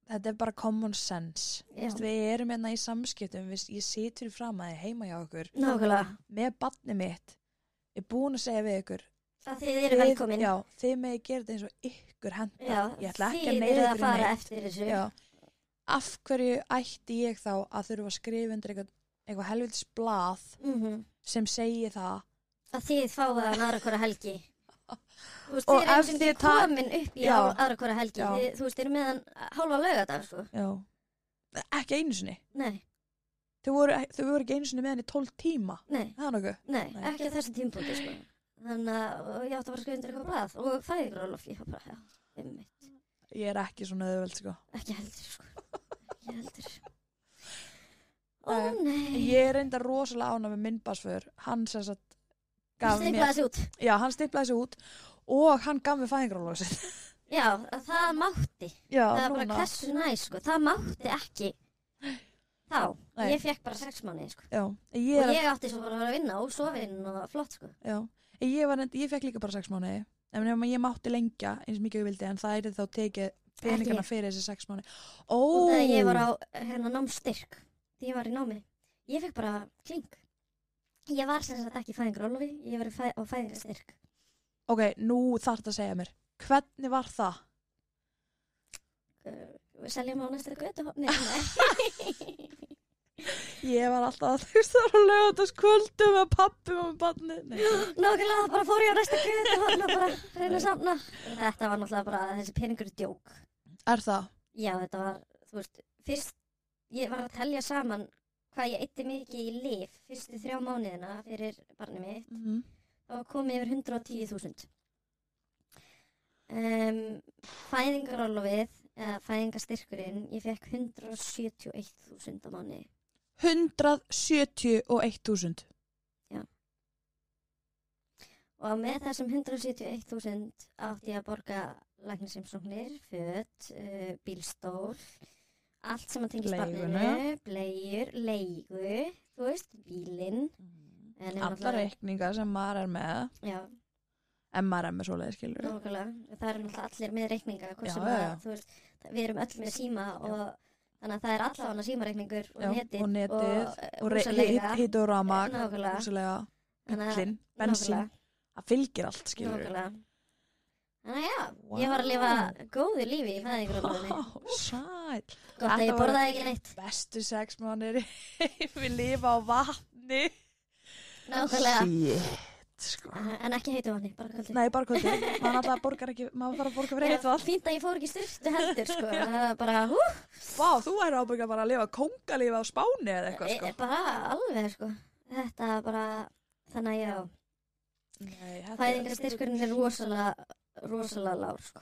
Speaker 2: þetta er bara common sense Þú veist,
Speaker 3: já,
Speaker 2: við erum hérna í samskiptum við, ég situr fram að þið heima hjá okkur
Speaker 3: nákvæmlega,
Speaker 2: með barnið mitt ég er búin að segja við ykkur
Speaker 3: að þið eru velkomin
Speaker 2: já, þið megið gera þetta eins og ykkur henda
Speaker 3: já
Speaker 2: ég ætla ekki að
Speaker 3: þið
Speaker 2: neyða
Speaker 3: eru
Speaker 2: ykkur
Speaker 3: að
Speaker 2: í
Speaker 3: fara
Speaker 2: neitt.
Speaker 3: eftir þessu
Speaker 2: já. af hverju ætti ég þá að þurfa að skrifa undir eitthvað, eitthvað helvitis blað
Speaker 3: Mhm.
Speaker 2: sem segi það
Speaker 3: að þið fáið hann aðra hvora helgi Þú veist,
Speaker 2: Og
Speaker 3: þið eru
Speaker 2: ef
Speaker 3: eins og
Speaker 2: þið
Speaker 3: þið
Speaker 2: ta-
Speaker 3: komin upp í
Speaker 2: Já.
Speaker 3: ár- aðra hvora helgi
Speaker 2: Já.
Speaker 3: þið, þú veist, þið eru með hann hálfa laugardag sko.
Speaker 2: já. ekki einu sinni
Speaker 3: nei,
Speaker 2: þau voru, þau voru ekki einu sinni með henni 12 tíma
Speaker 3: nei,
Speaker 2: það er nokkuð
Speaker 3: nei,
Speaker 2: Nei.
Speaker 3: ekki á þessum tímpúti sko. þannig að og ég átti að bara skrifa undir eitthvað blað og fæði ykkur álof ég var bara, já, einmitt,
Speaker 2: ég er ekki svona öðvöld sko.
Speaker 3: ekki heldur sko. ekki heldur ó
Speaker 2: Nei.
Speaker 3: nei
Speaker 2: ég er reynda rosalega ána með minn basför hann sem sagt gaf
Speaker 3: Þú
Speaker 2: mér
Speaker 3: stiklaði þessi út
Speaker 2: já, hann stimplaði sig út og hann gaf mér fæðingrálósið
Speaker 3: já, að það mátti
Speaker 2: já,
Speaker 3: það er bara
Speaker 2: núna
Speaker 3: hversu næ sko. það mátti ekki þá,
Speaker 2: Nei.
Speaker 3: ég fekk bara sex mánuði sko.
Speaker 2: já, ég er
Speaker 3: og ég átti svo bara að vera að vinna og sofin og flott sko
Speaker 2: Já, ég, var, reynd- ég fekk líka bara sex mánuði en nema ég mátti lengja eins mikið og ég vildi en það er þá tekið peningana
Speaker 3: Ekki.
Speaker 2: fyrir þessi sex mánuði Ó,
Speaker 3: og þegar ég var á hérna námstyrk því ég var í námi ég fekk bara kling ég var sem sagt ekki fæðingur ólofi ég var í fæ á fæðingarstyrk
Speaker 2: ok, nú þarf það að segja mér hvernig var það?
Speaker 3: uh, selja mig á næsta götu nei, nei.
Speaker 2: Ég var alltaf að þú veist það var að löga þess kvöldum með pappum og bannu Nei,
Speaker 3: nákvæmlega bara fór ég á næsta götu og bara reyna að safna þetta var náttúrulega bara þessi peningur er djók
Speaker 2: Er það?
Speaker 3: já þetta var þú veist fyrst ég var að telja saman hvað ég eitti mikið í lif fyrstu þrjá mánuðina fyrir barnið mitt
Speaker 2: Mm -hmm.
Speaker 3: Það var komið yfir 110.000. Um, fæðingarólofið, eða fæðingastyrkurinn, ég fekk 171.000 á mánu.
Speaker 2: 171.000
Speaker 3: Og með þessum 171.000 átti ég að borga læknisimsóknir, fött, uh, bílstól, allt sem að tengist
Speaker 2: Leiguna.
Speaker 3: barninu, bleiur, leigu, þú veist, bílinn.
Speaker 2: Mhm.
Speaker 3: En ég
Speaker 2: Alla
Speaker 3: náttúrulega-
Speaker 2: reikninga sem maður er með
Speaker 3: Já,
Speaker 2: en maður er með svoleiði skilur
Speaker 3: Nákvæmlega, það eru náttúrulega allir með reikninga hvort
Speaker 2: Já,
Speaker 3: sem
Speaker 2: já,
Speaker 3: að,
Speaker 2: já.
Speaker 3: þú veist, við erum öll með síma og þannig að það er allavega símareikningur og
Speaker 2: Já,
Speaker 3: netið
Speaker 2: og netið
Speaker 3: og, eh,
Speaker 2: og re- hit- hit og rama
Speaker 3: Nákvæmlega.
Speaker 2: húslega,
Speaker 3: Þannig að-
Speaker 2: bíllinn, bensín það fylgir allt skilur
Speaker 3: Nákvæmlega Þannig að já,
Speaker 2: Vá.
Speaker 3: ég var að lifa góðu lífi í fæðingrólunni
Speaker 2: Vá, sæl
Speaker 3: Gott að
Speaker 2: Þetta
Speaker 3: ég
Speaker 2: var-
Speaker 3: borðaði ekki neitt
Speaker 2: Bestu sex mánir Við lifa á vatni
Speaker 3: Nákvæmlega
Speaker 2: Shit sko.
Speaker 3: En ekki heitu vanni, bara kvöldu
Speaker 2: Nei, bara kvöldi Maður alltaf borgar ekki Maður bara borgar fyrir heitt vatn
Speaker 3: Fínt að ég fór ekki styrtu heldur sko. Það var bara, hú,
Speaker 2: Vá, þú væri ábyggjað bara að lifa kongalífa á Spáni eða eitthvað sko
Speaker 3: e- bara alveg sko. Þetta var bara, þannig að já
Speaker 2: Nei, þetta er-
Speaker 3: Fæðingarstyrkurinn er rosalega rosalega lág sko.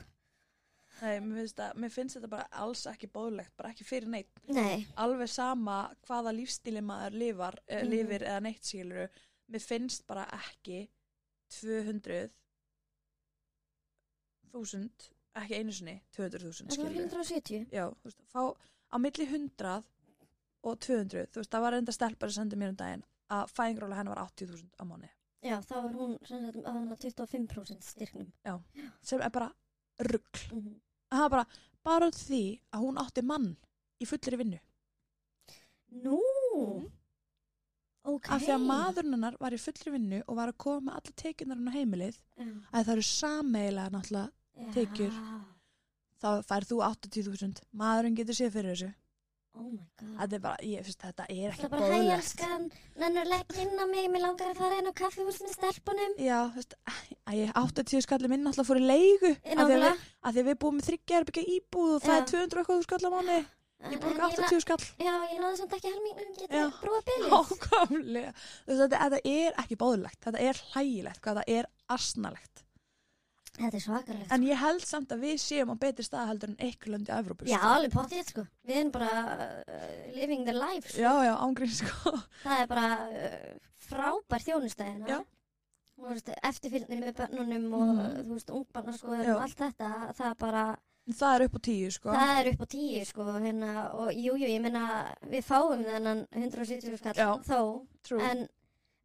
Speaker 2: Nei, mér finnst, að, mér finnst þetta bara alls ekki bóðlegt, bara ekki fyrir neitt.
Speaker 3: Nei,
Speaker 2: Alveg sama hvaða lífstíli maður lifar, mm.
Speaker 3: Mhm.
Speaker 2: lifir eða neitt skiluru, mér finnst bara ekki 200 þúsund, ekki einu sinni, 200 þúsund
Speaker 3: það var
Speaker 2: skiluru.
Speaker 3: 170.
Speaker 2: Já, þú veist, fá á milli 100 og 200, þú veist, það var enda stelpar að senda mér um daginn að fæðingróla henni var 80.000 á mánu,
Speaker 3: Já, þá var hún sem sagt, að hann var 25% styrknum.
Speaker 2: sem er bara rugg.
Speaker 3: Mm
Speaker 2: Það var bara, bara út af því að hún átti mann í fullri vinnu.
Speaker 3: Nú, ok.
Speaker 2: Mhm. af því að maðurinn hennar var í fullri vinnu og var að koma með alla tekinar hennar heimilið
Speaker 3: Já.
Speaker 2: að það eru sameigilega náttúrulega tekjur.
Speaker 3: Já,
Speaker 2: þá fær þú 80.000 maðurinn getur séð fyrir þessu
Speaker 3: Oh my god.
Speaker 2: þetta er bara, ég finnst þetta er
Speaker 3: Það
Speaker 2: ekki
Speaker 3: er bara hæ
Speaker 2: bóðlegt
Speaker 3: elskan, nennur legg inn á mig, mér langar að fara inn á kaffihús með stelpunum.
Speaker 2: já, þú veist, að ég 80 skallið minn náttúrulega fór í leigu
Speaker 3: Í
Speaker 2: af því að
Speaker 3: nákvæmlega.
Speaker 2: við, af því að við búum með þryggjar byggja íbúð og það
Speaker 3: Já.
Speaker 2: er 200 eitthvað skall á mánu ég
Speaker 3: En- en
Speaker 2: borga
Speaker 3: na-
Speaker 2: 80 skall
Speaker 3: Já, ég náði samt ekki helmingnum, getur
Speaker 2: Já.
Speaker 3: ég brúa bilið?
Speaker 2: ákamlega þetta, þetta er ekki bóðlegt, þetta er hlægilegt hvað það er asnalegt
Speaker 3: Þetta er svakarlegt.
Speaker 2: en ég held samt að við séum á betri stað heldur en eitthvað löndi að Evrópu
Speaker 3: Já,
Speaker 2: sko.
Speaker 3: alveg pottið, sko. Við erum bara uh, living the life, sko.
Speaker 2: já, já, ángrín sko
Speaker 3: Það er bara uh, frábær þjónustæðina.
Speaker 2: Já.
Speaker 3: Þú veist, eftirfylgni með bönnunum og
Speaker 2: Mhm.
Speaker 3: þú veist, ungbarnaskoður
Speaker 2: Já.
Speaker 3: og allt þetta, það er bara,
Speaker 2: það er upp á tíu sko
Speaker 3: það er upp á tíu, sko, hérna, og jú, jú, ég meina, við fáum þennan 170 skall
Speaker 2: Já.
Speaker 3: þó,
Speaker 2: True.
Speaker 3: en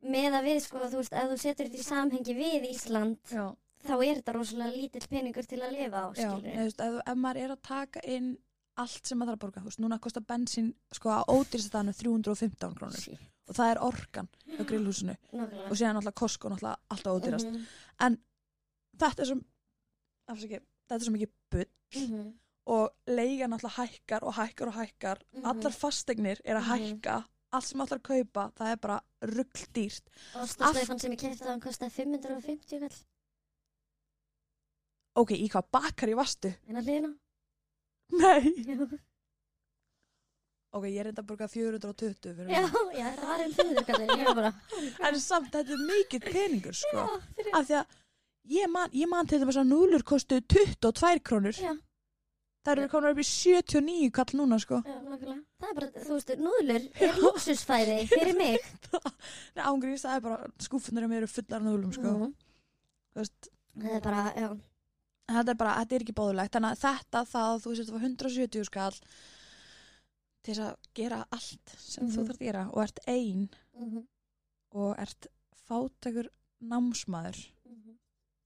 Speaker 3: með að við, sko, þú veist, ef þú setur þetta í samhengi við Ísland,
Speaker 2: já,
Speaker 3: þá er þetta rosalega lítill peningur til að lifa á,
Speaker 2: já,
Speaker 3: skilur.
Speaker 2: eða, þú veist, ef, ef maður er að taka inn allt sem maður þarf að borga þú veist, núna kostar bensín sko að ódýrsta þannig 315 krónur
Speaker 3: Sí,
Speaker 2: og það er orkan á grillhúsinu
Speaker 3: nokkulega.
Speaker 2: og síðan alltaf kosko náttúrulega alltaf
Speaker 3: Mhm.
Speaker 2: ódýrast þetta er sem afsaki, þetta er sem ekki bull
Speaker 3: -hmm.
Speaker 2: og leigan alltaf hækkar og hækkar og hækkar
Speaker 3: Mhm.
Speaker 2: allar fastegnir er að
Speaker 3: Mhm.
Speaker 2: hækka allt sem allar kaupa, það er bara rugldýrt
Speaker 3: Ostaslaufan sem ég kefti á hann kostaði 550 kall
Speaker 2: ok, í hvað bakar í vastu?
Speaker 3: en að hliðina
Speaker 2: Nei
Speaker 3: já,
Speaker 2: ok, ég er enda að borga 420 fyrir
Speaker 3: já,
Speaker 2: mig.
Speaker 3: já, það var einn 500 kall ég var bara
Speaker 2: en samt þetta er mikið peningur sko.
Speaker 3: já, fyrir,
Speaker 2: af því að ég man, ég man til þess að núlur kostu 22 krónur
Speaker 3: já,
Speaker 2: það eru konar upp í 79 kall núna sko.
Speaker 3: já, nákvæmlega það er bara, þú veist, núðlur er lúksusfæði fyrir mig
Speaker 2: Nei, ángriðis, það er bara skúfunar um eru fullar af núlum sko.
Speaker 3: Mhm.
Speaker 2: Þú veist,
Speaker 3: það er bara, já,
Speaker 2: þetta er bara, þetta er ekki bóðulegt þannig að þetta það, að þú veist, þetta var 170 skall til þess að gera allt sem þú
Speaker 3: Mhm.
Speaker 2: þarf að gera og ert ein
Speaker 3: mhm,
Speaker 2: og ert fátækur námsmaður
Speaker 3: mhm.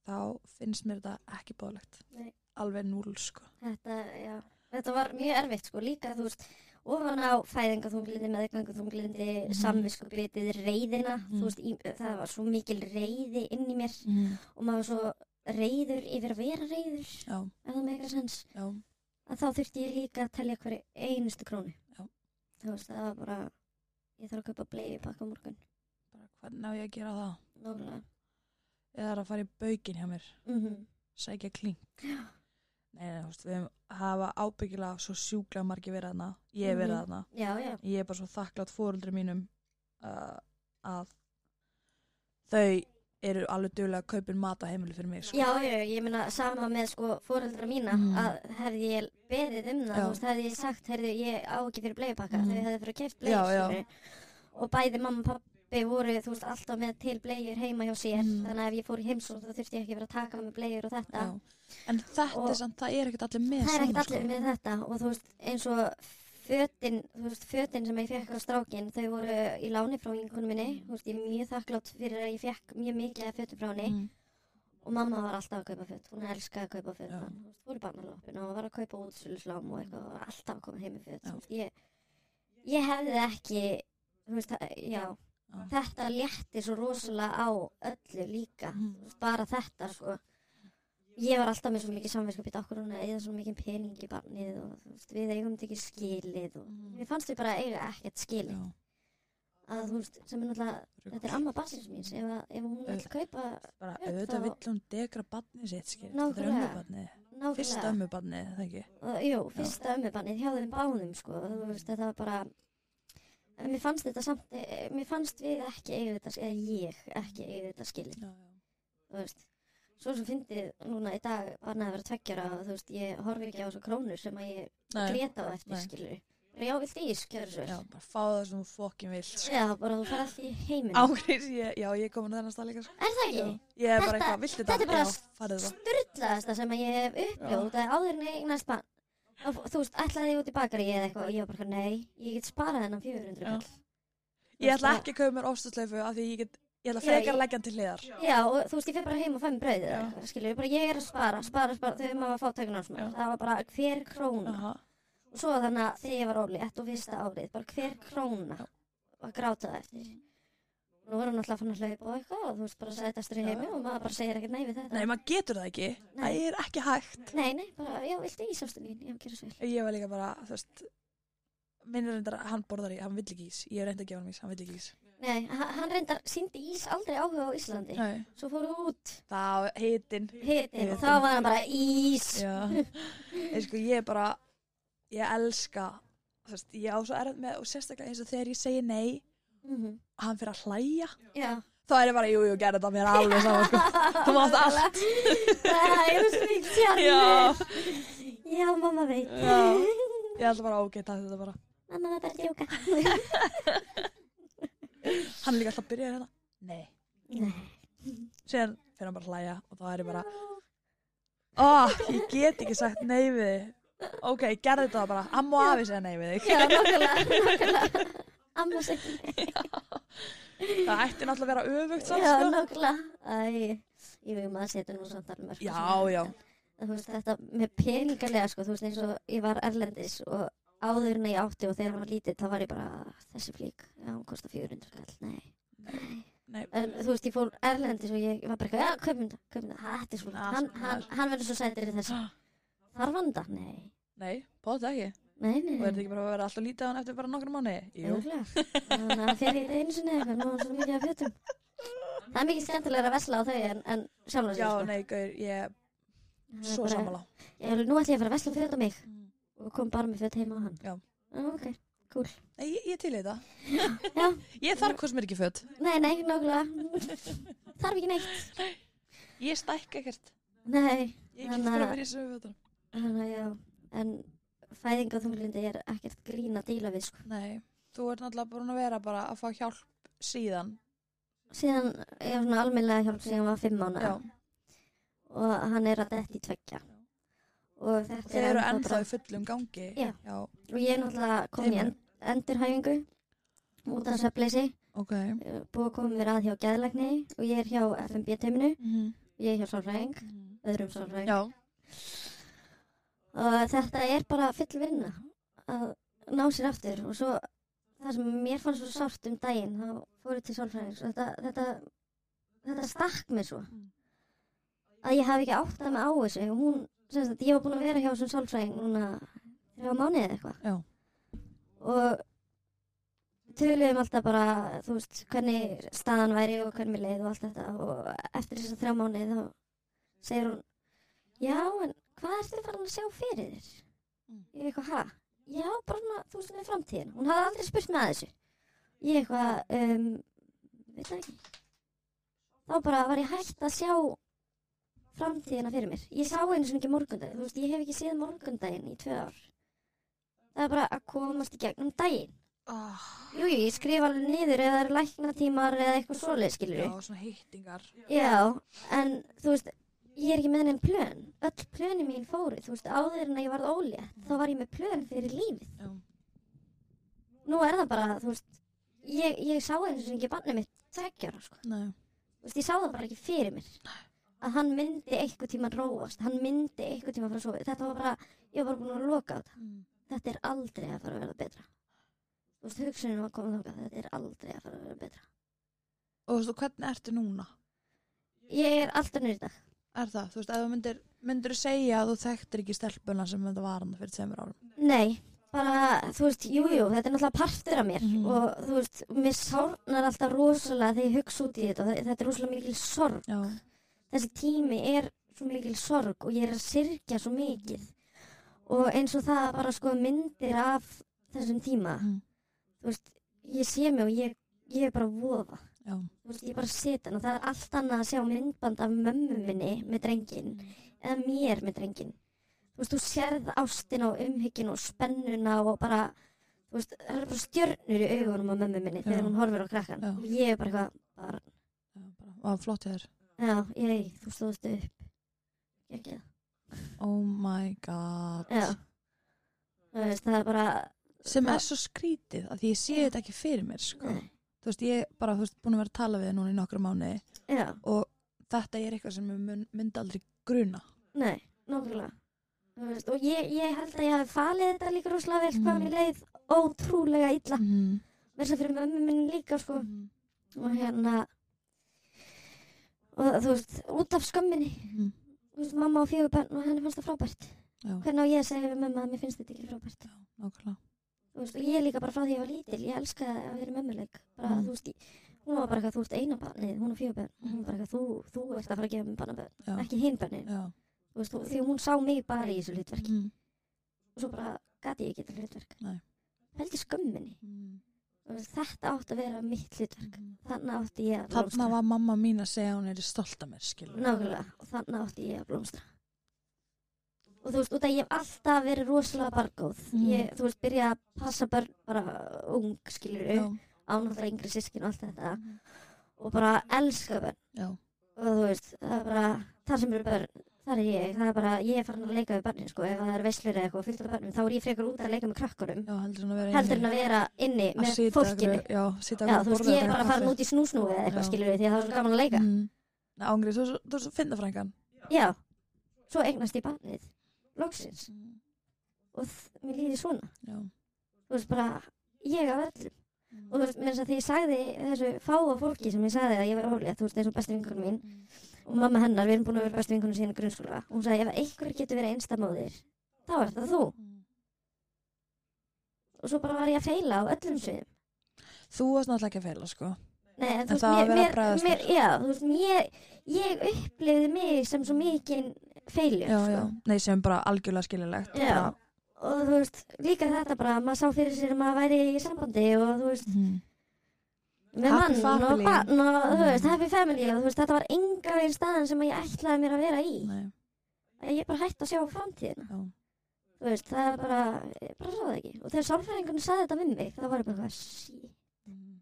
Speaker 2: þá finnst mér þetta ekki bóðlegt
Speaker 3: Nei.
Speaker 2: alveg núl sko.
Speaker 3: þetta, já þetta var mjög erfitt, sko, líka, þú veist ofan á fæðingaþunglindi, meðgangaþunglindi mm.
Speaker 2: Mhm.
Speaker 3: samviskubitið, reyðina
Speaker 2: Mhm.
Speaker 3: þú veist, í, það var svo mikil reyði inn í mér
Speaker 2: mm.
Speaker 3: og maður var svo reyður yfir að vera reyður ef
Speaker 2: já,
Speaker 3: það með eitthvað sens
Speaker 2: já,
Speaker 3: að þá þurfti ég líka að telja hverju einustu krónu.
Speaker 2: Já.
Speaker 3: Þú veist, það var bara, ég þarf að kaupa bleiði pakka á morgun.
Speaker 2: bara hvernig á ég að gera það
Speaker 3: Nógulega.
Speaker 2: ég þarf að fara í baukin hjá mér
Speaker 3: Mm -hmm.
Speaker 2: sækja kling nei, nei, þú veist, við höfum- hafa ábyggilega svo sjúklega margir verið þarna ég hef verið
Speaker 3: Mhm.
Speaker 2: þarna
Speaker 3: Já, já.
Speaker 2: ég er bara svo þakklátt fóruldri mínum uh, að þau eru alveg duglega að kaupin mat á heimili fyrir mig sko.
Speaker 3: Já, já, ég meina sama með sko fóreldra mína
Speaker 2: Mhm.
Speaker 3: að hefði ég beðið um það,
Speaker 2: Já.
Speaker 3: þú veist, hefði ég sagt, heyrðu, ég á ekki fyrir bleiðpakka,
Speaker 2: Mhm.
Speaker 3: þau hefði fyrir að keft
Speaker 2: Já, já.
Speaker 3: bleiðir og bæði mamma og pappi voru, þú veist, alltaf með til bleiðir heima hjá sér,
Speaker 2: Mhm.
Speaker 3: þannig að ef ég fór í heimsóð þá þurfti ég ekki að vera að taka með bleiðir og þetta.
Speaker 2: Já. en þetta
Speaker 3: Og-
Speaker 2: er samt, það er ekkert allir með
Speaker 3: það er ekkert
Speaker 2: saman,
Speaker 3: allir
Speaker 2: sko.
Speaker 3: með þetta og þú veist eins og fötin, þú veist, fötin sem ég fekk á strákin þau voru í láni frá vinkunum minni
Speaker 2: Mm.
Speaker 3: þú veist, ég er mjög þakklátt fyrir að ég fekk mjög mikið af fötum frá henni
Speaker 2: Mm.
Speaker 3: og mamma var alltaf að kaupa föt, hún elskaði að kaupa föt
Speaker 2: Já.
Speaker 3: hún veist, fór í barnalopin og var að kaupa útsöluslám og eitthvað, og var alltaf að koma heim með föt
Speaker 2: Já.
Speaker 3: þú veist, ég, ég hefði ekki þú veist, það- já,
Speaker 2: Já.
Speaker 3: þetta létti svo rosalega á öllu líka
Speaker 2: Mhm.
Speaker 3: Þú veist, bara þetta sko ég var alltaf með svo mikið samverðskapið okkur hún að eða svo mikið pening í barnið og þú veist, við eigum þetta ekki skilið og
Speaker 2: Mhm.
Speaker 3: mér fannst við bara eiga ekkert skilið
Speaker 2: Já,
Speaker 3: að þú veist, sem er náttúrulega
Speaker 2: rugl.
Speaker 3: þetta er amma bassins míns, ef, að- ef hún vil
Speaker 2: Auðvitað.
Speaker 3: kaupa
Speaker 2: bara
Speaker 3: Já,
Speaker 2: auðvitað
Speaker 3: þá-
Speaker 2: vill hún degra barnið sitt skil, þetta er
Speaker 3: Nákvæmlega.
Speaker 2: ömmubarnið fyrsta
Speaker 3: nákvæmlega
Speaker 2: ömmubarnið, það ekki
Speaker 3: og, jú, fyrsta ömmubannið hjá þeim báðum sko, og þú veist, þetta var bara en mér fannst þetta samt eh, mér fannst við ekki eiga þetta, eða ég ekki eiga þetta skilið,
Speaker 2: já, já.
Speaker 3: þú veist svo sem fyndið núna í dag var neða að vera tveggjara og þú veist, ég horfi ekki á þessu krónur sem að ég greta á eftir,
Speaker 2: Nei.
Speaker 3: skilur bara já, vilt ís, gjör svo
Speaker 2: Já,
Speaker 3: vel.
Speaker 2: bara fá það sem þú fokkin vilt.
Speaker 3: Já, bara þú fer allt í heiminn
Speaker 2: Ágrís, ég, já, ég er komin að þennan stað líka. sko.
Speaker 3: Er það ekki?
Speaker 2: Já. Ég er bara
Speaker 3: Þetta-
Speaker 2: eitthvað, viltu
Speaker 3: þetta er bara
Speaker 2: Já, farið það.
Speaker 3: Sturlaðasta sem að ég hef
Speaker 2: Já.
Speaker 3: uppljóð út að áður en ég eignast bann Þú veist, ætlaði ég út í bakari eða eitthvað og ég var bara, nei, ég get sparað hennan 400
Speaker 2: Já.
Speaker 3: kall.
Speaker 2: Ég ætla ekki að kaupa mér ofstasleifu af því ég get, ég ætla
Speaker 3: Já,
Speaker 2: frekar
Speaker 3: ég-
Speaker 2: að leggja hann til hliðar.
Speaker 3: Já, og þú veist, ég fyrir bara heim og fæ mér brauðið eða
Speaker 2: Já.
Speaker 3: eitthvað, skilur, bara ég er að spara, spara, spara, þau maður að fá tökuna á svona,
Speaker 2: Já.
Speaker 3: það var bara hver króna.
Speaker 2: Aha.
Speaker 3: Og svo þannig að þegar ég var ólétt og fyrsta árið, bara hver króna var grátað eftir.
Speaker 2: Mm.
Speaker 3: Nú er hann alltaf fann að hlaupa og eitthvað og þú veist, bara sætastur í heimi og maður bara segir ekkert nei við þetta.
Speaker 2: Nei, maður getur það ekki.
Speaker 3: Nei.
Speaker 2: Það er ekki hægt.
Speaker 3: Nei, nei, bara, já, viltu ísástu mín, já, gera svo vel.
Speaker 2: Ég var líka bara, þú veist, minn er reyndar, hann borðar í, hann vill ekki ís. Ég er reynd að gefa hann ís, hann vill ekki ís.
Speaker 3: Nei, h- hann reyndar síndi ís aldrei áhuga á Íslandi.
Speaker 2: Nei.
Speaker 3: Svo fór hann út
Speaker 2: Þá, hitinn.
Speaker 3: hitin
Speaker 2: Hitinn.
Speaker 3: og þá var hann bara ís.
Speaker 2: Já. Ég sko, ég er bara, ég elska, þú veist, ég á svo erð með, og sérstaklega eins og þegar ég segi nei,
Speaker 3: Mhm.
Speaker 2: hann fyrir að hlæja.
Speaker 3: Já.
Speaker 2: Þá er ég bara, jú, jú, gerði þetta mér er alveg saman, sko. Þú mátt allt.
Speaker 3: Það er svo mikið
Speaker 2: Já.
Speaker 3: sjarmur. Já, mamma veit.
Speaker 2: Já. Ég ætla bara, ok, takk þetta bara.
Speaker 3: Mamma var bara að djóka.
Speaker 2: Hann er líka alltaf að byrja hérna. Nei.
Speaker 3: Nei.
Speaker 2: Síðan fyrir hann bara að hlæja og þá er ég bara, oh, ég get ekki sagt nei við þig. Ok, gerði þetta bara. Amma og afi segja nei við þig.
Speaker 3: Já, nokkulega, nokkulega. Amma segir nei.
Speaker 2: Það ætti náttúrulega að vera öfugt samt,
Speaker 3: Já,
Speaker 2: sko.
Speaker 3: nokkulega. Æ, ég veit maður setur nú samt alveg mörg.
Speaker 2: Já, já.
Speaker 3: þú veist, þetta með peningalega, sko, þú veist, eins og ég var erlendis og áður en ég átti og þegar hann var lítið, þá var ég bara, "Ah, þessi flík, já, hún kostar 400 kall, nei.
Speaker 2: Nei.
Speaker 3: En, þú veist, ég fór erlendis og ég var bara, eitthvað, já, kaupum það, kaupum það, þetta er svona,
Speaker 2: Ah,
Speaker 3: hann,
Speaker 2: svona.
Speaker 3: hann, hann verður svo sætir í þessu. Þarf hann það? Nei.
Speaker 2: Nei, bóta ekki.
Speaker 3: Nei, nei,
Speaker 2: Og er þetta
Speaker 3: nei.
Speaker 2: ekki bara að vera alltaf lítið á hann eftir bara nokkra mánu? Jú.
Speaker 3: Örugglega. Þannig að fyrir þetta einu sinni eða eitthvað, nú er svo mikið af fjötum. Það er mikið skemmtilega að vesla á þau en, en sko. sjálf
Speaker 2: Já, nei, gaur, ég er svo sammála.
Speaker 3: Ég, nú ætlum ég að fara að vesla fjöt á mig
Speaker 2: Mm.
Speaker 3: og kom bara með fjöt heima á hann. Ah,
Speaker 2: Já.
Speaker 3: Ok, cool.
Speaker 2: Nei, ég, ég til í þetta.
Speaker 3: Já,
Speaker 2: Ég þarf hvort sem er ekki föt.
Speaker 3: Nei, nei, nákvæmlega. Þarf ekki neitt.
Speaker 2: Ég stækka ekkert.
Speaker 3: Nei,
Speaker 2: Ég get
Speaker 3: Þannig
Speaker 2: bara
Speaker 3: að-
Speaker 2: verið í sömu fötunum.
Speaker 3: þannig að já, en fæðing og þunglindi er ekkert grín að díla við, sko.
Speaker 2: Nei, þú ert náttúrulega búin að vera bara að fá hjálp síðan.
Speaker 3: Síðan ég var svona almennlega hjálp síðan ég var fimm mánuða
Speaker 2: Já.
Speaker 3: og hann er að detti tveggja. Og þetta
Speaker 2: Þeir
Speaker 3: er
Speaker 2: eru ennþá í fullum gangi.
Speaker 3: Já. Og ég er náttúrulega komin í
Speaker 2: Þeim-
Speaker 3: en, endurhæfingu út af svefleysi,
Speaker 2: ok.
Speaker 3: eh, búið að koma mér að hjá geðlækni og ég er hjá FMB-teiminu,
Speaker 2: Mhm.
Speaker 3: ég er hjá sálfræðing, öðrum sálfræðing.
Speaker 2: Já.
Speaker 3: og þetta er bara full vinna að ná sér aftur og svo það sem mér fannst svo sárt um daginn þá fór ég til sálfræðings og þetta, þetta, þetta stakk mér svo
Speaker 2: Mm.
Speaker 3: að ég hafi ekki átt að mig á þessu og hún, sem sagt, ég var búin að vera hjá þessum sálfræðing núna þrjá mánuði eða eitthvað
Speaker 2: Já.
Speaker 3: og töluðum alltaf bara, þú veist, hvernig staðan væri og hvernig mér leið og allt þetta og eftir þess að þrjá mánuði þá segir hún já, en hvað ertu farin að sjá fyrir þér?
Speaker 2: Mm.
Speaker 3: Ég eitthvað, ha? Já, bara svona, þú veist, með framtíðina. Hún hafði aldrei spurt með þessu. Ég eitthvað, um, veit það ekki. Þá bara var ég hægt að sjá framtíðina fyrir mér. Ég sá einu svona ekki morgundaginn, þú veist, ég hef ekki séð morgundaginn í tvö ár. Það er bara að komast í gegnum daginn.
Speaker 2: Ah,
Speaker 3: Jú, jú, ég skrifa alveg niður ef það eru læknatímar eða eitthvað svoleið, skilur
Speaker 2: já, svona hittingar.
Speaker 3: Já, en þú veist, ég er ekki með henni plön. Öll plöni mín fóru, þú veist, áður en að ég varð ólétt, þá var ég með plön fyrir lífið.
Speaker 2: Já.
Speaker 3: Nú er það bara, þú veist, ég, ég sá einu sem ekki bannið mitt tveggjara, sko.
Speaker 2: Nei.
Speaker 3: Þú veist, ég sá það bara ekki fyrir mér. Að hann myndi einhver tíma róast, hann myndi einhver tíma fara að sofa. Þetta var bara, ég var bara búin að loka á þetta.
Speaker 2: Mm.
Speaker 3: Þetta er aldrei að fara að verða betra. Þú veist, hugsunin var komin þangað, þetta er aldrei að fara að verða betra.
Speaker 2: Og þú veist, og hvernig ertu núna?
Speaker 3: Ég er alltaf nýr í dag.
Speaker 2: Er það, þú veist, ef þú myndir, myndir segja að þú þekktir ekki stelpuna sem þetta var hann fyrir tveimur árum.
Speaker 3: Nei, bara, þú veist, jújú, jú, þetta er náttúrulega partur af mér
Speaker 2: Mhm.
Speaker 3: og þú veist, mér sárnar alltaf rosalega þegar ég hugsa út í þetta og þe- þetta er rosalega mikil sorg.
Speaker 2: Já.
Speaker 3: Þessi tími er svo mikil sorg og ég er að syrkja svo mikið og eins og það bara sko myndir af þessum tíma,
Speaker 2: Mm.
Speaker 3: þú veist, ég sé mig og ég, ég er bara vofa.
Speaker 2: Já.
Speaker 3: þú veist, ég bara sit hann og það er allt annað að sjá myndband af mömmu minni með drengin
Speaker 2: Mm.
Speaker 3: eða mér með drengin þú veist, þú sérð ástin og umhyggin og spennuna og bara þú veist, það er bara stjörnur í augunum á mömmu minni
Speaker 2: Já.
Speaker 3: þegar hún horfir á krakkan
Speaker 2: Já.
Speaker 3: og ég er bara eitthvað, bara,
Speaker 2: Já, bara, Vá, flott hjá þér.
Speaker 3: já, ég, þú stóðst upp ekki,
Speaker 2: Oh my god.
Speaker 3: já þú veist, það er bara
Speaker 2: Sem
Speaker 3: Það-
Speaker 2: er svo skrítið að ég sé þetta ekki fyrir mér, sko.
Speaker 3: Nei.
Speaker 2: Þú veist, ég bara, þú veist, búin að vera að tala við þig núna í nokkru mánuði
Speaker 3: já,
Speaker 2: og þetta er eitthvað sem ég mun, myndi aldrei gruna.
Speaker 3: nei, nákvæmlega Þú veist, og ég, ég held að ég hafi falið þetta líka rosalega vel hvað
Speaker 2: Mm.
Speaker 3: mér leið ótrúlega illa
Speaker 2: Mm.
Speaker 3: mér sem fyrir mömmu minni líka sko
Speaker 2: Mm.
Speaker 3: og hérna og þú veist, út af skömminni
Speaker 2: Mm.
Speaker 3: þú veist, mamma og fjögur bönn og henni fannst það frábært
Speaker 2: Já.
Speaker 3: hvernig á ég að segja við mömmu að mér finnst þetta ekki frábært
Speaker 2: Já, nákvæmlega.
Speaker 3: þú veist, og ég líka bara frá því ég var lítil ég elskaði að vera mömmuleik bara,
Speaker 2: Mm.
Speaker 3: þú veist, ég- hún var bara eitthvað, þú ert eina barnið hún og fjögur bönn, hún var bara eitthvað, þú, þú ert að fara að gefa mér barnabönn,
Speaker 2: Já.
Speaker 3: ekki hinn bönnin
Speaker 2: Já.
Speaker 3: þú veist, og- því hún sá mig bara í þessu hlutverki
Speaker 2: Mm.
Speaker 3: og svo bara gati ég ekki þetta
Speaker 2: Nei.
Speaker 3: hlutverk veldi skömminni,
Speaker 2: Mm.
Speaker 3: Þú veist, þetta átt að vera mitt hlutverk þannig átti ég að blómstra.
Speaker 2: Þarna var mamma mín að segja að hún er stolt af mér, skilur.
Speaker 3: Nákvæmlega, og þannig átti ég að blómstra. Og þú veist, út að ég hef alltaf verið rosalega bargóð.
Speaker 2: Mm.
Speaker 3: Ég, þú veist, byrjaði að passa börn bara ung, skilur
Speaker 2: Já. Mm.
Speaker 3: upp, ánáttúrulega yngri sískin og allt þetta. Og bara elska börn.
Speaker 2: Já.
Speaker 3: Og þú veist, það er bara, þar sem eru börn, þar er ég. Það er bara, ég er farin að leika við börnin, sko. Ef það er veislur eða eitthvað fyllt af börnum, þá er ég frekar út að leika með krakkunum.
Speaker 2: Já, heldur en að vera
Speaker 3: Heldur en að vera inni
Speaker 2: að
Speaker 3: með
Speaker 2: sitja
Speaker 3: fólkinu.
Speaker 2: einhverju- Já, sitja
Speaker 3: Já,
Speaker 2: einhverju
Speaker 3: þú veist,
Speaker 2: borða
Speaker 3: ég er
Speaker 2: og
Speaker 3: bara
Speaker 2: drekka
Speaker 3: farin
Speaker 2: kaffi.
Speaker 3: út í snúsnúi eða eitthvað,
Speaker 2: Já.
Speaker 3: skilur því að það er svo gaman að leika.
Speaker 2: Mm. Nei, Ángri, þú þú ert svo finna frængan.
Speaker 3: Já, svo eignast ég barnið loksins og þ- mér líði svona
Speaker 2: Já.
Speaker 3: þú veist bara, ég af öllum og þú veist, mér þess að því ég sagði þessu fáa fólki sem ég sagði að ég var ólega þú veist, eins og bestu vinkunum mín
Speaker 2: Mhm.
Speaker 3: og mamma hennar, við erum búin að vera bestu vinkunum síðan í grunnskóla og hún sagði, ef einhver getur verið einstamóðir þá er það þú og svo bara var ég að feila á öllum sviðum
Speaker 2: Þú varst náttúrulega ekki að feila, sko.
Speaker 3: Nei, en þú
Speaker 2: En
Speaker 3: veist,
Speaker 2: það að
Speaker 3: mér,
Speaker 2: vera að bregðast
Speaker 3: mér, mér, já, þú veist, mér, ég upplifði mig sem svo mikinn feiljur,
Speaker 2: Já,
Speaker 3: sko.
Speaker 2: já. Nei, sem bara algjörlega skiljulegt.
Speaker 3: Já. og þú veist, líka þetta bara að maður sá fyrir sér að maður væri í sambandi og þú veist,
Speaker 2: Mm.
Speaker 3: með
Speaker 2: Happy
Speaker 3: mann og
Speaker 2: family.
Speaker 3: barn og þú veist,
Speaker 2: Mm.
Speaker 3: happy family og þú veist, þetta var enga veginn staðan sem ég ætlaði mér að vera í
Speaker 2: Nei,
Speaker 3: að ég bara hætti að sjá framtíðina
Speaker 2: já.
Speaker 3: þú veist, það er bara, ég bara sáði ekki og þegar sálfræðingunni sagði þetta við mig þá var ég bara eitthvað, sí,
Speaker 2: Mm.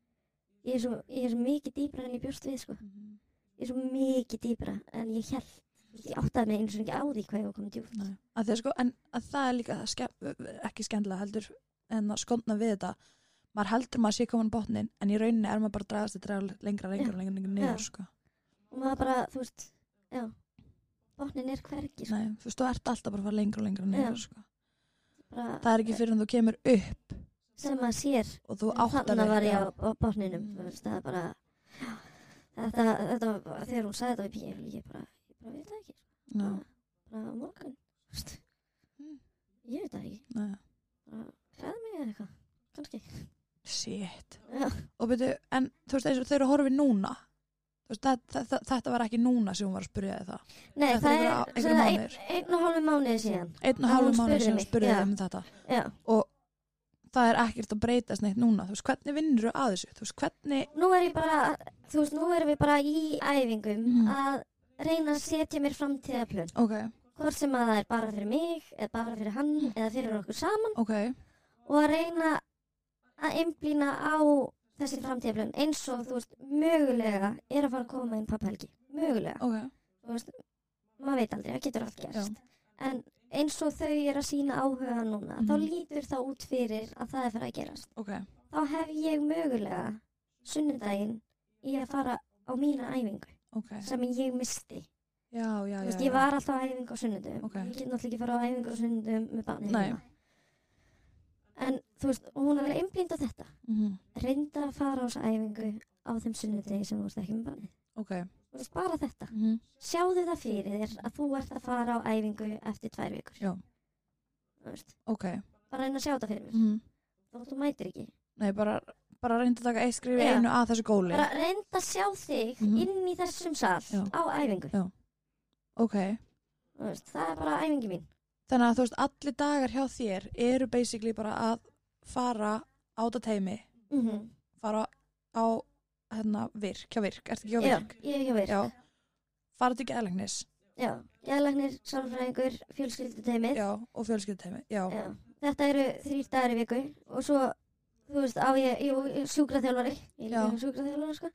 Speaker 3: ég er svo, ég er svo mikið dýbra en ég bjóst við, sko
Speaker 2: Mm.
Speaker 3: ég er svo mikið dýbra en ég held Þú veist, ég áttaði mig eins og ekki á því hvað ég var komið djúpt
Speaker 2: Nei. Að því að sko, en að það er líka það ske- ekki skemmtilega heldur en að skondna við þetta maður heldur maður sé komin botnin en í rauninni er maður bara að dragast að draga lengra, lengra, lengra, lengra niður
Speaker 3: Já.
Speaker 2: sko.
Speaker 3: og maður bara, þú veist, já botnin er hvergi, sko
Speaker 2: Nei, þú veist, þú ert alltaf bara að fara lengra og lengra niður
Speaker 3: Já.
Speaker 2: sko.
Speaker 3: bara,
Speaker 2: það er ekki fyrir en þú kemur upp
Speaker 3: sem maður sér
Speaker 2: og þú áttar
Speaker 3: Þannig
Speaker 2: þig.
Speaker 3: var ég
Speaker 2: Já.
Speaker 3: á, á botninum, þú veist, það er bara, þetta, þetta, var- þegar hún sagði þetta við píkir, ég bara, ég bara veit það ekki,
Speaker 2: Já.
Speaker 3: bara á morgun, þú veist,
Speaker 2: Mm.
Speaker 3: ég veit það ekki,
Speaker 2: Nei.
Speaker 3: bara hlæði mig eða eitthvað, kannski.
Speaker 2: Shit.
Speaker 3: Já.
Speaker 2: Og byrju, en þú veist eins og þau eru að horfi núna. Þú veist, það, það, það, þetta var ekki núna sem hún var að spyrja þið það.
Speaker 3: Nei,
Speaker 2: Það
Speaker 3: það,
Speaker 2: fyrir
Speaker 3: er,
Speaker 2: einhver-
Speaker 3: svo
Speaker 2: einhver
Speaker 3: það er
Speaker 2: mánuður.
Speaker 3: ein, einn og hálfu mánuði síðan,
Speaker 2: Einn og
Speaker 3: Að hún
Speaker 2: hálfum mánuð
Speaker 3: spurði
Speaker 2: sem hún
Speaker 3: mig,
Speaker 2: spurði
Speaker 3: já.
Speaker 2: þið um þetta.
Speaker 3: já.
Speaker 2: Það er ekkert að breytast neitt núna. Þú veist, hvernig vinnur þú að þessu? Þú veist, hvernig...
Speaker 3: Nú er ég bara, þú veist, nú erum við bara í æfingum
Speaker 2: Mm.
Speaker 3: að reyna að setja mér framtíðaplön,
Speaker 2: Ok,
Speaker 3: hvort sem að það er bara fyrir mig, eða bara fyrir hann, eða fyrir okkur saman.
Speaker 2: ok.
Speaker 3: og að reyna að einblýna á þessi framtíðaflun eins og þú veist, mögulega er að fara að koma inn papphelgi, mögulega
Speaker 2: Ok,
Speaker 3: þú veist, maður veit aldrei, það getur allt gerst
Speaker 2: Já.
Speaker 3: en eins og þau er að sína áhuga núna, þá
Speaker 2: Mhm.
Speaker 3: lítur það út fyrir að það er fyrir að gerast,
Speaker 2: ok.
Speaker 3: þá hef ég mögulega sunnudaginn í að fara á mína æfingu
Speaker 2: Ok.
Speaker 3: sem ég misti,
Speaker 2: Já, já, já.
Speaker 3: þú veist, ég var alltaf á æfingu á sunnudum
Speaker 2: Ok.
Speaker 3: ég get náttúrulega ekki fara á æfingu á sunnudum með barnið
Speaker 2: Nei.
Speaker 3: hérna. en þú veist, og hún er alveg einblýnd á þetta
Speaker 2: Mhm.
Speaker 3: reynda að fara á þessa æfingu á þeim sunnudegi sem þú ert ekki með barnið.
Speaker 2: Ok.
Speaker 3: Þú veist bara þetta.
Speaker 2: Mhm.
Speaker 3: Sjáðu það fyrir þér að þú ert að fara á æfingu eftir tvær vikur.
Speaker 2: Já.
Speaker 3: Þú veist,
Speaker 2: Ok.
Speaker 3: bara reyna að sjá það fyrir mér.
Speaker 2: Mhm.
Speaker 3: Þó þú mætir ekki.
Speaker 2: Nei, bara, bara reynda að taka eitt skrifi
Speaker 3: Já.
Speaker 2: einu að þessu góli.
Speaker 3: Bara reynda að sjá þig
Speaker 2: Mhm.
Speaker 3: inn í þessum sal
Speaker 2: Já.
Speaker 3: á æfingu.
Speaker 2: Ok.
Speaker 3: Þú Veist, það er bara æfingi mín.
Speaker 2: Þannig að þú veist, allir dagar hjá þér eru
Speaker 3: Mhm.
Speaker 2: basically bara að fara át að teimi,
Speaker 3: Mm -hmm.
Speaker 2: fara á hérna, virk, hjá virk, ertu ekki hjá
Speaker 3: Já,
Speaker 2: virk?
Speaker 3: ég er hjá virk.
Speaker 2: Já. Farðu til geðlæknis,
Speaker 3: Já, geðlagnir, sálfræðingur, fjölskylduteymið.
Speaker 2: já, og fjölskylduteimi, já.
Speaker 3: Já. Þetta eru þrýr dagar í viku og svo, þú veist, á ég, jú, ég er sjúkraþjálfari, ég er
Speaker 2: Já.
Speaker 3: líka sjúkraþjálfari, sko,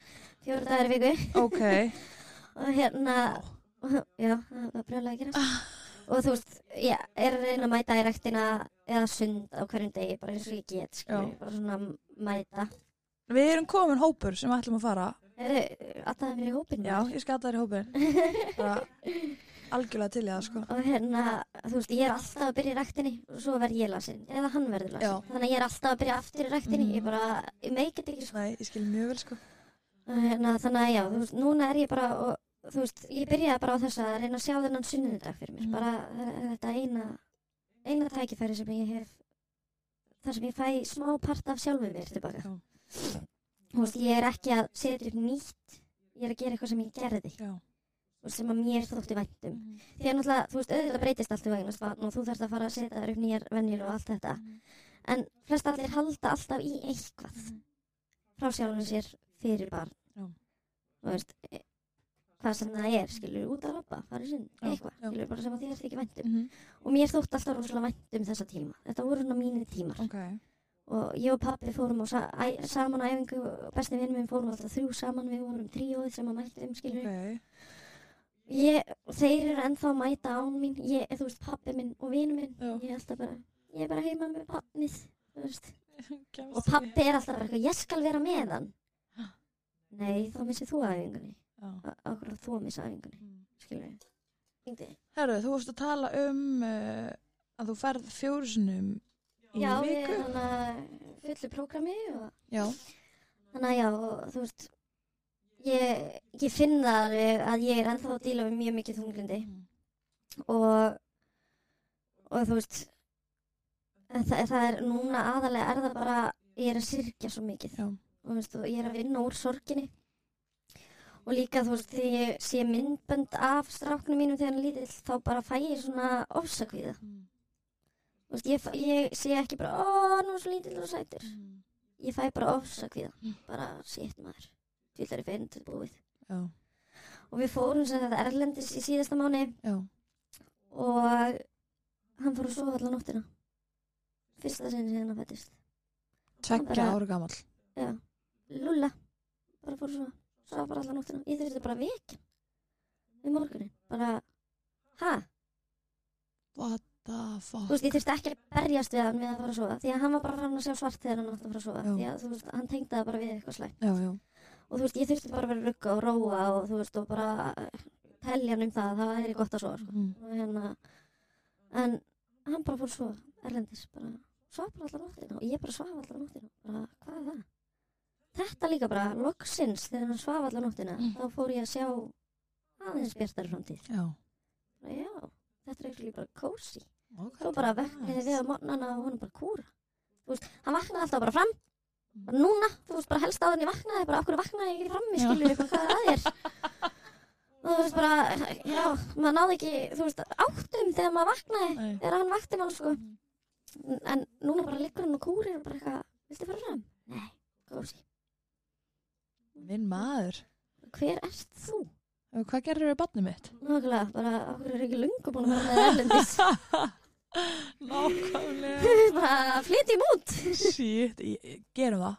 Speaker 3: fjóra dagar í viku
Speaker 2: Ok,
Speaker 3: og hérna, já, það er brjóðlega að gera. Og þú veist, ég er að reyna að mæta í rektina eða sund á hverjum degi, bara eins og ég get, skilur,
Speaker 2: Já.
Speaker 3: bara svona mæta.
Speaker 2: við erum komin hópur sem við ætlum að fara.
Speaker 3: Eru, alltaf mér í hópinu.
Speaker 2: Já, ég skata þér í hópin. Bara algjörlega til ég það, sko.
Speaker 3: Og hérna, þú veist, ég er alltaf að byrja í ræktinni og svo verð ég lasin, eða hann verður lasin.
Speaker 2: Já.
Speaker 3: Þannig að ég er alltaf að byrja aftur í ræktinni,
Speaker 2: Mhm.
Speaker 3: ég bara, ég meik þetta ekki sko.
Speaker 2: Nei, ég skil mjög vel, sko.
Speaker 3: Og Hérna, þannig að já, þú veist, núna er ég bara, og, þú veist, ég byrjaði bara á þess að reyna að sjá þennan sunnudag fyrir mér.
Speaker 2: Mhm.
Speaker 3: Bara eh, þetta eina, eina tækifæri sem ég hef, þar sem ég fæ smá part af sjálfum mér tilbaka.
Speaker 2: Já.
Speaker 3: Þú veist, ég er ekki að setja upp nýtt, ég er að gera eitthvað sem ég gerði,
Speaker 2: Já.
Speaker 3: þú veist, sem að mér þótti um. væntum. því að náttúrulega, þú veist, auðvitað breytist allt í veginn og þú þarfst að fara að setja þér upp nýjar venjur og allt þetta
Speaker 2: Mm.
Speaker 3: en flest allir halda alltaf í eitthvað frá sjálfum sér fyrir barn
Speaker 2: Já.
Speaker 3: þú veist e- hvað sem það er, skilur, út að labba fara í sinn,
Speaker 2: Já,
Speaker 3: eitthvað,
Speaker 2: já.
Speaker 3: skilur, bara sem að þér þykir væntum
Speaker 4: Mhm.
Speaker 3: og mér þótt alltaf rosalega væntum þessa tíma þetta voru svona mínir tímar
Speaker 2: Ok,
Speaker 3: og ég og pappi fórum á sa æ- saman á æfingu og besti vinnum minn fórum alltaf þrjú saman við vorum tríóið sem að mættum, skilur
Speaker 2: ok.
Speaker 3: Ég, þeir eru ennþá að mæta án mín, ég, þú veist, pappi minn og vinur minn,
Speaker 2: Já.
Speaker 3: ég er alltaf bara, ég er bara heima með pappnið, þú veist,
Speaker 2: Kemst
Speaker 3: og pappi er alltaf bara eitthvað, ég skal vera með hann. Nei, þá missir þú æfingunni,
Speaker 2: ekki.
Speaker 3: okkur að þú að missa æfingunni,
Speaker 2: Já.
Speaker 3: skilur ég. Þingdi.
Speaker 2: Herru, þú varst að tala um uh, að þú ferð fjórusunum í
Speaker 3: Já, við
Speaker 2: viku.
Speaker 3: erum þannig að fullu prógrami og
Speaker 2: Já,
Speaker 3: þannig að já, og, þú veist, ég, ég finn það alveg að ég er ennþá að díla við mjög mikið þunglindi og, og þú veist en það, það er núna aðalega er það bara ég er að syrkja svo mikið
Speaker 2: Já.
Speaker 3: og, þú veist, og ég er að vinna úr sorginni og líka þú veist þegar ég sé myndbönd af stráknum mínum þegar hann er lítill þá bara fæ ég svona ofsakvíða
Speaker 2: Mm.
Speaker 3: þú veist ég, fæ- ég sé ekki bara ó nú er svo lítill og sætur ég fæ bara ofsakvíða
Speaker 2: Mm.
Speaker 3: bara sétt maður því það er fyrir til búið
Speaker 2: já,
Speaker 3: og við fórum sem þetta erlendis í síðasta mánu
Speaker 2: já.
Speaker 3: og hann fór að sofa allan nóttina fyrsta sinn sem hann fættist
Speaker 2: Tveggja
Speaker 3: Bara-
Speaker 2: ára gamall.
Speaker 3: Lulla, bara fór að sofa sofa bara allan nóttina, ég þurfti bara vekin við morgunin, bara ha,
Speaker 2: What the fuck?
Speaker 3: þú veist, ég þurfti ekki að berjast við hann við að fara að sofa, því að hann var bara farin að sjá svart þegar hann átti að fara að sofa,
Speaker 2: Já.
Speaker 3: því að þú veist, hann tengdi það bara við eitthvað slæmt
Speaker 2: Já, já.
Speaker 3: og þú veist, ég þurfti bara að vera rugga og róa og þú veist, og bara eh, telja hann um það, það væri gott að sofa, sko
Speaker 2: Mm.
Speaker 3: og hérna en hann bara fór svo erlendis bara svaf bara allar nóttina og ég bara svaf allar nóttina bara hvað er það þetta líka bara loksins þegar hann svaf allar nóttina
Speaker 2: Mm.
Speaker 3: þá fór ég að sjá aðeins bjartari framtíð
Speaker 2: Já,
Speaker 3: bara já þetta er eitthvað bara kósi
Speaker 2: ok.
Speaker 3: svo bara veknaði við á mornana og hann bara kúra þú veist hann vaknaði alltaf bara fram bara núna þú veist bara helst á hann ég vaknaði bara okkur vaknaði ég ekki fram ég
Speaker 2: Já.
Speaker 3: skilur eitthvað hvað það er og þú veist bara já maður náði ekki þú veist áttum þegar maður vaknaði
Speaker 2: Nei.
Speaker 3: þegar hann vakti mann sko en núna bara liggur hann og kúrir og bara eitthvað, viltu fara fram? Nei, gósi,
Speaker 2: Minn maður.
Speaker 3: hver ert þú?
Speaker 2: Eh, Hvað gerir við barnið mitt?
Speaker 3: Nákvæmlega, bara okkur er ekki lungu búin að fara með erlendis
Speaker 2: Nákvæmlega.
Speaker 3: bara flytjum út
Speaker 2: Shit, ég- ég- gerum það.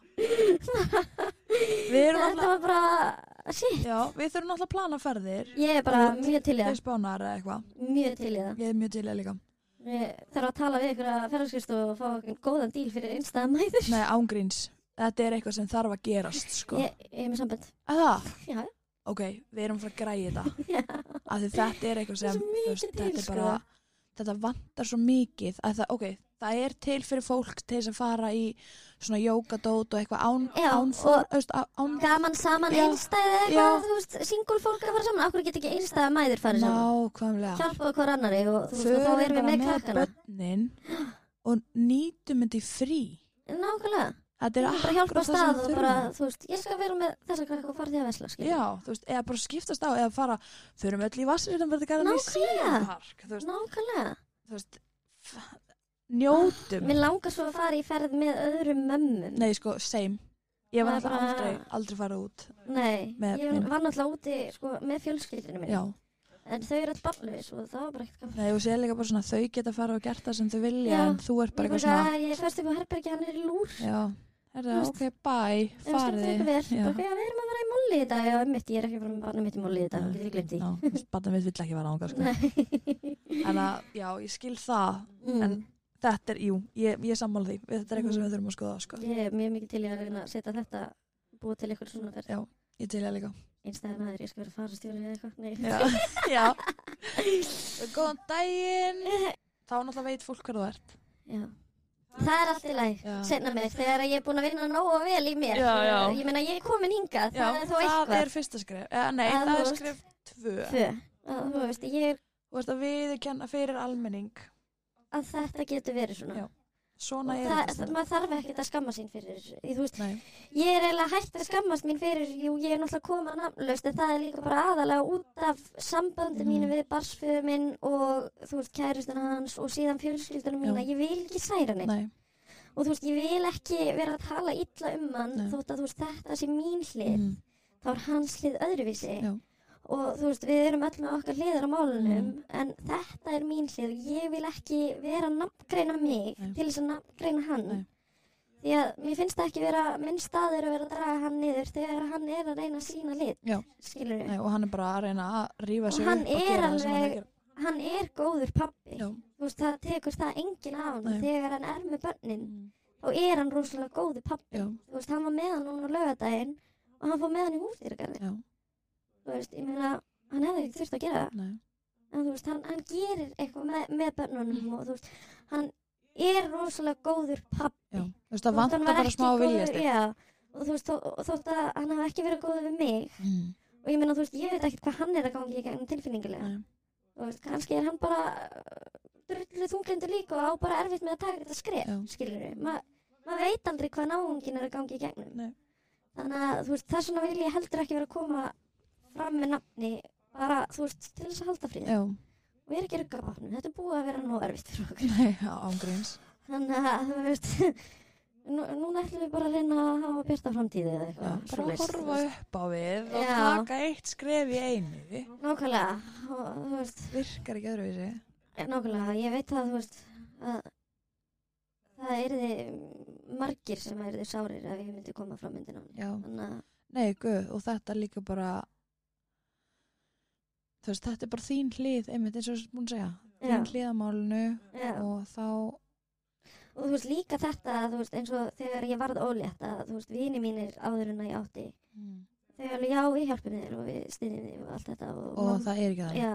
Speaker 2: við erum
Speaker 3: þetta
Speaker 2: alltaf,
Speaker 3: var bara, shit
Speaker 2: já, við þurfum alltaf að plana ferðir.
Speaker 3: ég er bara mjög til í
Speaker 2: Við
Speaker 3: það
Speaker 2: spánar eða eitthvað.
Speaker 3: mjög til í það
Speaker 2: Ég er mjög til í það líka.
Speaker 3: Ég þarf að tala við ykkur að ferðarskist og fá okkur góðan díl fyrir einstæða mæður
Speaker 2: Nei, ángríns. Þetta er eitthvað sem þarf að gerast, sko.
Speaker 3: ég, ég er með sambönd
Speaker 2: Að Það,
Speaker 3: já,
Speaker 2: ok, við erum frá að græja þetta.
Speaker 3: já,
Speaker 2: Af því þetta er eitthvað
Speaker 3: Það er
Speaker 2: sem,
Speaker 3: svo
Speaker 2: þú
Speaker 3: mikið til, sko.
Speaker 2: þetta er bara, þetta vantar svo mikið. Að það, ok, það er til fyrir fólk til þess að fara í svona jókadót og eitthvað án,
Speaker 3: Já,
Speaker 2: án,
Speaker 3: og-
Speaker 2: þú veist, á- án,
Speaker 3: gaman saman
Speaker 2: Já.
Speaker 3: einstæði
Speaker 2: Já.
Speaker 3: eitthvað, þú veist, singul fólk að fara saman okkur get ekki einstæða mæður farið saman
Speaker 2: nákvæmlega.
Speaker 3: hjálpa okkur annari og þú veist, og
Speaker 2: Förum
Speaker 3: þá erum við
Speaker 2: bara
Speaker 3: með krakkana
Speaker 2: börnin og nýtum þetta í frí.
Speaker 3: Nákvæmlega,
Speaker 2: Þetta er
Speaker 3: bara hjálpa
Speaker 2: akkurat það
Speaker 3: að
Speaker 2: sem
Speaker 3: stað
Speaker 2: við
Speaker 3: og bara,
Speaker 2: þurfum.
Speaker 3: þú veist, ég skal vera með þessa krakka og fara því að vesla, skilja.
Speaker 2: Já, þú veist, eða bara skiptast á, eða fara, förum öll í vassirinnverðingarðan í
Speaker 3: Nákvæmlega.
Speaker 2: síðanpark, þú veist,
Speaker 3: Nákvæmlega.
Speaker 2: þú veist f- njótum
Speaker 3: Ah, Mér langar svo að fara í ferð með öðrum mömmum.
Speaker 2: nei sko, same Ég var
Speaker 3: Það er
Speaker 2: alltaf
Speaker 3: bara-
Speaker 2: aldrei, aldrei farið út.
Speaker 3: Nei,
Speaker 2: Með
Speaker 3: ég
Speaker 2: neinu.
Speaker 3: var náttúrulega úti sko, með fjölskyldinu minni
Speaker 2: Já.
Speaker 3: en þau eru alltaf barnlaus og það var bara eitthvað
Speaker 2: Nei, og sér líka bara svona þau geta farið og gert það sem þau vilja
Speaker 3: Já.
Speaker 2: en þú ert bara
Speaker 3: Ég
Speaker 2: eitthvað
Speaker 3: bara,
Speaker 2: svona,
Speaker 3: "Æ, ég fyrst upp á herbergi, hann er í lúr
Speaker 2: já, herra,
Speaker 3: Þú veist,
Speaker 2: ok, bye,
Speaker 3: um skemmt
Speaker 2: farið.
Speaker 3: eitthvað vel,
Speaker 2: Já.
Speaker 3: bara ok, við erum að vera í múli í dag já, mitt, ég er ekki að fara með barnum mitt í múli í dag,
Speaker 2: Nei.
Speaker 3: getur ég glemt því
Speaker 2: Já, barnið mitt vill ekki vera ánga, sko.
Speaker 3: Nei.
Speaker 2: En að, já, ég skil það,
Speaker 3: Mm.
Speaker 2: En- þetta er, jú, ég, ég er sammála því, við- þetta er eitthvað sem
Speaker 3: Mhm.
Speaker 2: við þurfum að skoða, sko.
Speaker 3: Ég er mjög mikið til í að reyna að setja þetta búið til eitthvað svona fyrir
Speaker 2: Já. Ég til ég líka.
Speaker 3: einstæðan aður, ég skal vera fara stjóri eða eitthvað Nei.
Speaker 2: Já, já. Góðan daginn. Þá náttúrulega veit fólk hver þú ert.
Speaker 3: Já. Það er allt í læg,
Speaker 2: Já.
Speaker 3: setna mér, þegar ég er búin að vinna nógu vel í mér
Speaker 2: Já, já.
Speaker 3: Ég meina, ég er komin hingað, það er þó eitthvað
Speaker 2: er fyrsta skrif. Eh, nei,
Speaker 3: Að
Speaker 2: það,
Speaker 3: þú
Speaker 2: er
Speaker 3: ert-
Speaker 2: skrif tvö.
Speaker 3: Tvö. að Þú veist, ég er
Speaker 2: Þú veist að viðurkenna fyrir almenning.
Speaker 3: að þetta getur verið svona
Speaker 2: Já, Svona
Speaker 3: Og
Speaker 2: er
Speaker 3: það,
Speaker 2: þetta
Speaker 3: það,
Speaker 2: stundum.
Speaker 3: maður þarf ekkert að skamma sín fyrir þessu. Þú veist,
Speaker 2: Nei,
Speaker 3: ég er eiginlega hægt að skammast mín fyrir, jú, ég er náttúrulega koma nafnlaust, en það er líka bara aðalega út af sambandi
Speaker 2: Mhm.
Speaker 3: mínu við barsföðu minn og, þú veist, kærustan hans og síðan fjölskyldunum
Speaker 2: Já.
Speaker 3: mína. Ég vil ekki særa neitt.
Speaker 2: nei,
Speaker 3: Og, þú veist, ég vil ekki vera að tala illa um hann,
Speaker 2: Nei.
Speaker 3: þótt að, þú veist, þetta sé mín hlið,
Speaker 2: mhm,
Speaker 3: þá er hans hlið öðruvísi.
Speaker 2: Já.
Speaker 3: Og, þú veist, við erum öll með okkar hliðar á málunum,
Speaker 2: Mhm.
Speaker 3: en þetta er mín hlið og ég vil ekki vera að nafngreina mig
Speaker 2: Nei.
Speaker 3: til þess að nafngreina hann.
Speaker 2: Nei.
Speaker 3: Því að mér finnst það ekki vera, minn staður að vera að draga hann niður þegar hann er að reyna að sína lit,
Speaker 2: Já.
Speaker 3: skilur
Speaker 2: nei, og hann er bara að reyna að rífa
Speaker 3: Og
Speaker 2: sig
Speaker 3: hann
Speaker 2: upp og
Speaker 3: er
Speaker 2: gera það sem hann
Speaker 3: alveg-
Speaker 2: er að gera.
Speaker 3: Hann er góður pappi,
Speaker 2: Já,
Speaker 3: þú veist, það tekur það enginn af hann
Speaker 2: Nei.
Speaker 3: þegar hann er með börnin
Speaker 2: mhm,
Speaker 3: og er hann rosalega góður pappi.
Speaker 2: já,
Speaker 3: Þú veist, hann var með hann núna á lögadaginn og hann fór með hann í húsdýragarði,
Speaker 2: já,
Speaker 3: þú veist, ég meina, hann hefði ekki þurft að gera það.
Speaker 2: nei,
Speaker 3: en þú veist, hann, hann gerir eitthvað með, með börnunum og þú veist, hann er rosalega góður pappi
Speaker 2: já. Þú veist, það vantar bara smá viljast.
Speaker 3: já, og þú veist, þó, þótt að hann hafi ekki verið góður við mig
Speaker 2: Mm,
Speaker 3: og ég meina, þú veist, ég veit ekkert hvað hann er að gangi í gegnum tilfinningulega
Speaker 2: Nei.
Speaker 3: og veist, kannski er hann bara uh, drullu þunglindu líka og á bara erfitt með að taka þetta skref,
Speaker 2: Já.
Speaker 3: skilur við maður veit aldrei hvað náungin er að gangi í gegnum
Speaker 2: Nei.
Speaker 3: þannig að þú veist, þess vegna vil ég heldur ekki vera að koma fram með nafni bara, þú veist, til þess að halda fríð
Speaker 2: já,
Speaker 3: og ég er ekki rugga bátnum, þetta er búið að vera nóg erfitt fyrir okkur.
Speaker 2: nei, já, ángríns.
Speaker 3: Þannig að, þú veist, nú, núna ætlum við bara að reyna að hafa byrta framtíði eða
Speaker 2: Já,
Speaker 3: eitthvað.
Speaker 2: bara
Speaker 3: svoleiðis, þú
Speaker 2: horfa
Speaker 3: veist.
Speaker 2: upp á við og
Speaker 3: Já.
Speaker 2: taka eitt skref í einu.
Speaker 3: Nákvæmlega, og, þú veist,
Speaker 2: Virkar ekki öðruvísi.
Speaker 3: nákvæmlega, ég veit að, þú veist, að það erði margir sem erði sárir ef ég myndi koma fram myndin á hann.
Speaker 2: Já.
Speaker 3: Þannig að,
Speaker 2: Nei, guð, og þetta er líka bara þú veist, þetta er bara þín hlið, einmitt eins og þú ert búin að segja
Speaker 3: já,
Speaker 2: þín hliðamálinu
Speaker 3: já.
Speaker 2: og þá
Speaker 3: Og þú veist, líka þetta, þú veist, eins og þegar ég varð ólétt að, þú veist, vini mínir áður en að ég átti,
Speaker 2: mm,
Speaker 3: þau alveg, já, við hjálpum þér og við styðjum þig og allt þetta. Og,
Speaker 2: og
Speaker 3: mamma-
Speaker 2: það er ekki það
Speaker 3: Já,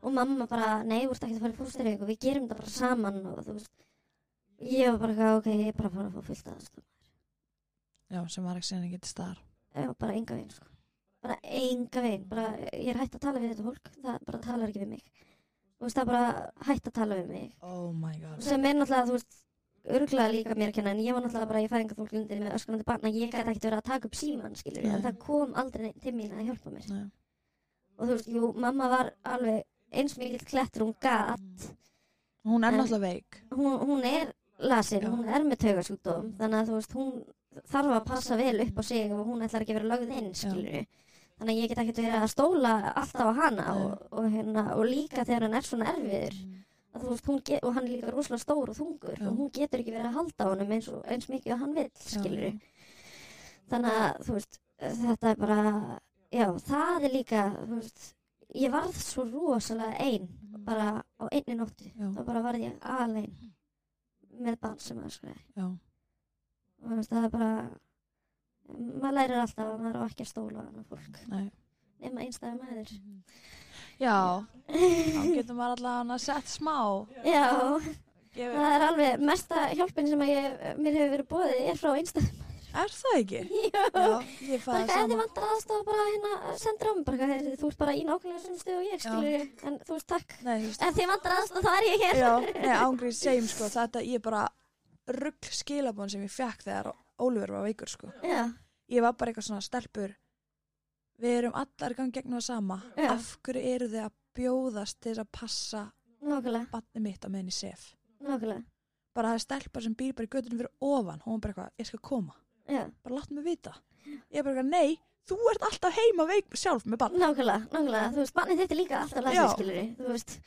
Speaker 3: og mamma bara, nei, þú ert ekki að fara í fóstureyku, við gerum þetta bara saman og þú veist, ég var bara eitthvað, ok, ég er bara að fara að fá fullt að sko.
Speaker 2: já, sem var ekki sinni getið staðar
Speaker 3: Já, bara enga veginn, sko. Bara enga veginn, bara, ég er hætt að tala við þetta fólk, það bara talar ekki við mig. Þú veist, það er bara hætt að tala við mig.
Speaker 2: oh my god
Speaker 3: Sem er náttúrulega, þú veist, örgulega líka mér að kenna, en ég var náttúrulega bara í fæðinga þunglindi með öskrandi barna, ég gæti ekkert verið að taka upp síman, skilur
Speaker 2: Nei.
Speaker 3: en það kom aldrei neinn til mín að hjálpa mér.
Speaker 2: Nei.
Speaker 3: Og þú veist, jú, mamma var alveg eins mikill klettur hún gat,
Speaker 2: hún er
Speaker 3: En-
Speaker 2: náttúrulega veik
Speaker 3: hún, hún er lasin,
Speaker 2: Já.
Speaker 3: hún er með taugasjúkdóm þannig að þú veist, hún þarf að passa vel upp á sig og hún ætlar ekki að vera lögð inn skilur þannig að ég get ekkert verið að stóla alltaf á hana
Speaker 2: Nei.
Speaker 3: og, og, hérna, og líka þegar hann er svona erfiður að þú veist, hún get, og hann er líka rosalega stór og þungur
Speaker 2: Já.
Speaker 3: og hún getur ekki verið að halda á honum eins, og, eins mikið og hann vill skilur
Speaker 2: Já,
Speaker 3: þannig að þú veist, þetta er bara já, það er líka þú veist, ég varð svo rosalega ein
Speaker 2: Mhm.
Speaker 3: bara á einni nóttu
Speaker 2: já,
Speaker 3: þá bara varð ég alein með barn sem að skræði
Speaker 2: já,
Speaker 3: og þú veist, það er bara maður lærir alltaf að maður á ekki að stóla á annað fólk
Speaker 2: nei.
Speaker 3: nema einstæði maður
Speaker 2: já. þá getur maður allavega að setja smá
Speaker 3: já,
Speaker 2: Gefi...
Speaker 3: það er alveg mesta hjálpin sem að ég, mér hefur verið bóðið er frá einstæði
Speaker 2: er það ekki?
Speaker 3: já,
Speaker 2: já, ég fæði
Speaker 3: bara eitthvað ef þið
Speaker 2: saman
Speaker 3: vantar aðstofa bara hérna sendur á mig bara eitthvað, heyrðu, þú ert bara í nákvæmlega sem stuð og ég
Speaker 2: Já.
Speaker 3: skilur en þú veist takk
Speaker 2: nei, þú veist,
Speaker 3: ef þið vantar aðstofa þá er ég hér
Speaker 2: Já, nei, ángríð segjum sko, þetta ég bara rugg skilabón sem ég fekk þegar Ólfur var veikur sko.
Speaker 3: já,
Speaker 2: Ég var bara eitthvað svona stelpur, við erum allar í gang gegnum það sama,
Speaker 3: Já.
Speaker 2: af hverju eru þið að bjóðast til að passa
Speaker 3: nákvæmlega,
Speaker 2: barnið mitt á meðin í sef?
Speaker 3: nákvæmlega
Speaker 2: Bara það er stelpa sem býr bara í götunum fyrir ofan, hún var bara eitthvað, ég skal koma.
Speaker 3: já,
Speaker 2: bara láttu mig vita ég er bara eitthvað, nei, þú ert alltaf heima veik sjálf með barn
Speaker 3: nákvæmlega, nákvæmlega þú veist, barnið þitt er líka
Speaker 2: Já.
Speaker 3: alltaf lasið skilur þú veist,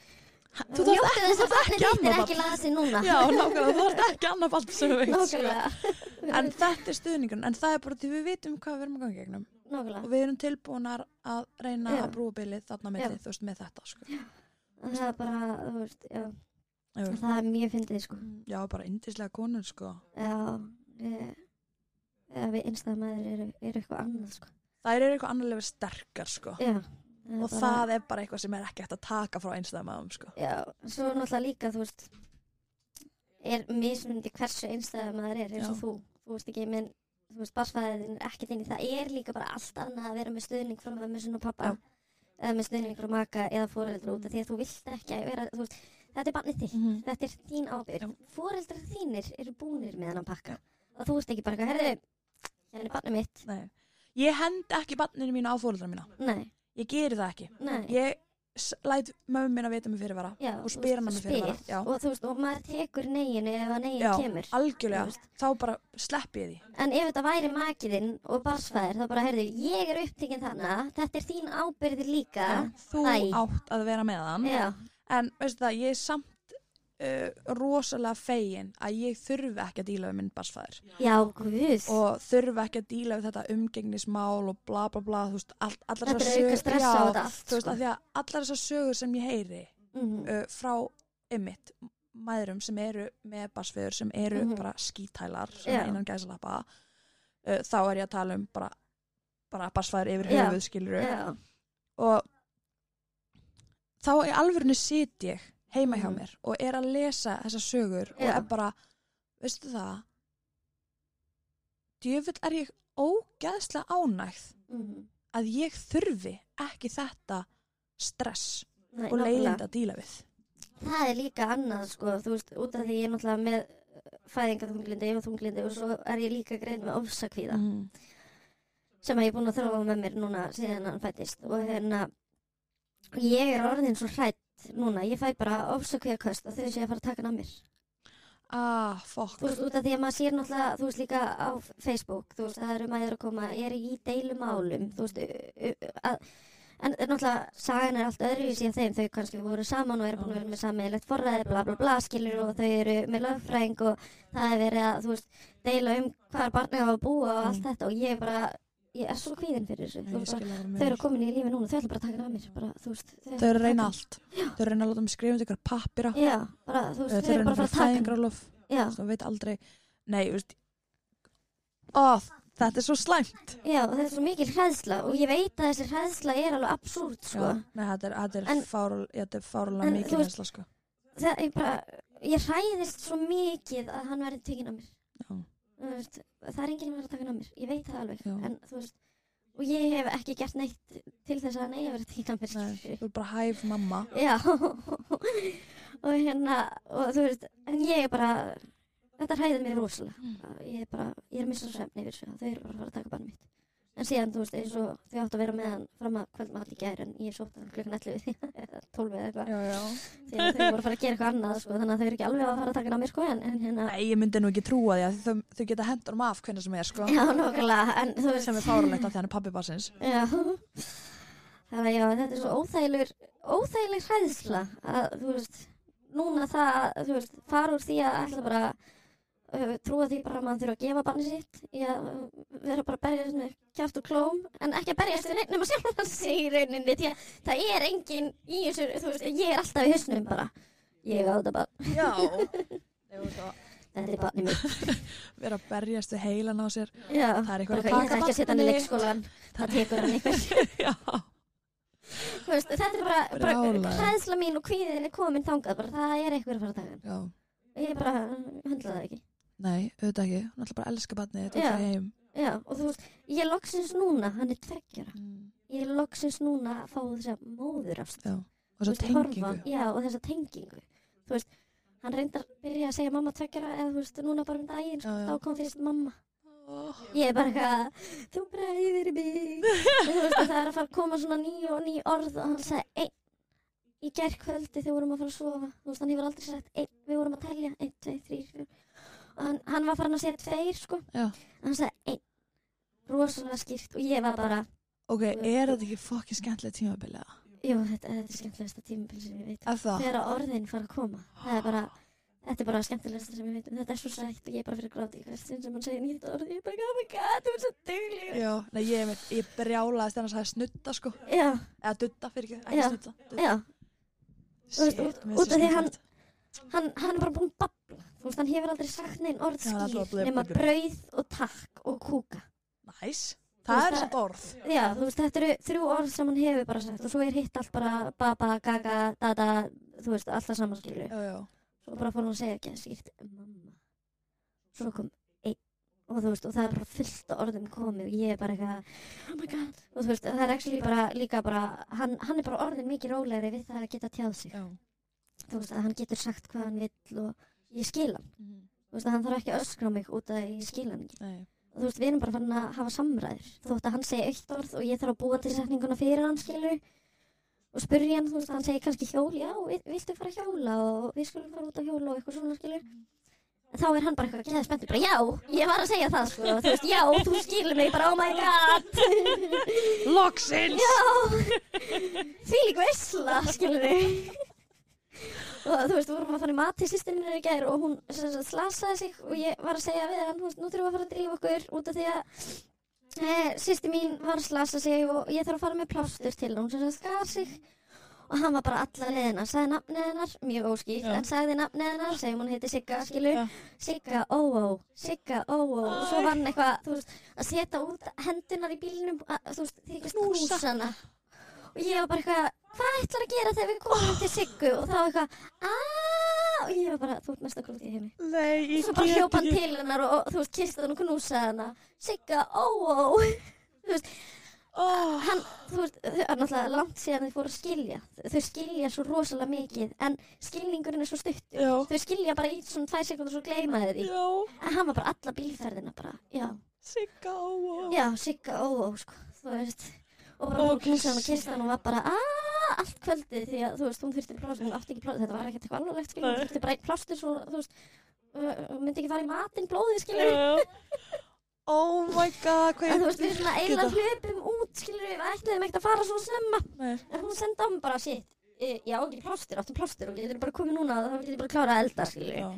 Speaker 2: þú þarft
Speaker 3: njóttu þess að barnið
Speaker 2: ekki
Speaker 3: þitt er
Speaker 2: annað
Speaker 3: ekki lasið núna
Speaker 2: já, nákvæmlega, þú ert ekki annað barn sem við veit sko.
Speaker 3: nákvæmlega,
Speaker 2: en þetta er stuðningun, en það er bara því við vitum hvað við erum að ganga í gegnum og
Speaker 3: nákvæmlega
Speaker 2: við erum tilbúinar að reyna
Speaker 3: Já.
Speaker 2: að brúa bilið þarna með
Speaker 3: Já.
Speaker 2: þið, þú veist, með þetta sko.
Speaker 3: En það er bara, þú veist, já
Speaker 2: Jú.
Speaker 3: það er mjög fyndið sko
Speaker 2: já, bara indislega konur sko.
Speaker 3: já, við, já, við einstæða maður eru, eru eitthvað annað sko
Speaker 2: þær eru eitthvað annarlega sterkar sko.
Speaker 3: já,
Speaker 2: og það er bara eitthvað sem er ekki hægt að taka frá einstæðmaðum sko.
Speaker 3: Já, svo náttúrulega líka, þú veist, er mismunandi hversu einstæða maður er eins og
Speaker 2: Já.
Speaker 3: þú. Þú veist ekki, menn, þú veist, barnsfæðin er ekkert inn í það. Er líka bara allt annað að vera með stuðning frá mömmu sinni og pappa
Speaker 2: Já.
Speaker 3: eða með stuðning frá maka eða fóreldra út af því að þú vilt ekki að vera, þú veist, þetta er barnið þitt.
Speaker 2: Mhm.
Speaker 3: Þetta er þín ábyrgð.
Speaker 2: Já.
Speaker 3: Fóreldrar þínir eru búnir með hann pakka. Og þú veist ekki bara, herðu, hérna er barnið mitt.
Speaker 2: Nei. ég hend ekki barninu mínu á fóreldra mína
Speaker 3: Nei,
Speaker 2: ég geri það ekki
Speaker 3: nei.
Speaker 2: ég s- læt mömmu mín að vita um mig fyrirvara
Speaker 3: Já,
Speaker 2: og
Speaker 3: þú
Speaker 2: spyr
Speaker 3: veist,
Speaker 2: hana mig fyrirvara
Speaker 3: spyr.
Speaker 2: já,
Speaker 3: Og þú veist, og maður tekur neginu ef að negin
Speaker 2: Já,
Speaker 3: kemur. Þú
Speaker 2: algjörlega,
Speaker 3: veist.
Speaker 2: þá bara slepp ég því
Speaker 3: En ef þetta væri makiðinn og barsfæðir, þá bara, heyrðu, ég er upptekinn þannig, þetta er þín ábyrði líka.
Speaker 2: þú
Speaker 3: Æ.
Speaker 2: átt að vera með hann
Speaker 3: Já,
Speaker 2: en veistu það, ég er samt uh, rosalega fegin að ég þurfi ekki að díla við minn barsfæðir
Speaker 3: já, guð.
Speaker 2: og þurfi ekki að díla við þetta umgengnismál og bla bla bla þú veist, all, allar
Speaker 3: þetta
Speaker 2: þessar
Speaker 3: er auka stress á
Speaker 2: já,
Speaker 3: þetta allt. sko.
Speaker 2: þú veist, af því að allar þessar sögur sem ég heyri
Speaker 3: Mhm.
Speaker 2: uh, frá ymmit mæðrum sem eru með basfiður sem eru
Speaker 3: Mhm.
Speaker 2: bara skítælar
Speaker 3: Já.
Speaker 2: svona innan gæsalappa uh, þá er ég að tala um bara, bara basfæður yfir
Speaker 3: Já.
Speaker 2: höfuð skilur
Speaker 3: Já,
Speaker 2: og þá í alvörinu sit ég heima hjá
Speaker 3: Mhm.
Speaker 2: mér og er að lesa þessar sögur og
Speaker 3: Já.
Speaker 2: er bara, veistu það djöfull er ég ógeðslega ánægð
Speaker 3: mhm.
Speaker 2: að ég þurfi ekki þetta stress
Speaker 3: Nei,
Speaker 2: og
Speaker 3: nákvæmlega.
Speaker 2: leiðind að díla við
Speaker 3: Það er líka annað, sko, þú veist, út af því ég er náttúrulega með fæðingatunglindi, ég er tunglindi og svo er ég líka greið með ofsakvíða.
Speaker 2: mm.
Speaker 3: sem að ég er búin að þróa með mér núna síðan hann fættist og hérna ég er orðin svo hrætt núna, ég fæ bara ofsakvíðaköst að þau sé að fara að taka hann af mér
Speaker 2: Ah, fokk.
Speaker 3: þú veist, út af því að maður sér náttúrulega þú veist líka á Facebook, þú veist, það eru maður að koma, eru í deilumálum þú veist, u- u- að En náttúrulega, sagan er allt öðruvísi af þeim, þau kannski voru saman og eru búin að vera með sammeðilegt forræði, bla bla bla, skilur og þau eru með lögfræðing og það er verið að, þú veist, deila um hvar barnið á að búa og
Speaker 2: Mm.
Speaker 3: allt þetta og ég bara, ég er svo kvíðin fyrir þessu, þú
Speaker 2: Ég
Speaker 3: veist,
Speaker 2: skil það
Speaker 3: þau
Speaker 2: mjög
Speaker 3: eru komin í lífi núna, þau ætla bara að taka hann af mér, bara, þú veist,
Speaker 2: vel. Þau eru að reyna allt. Þau eru að reyna að láta mig skrifa um ykkur pappira.
Speaker 3: Já, bara, þú
Speaker 2: Þau
Speaker 3: veist,
Speaker 2: eru að reyna að fara
Speaker 3: hann.
Speaker 2: fæðingralof.
Speaker 3: Já,
Speaker 2: Þú veit aldrei. Nei, þú veist. Ó, þetta er svo slæmt.
Speaker 3: já, og það er svo mikil hræðsla og ég veit að þessi hræðsla er alveg absúrt, sko.
Speaker 2: Já, Nei, þetta er, þetta
Speaker 3: En-
Speaker 2: er, fárál- þetta er fárulega
Speaker 3: En þú
Speaker 2: mikið
Speaker 3: veist-
Speaker 2: hensla, sko.
Speaker 3: Það er bara, ég hræðist svo mikið að hann verði tekinn af mér.
Speaker 2: Já.
Speaker 3: Þú veist, það er enginn að vera að taka hann af mér, ég veit það alveg,
Speaker 2: Já.
Speaker 3: en þú veist, og ég hef ekki gert neitt til þess að hann eigi að vera tekinn af mér,
Speaker 2: Nei,
Speaker 3: skilurðu.
Speaker 2: þú er bara hæf mamma.
Speaker 3: Já, og hérna, og þú veist, en ég er bara, þetta hræðir mér rosalega.
Speaker 2: Mm.
Speaker 3: Ég er bara, ég er að missa svefni yfir þessu, þau eru bara að fara að taka bann mitt. En síðan, þú veist, eins og þau áttu að vera með hann fram að kvöldmátt í gær, en ég sótti hann klukkan 11 eða 12 eða eitthvað.
Speaker 2: Já, já.
Speaker 3: Því að þau voru að fara að gera eitthvað annað, sko, þannig að þau eru ekki alveg að fara að taka hann af mér, sko, en, en hérna,
Speaker 2: Nei, ég myndi nú ekki trúa því að þau, þau geta hendur um af hvernig sem er, sko.
Speaker 3: já, nokkulega, en þú veist,
Speaker 2: Sem er fárulegt af því hann er pappi barsins.
Speaker 3: Já. Þannig að já, þetta er svo óþægilegur, óþægileg hræðsla að, þú veist, núna það, að, þú veist, fara úr því að alltaf bara uh, trúa því bara að maður þurfa að gefa barni sitt í að uh, vera bara að berjast með kjátt og klóm en ekki að berjast við neitt nema sjálfan sig í rauninni því að það er engin í þessu, þú veist, ég er alltaf í hausnum bara ég á þetta bara,
Speaker 2: Já. Nei, þú veist, að
Speaker 3: þetta er barni mitt
Speaker 2: Vera að berjast við heilan á sér.
Speaker 3: Já,
Speaker 2: Það er eitthvað að
Speaker 3: bara ég ætla
Speaker 2: taka
Speaker 3: ekki að setja hann í
Speaker 2: barnið.
Speaker 3: leikskólan það tekur hann einhver
Speaker 2: Já.
Speaker 3: Þú veist, þetta er bara, bara
Speaker 2: Brjálæði.
Speaker 3: hræðsla mín og kvíðin er komin þangað bara, það er einhver að fara að taka hann
Speaker 2: Já.
Speaker 3: ég bara höndla það ekki
Speaker 2: Nei, auðvitað ekki. Hún ætla bara að elska barnið, þetta
Speaker 3: Já.
Speaker 2: er ekki heim.
Speaker 3: já, og þú veist, ég er loksins núna hann er tveggjara, ég er loksins núna að fá þess að móður afst
Speaker 2: Já. Og svo tengingu.
Speaker 3: já, og þessa tengingu þú veist, hann reyndar byrja að segja mamma tveggjara eða þú veist, núna bara um daginn sko,
Speaker 2: Já, já.
Speaker 3: þá kom fyrst mamma ég er bara eitthvað, þú bræðir mig En þú veist, það er að fara að koma svona ný og ný orð og hann sagði einn í gærkvöldi þegar við vorum að fara að sofa þú veist, hann hefur aldrei sagt einn, við vorum að telja einn, tvei, þrý, fjör og hann, hann var farin að segja tveir, sko
Speaker 2: Já.
Speaker 3: hann sagði rosalega skýrt og ég var bara,
Speaker 2: Ok, er þetta ekki fokkin skemmtilega tímabiliða?
Speaker 3: jú, þetta, þetta er skemmtilegasta tímabil sem ég veit. um."
Speaker 2: Er það?
Speaker 3: Þegar að orðin fara að koma, það er bara, þetta er bara skemmtilegasta sem ég veit. um. Þetta er svo sætt og ég er bara fyrir að gráta í hvert sinn sem hann segir nýtt orð. Ég er bara, oh my god, þú er svo dugleg.
Speaker 2: Já, nei, ég, veit, ég brjálaðist þannig að sagði snutta sko
Speaker 3: Já,
Speaker 2: eða dutta fyrir ekki, ekki
Speaker 3: Já.
Speaker 2: snutta dudda.
Speaker 3: já, Þú veist,
Speaker 2: Shit, mér
Speaker 3: út
Speaker 2: finnst
Speaker 3: af því
Speaker 2: það
Speaker 3: hann-
Speaker 2: skemmtilegt.
Speaker 3: hann, hann er bara búinn að babla. Þú veist, hann hefur aldrei sagt neinn orð
Speaker 2: Já, hann er alltaf að
Speaker 3: skýr
Speaker 2: blöð-
Speaker 3: nema
Speaker 2: blöð- blöð.
Speaker 3: brauð og takk og kúka.
Speaker 2: Næs,
Speaker 3: Þú
Speaker 2: það
Speaker 3: veist,
Speaker 2: er
Speaker 3: það-
Speaker 2: samt orð
Speaker 3: Já, þú veist, þetta eru þrjú orð sem hann hefur bara sagt og svo er hitt allt bara baba, gaga, dada, þú veist, alltaf saman skilu.
Speaker 2: Já, já,
Speaker 3: Svo bara fór hann að segja ekki að skýrt mamma. Svo kom einn og þú veist, og það er bara fullt af orðum komið og ég er bara eitthvað, oh my god, og þú veist, það er actually bara líka bara, hann, hann er bara orðin mikið rólegri við það að geta tjáð sig.
Speaker 2: já.
Speaker 3: Þú veist, að hann getur sagt hvað hann vill og ég skil hann.
Speaker 2: Mm,
Speaker 3: Þú veist, að hann þarf ekki að öskra á mig út af að ég skil hann ekki
Speaker 2: Nei,
Speaker 3: þú veist, við erum bara farin að hafa samræður þótt að hann segi eitt orð og ég þarf að búa til setninguna fyrir hann, skilur og spurja hann, þú veist, hann segi kannski hjól já, vi- viltu fara að hjóla og við skulum fara út að hjóla og eitthvað svona, skilur en þá er hann bara eitthvað geðið spenntur, bara já ég var að segja það, sko, þú veist, já, þú skilur mig bara, oh my god
Speaker 2: Loksins!
Speaker 3: já því líka veisla, skilur og þú veist, við vorum að fara í mat til sýstinni í gær og hún sem sagt, slasaði sig og ég var að segja við hann, þú veist, nú þurfum við að fara að drífa okkur út af því að Eh, sýsti mín var að slasa sig og ég þarf að fara með plástur til hún sem sagt skar sig og hann var bara alla leðina, sagði nafnið hennar mjög óskýrt,
Speaker 2: Já.
Speaker 3: en sagði nafnið hennar segjum hún heiti Sigga, skilu
Speaker 2: Já.
Speaker 3: Sigga, ó, ó, Sigga, ó, ó og svo var hann eitthvað, þú veist, að setja út hendunar í bílnum, að, þú veist, þykist
Speaker 2: Knúsa.
Speaker 3: knúsana og ég var bara eitthvað, hvað ætlar að gera þegar við komum til Siggu og þá eitthvað, aaaah og ég var bara, þú ert mest að grúti í heimi
Speaker 2: Nei, ég
Speaker 3: svo bara hljópa hann til hennar og, og þú veist, kista hann og knúsa hana Sigga, ó, ó þú veist,
Speaker 2: oh,
Speaker 3: hann, þú veist, það er náttúrulega langt síðan þau fóru að skilja þau skilja svo rosalega mikið en skilningurinn er svo stuttur
Speaker 2: Já,
Speaker 3: þau skilja bara í svona tvær sekundur svo gleyma þau því
Speaker 2: já,
Speaker 3: en hann var bara alla bílferðina bara, já,
Speaker 2: sigga og
Speaker 3: já, Sigga, ó, ó sko, þú veist og bara
Speaker 2: Ó,
Speaker 3: hún knúsaði hann og
Speaker 2: Kristín.
Speaker 3: kista hann og var bara, aaaah, allt kvöldið því að, þú veist, hún þurfti plástur, hún átti ekki plástur þetta var ekkert eitthvað alvarlegt, skilja, hún
Speaker 2: Nei.
Speaker 3: þurfti bara einn plástur svo, þú veist, uh, hún myndi ekki fara í matinn blóðið, skilja,
Speaker 2: já. Oh my god, hvað
Speaker 3: en þú veist, við svona eiginlega
Speaker 2: þetta?
Speaker 3: hlöpum út, skilja, við ætluðum ekkert að fara svo snemma
Speaker 2: Nei,
Speaker 3: En hún sendi á mig bara sitt Ég á ekki plástur, áttu plástur og ég er bara komið núna og þá get ég bara klárað að elda, skilju.
Speaker 2: já,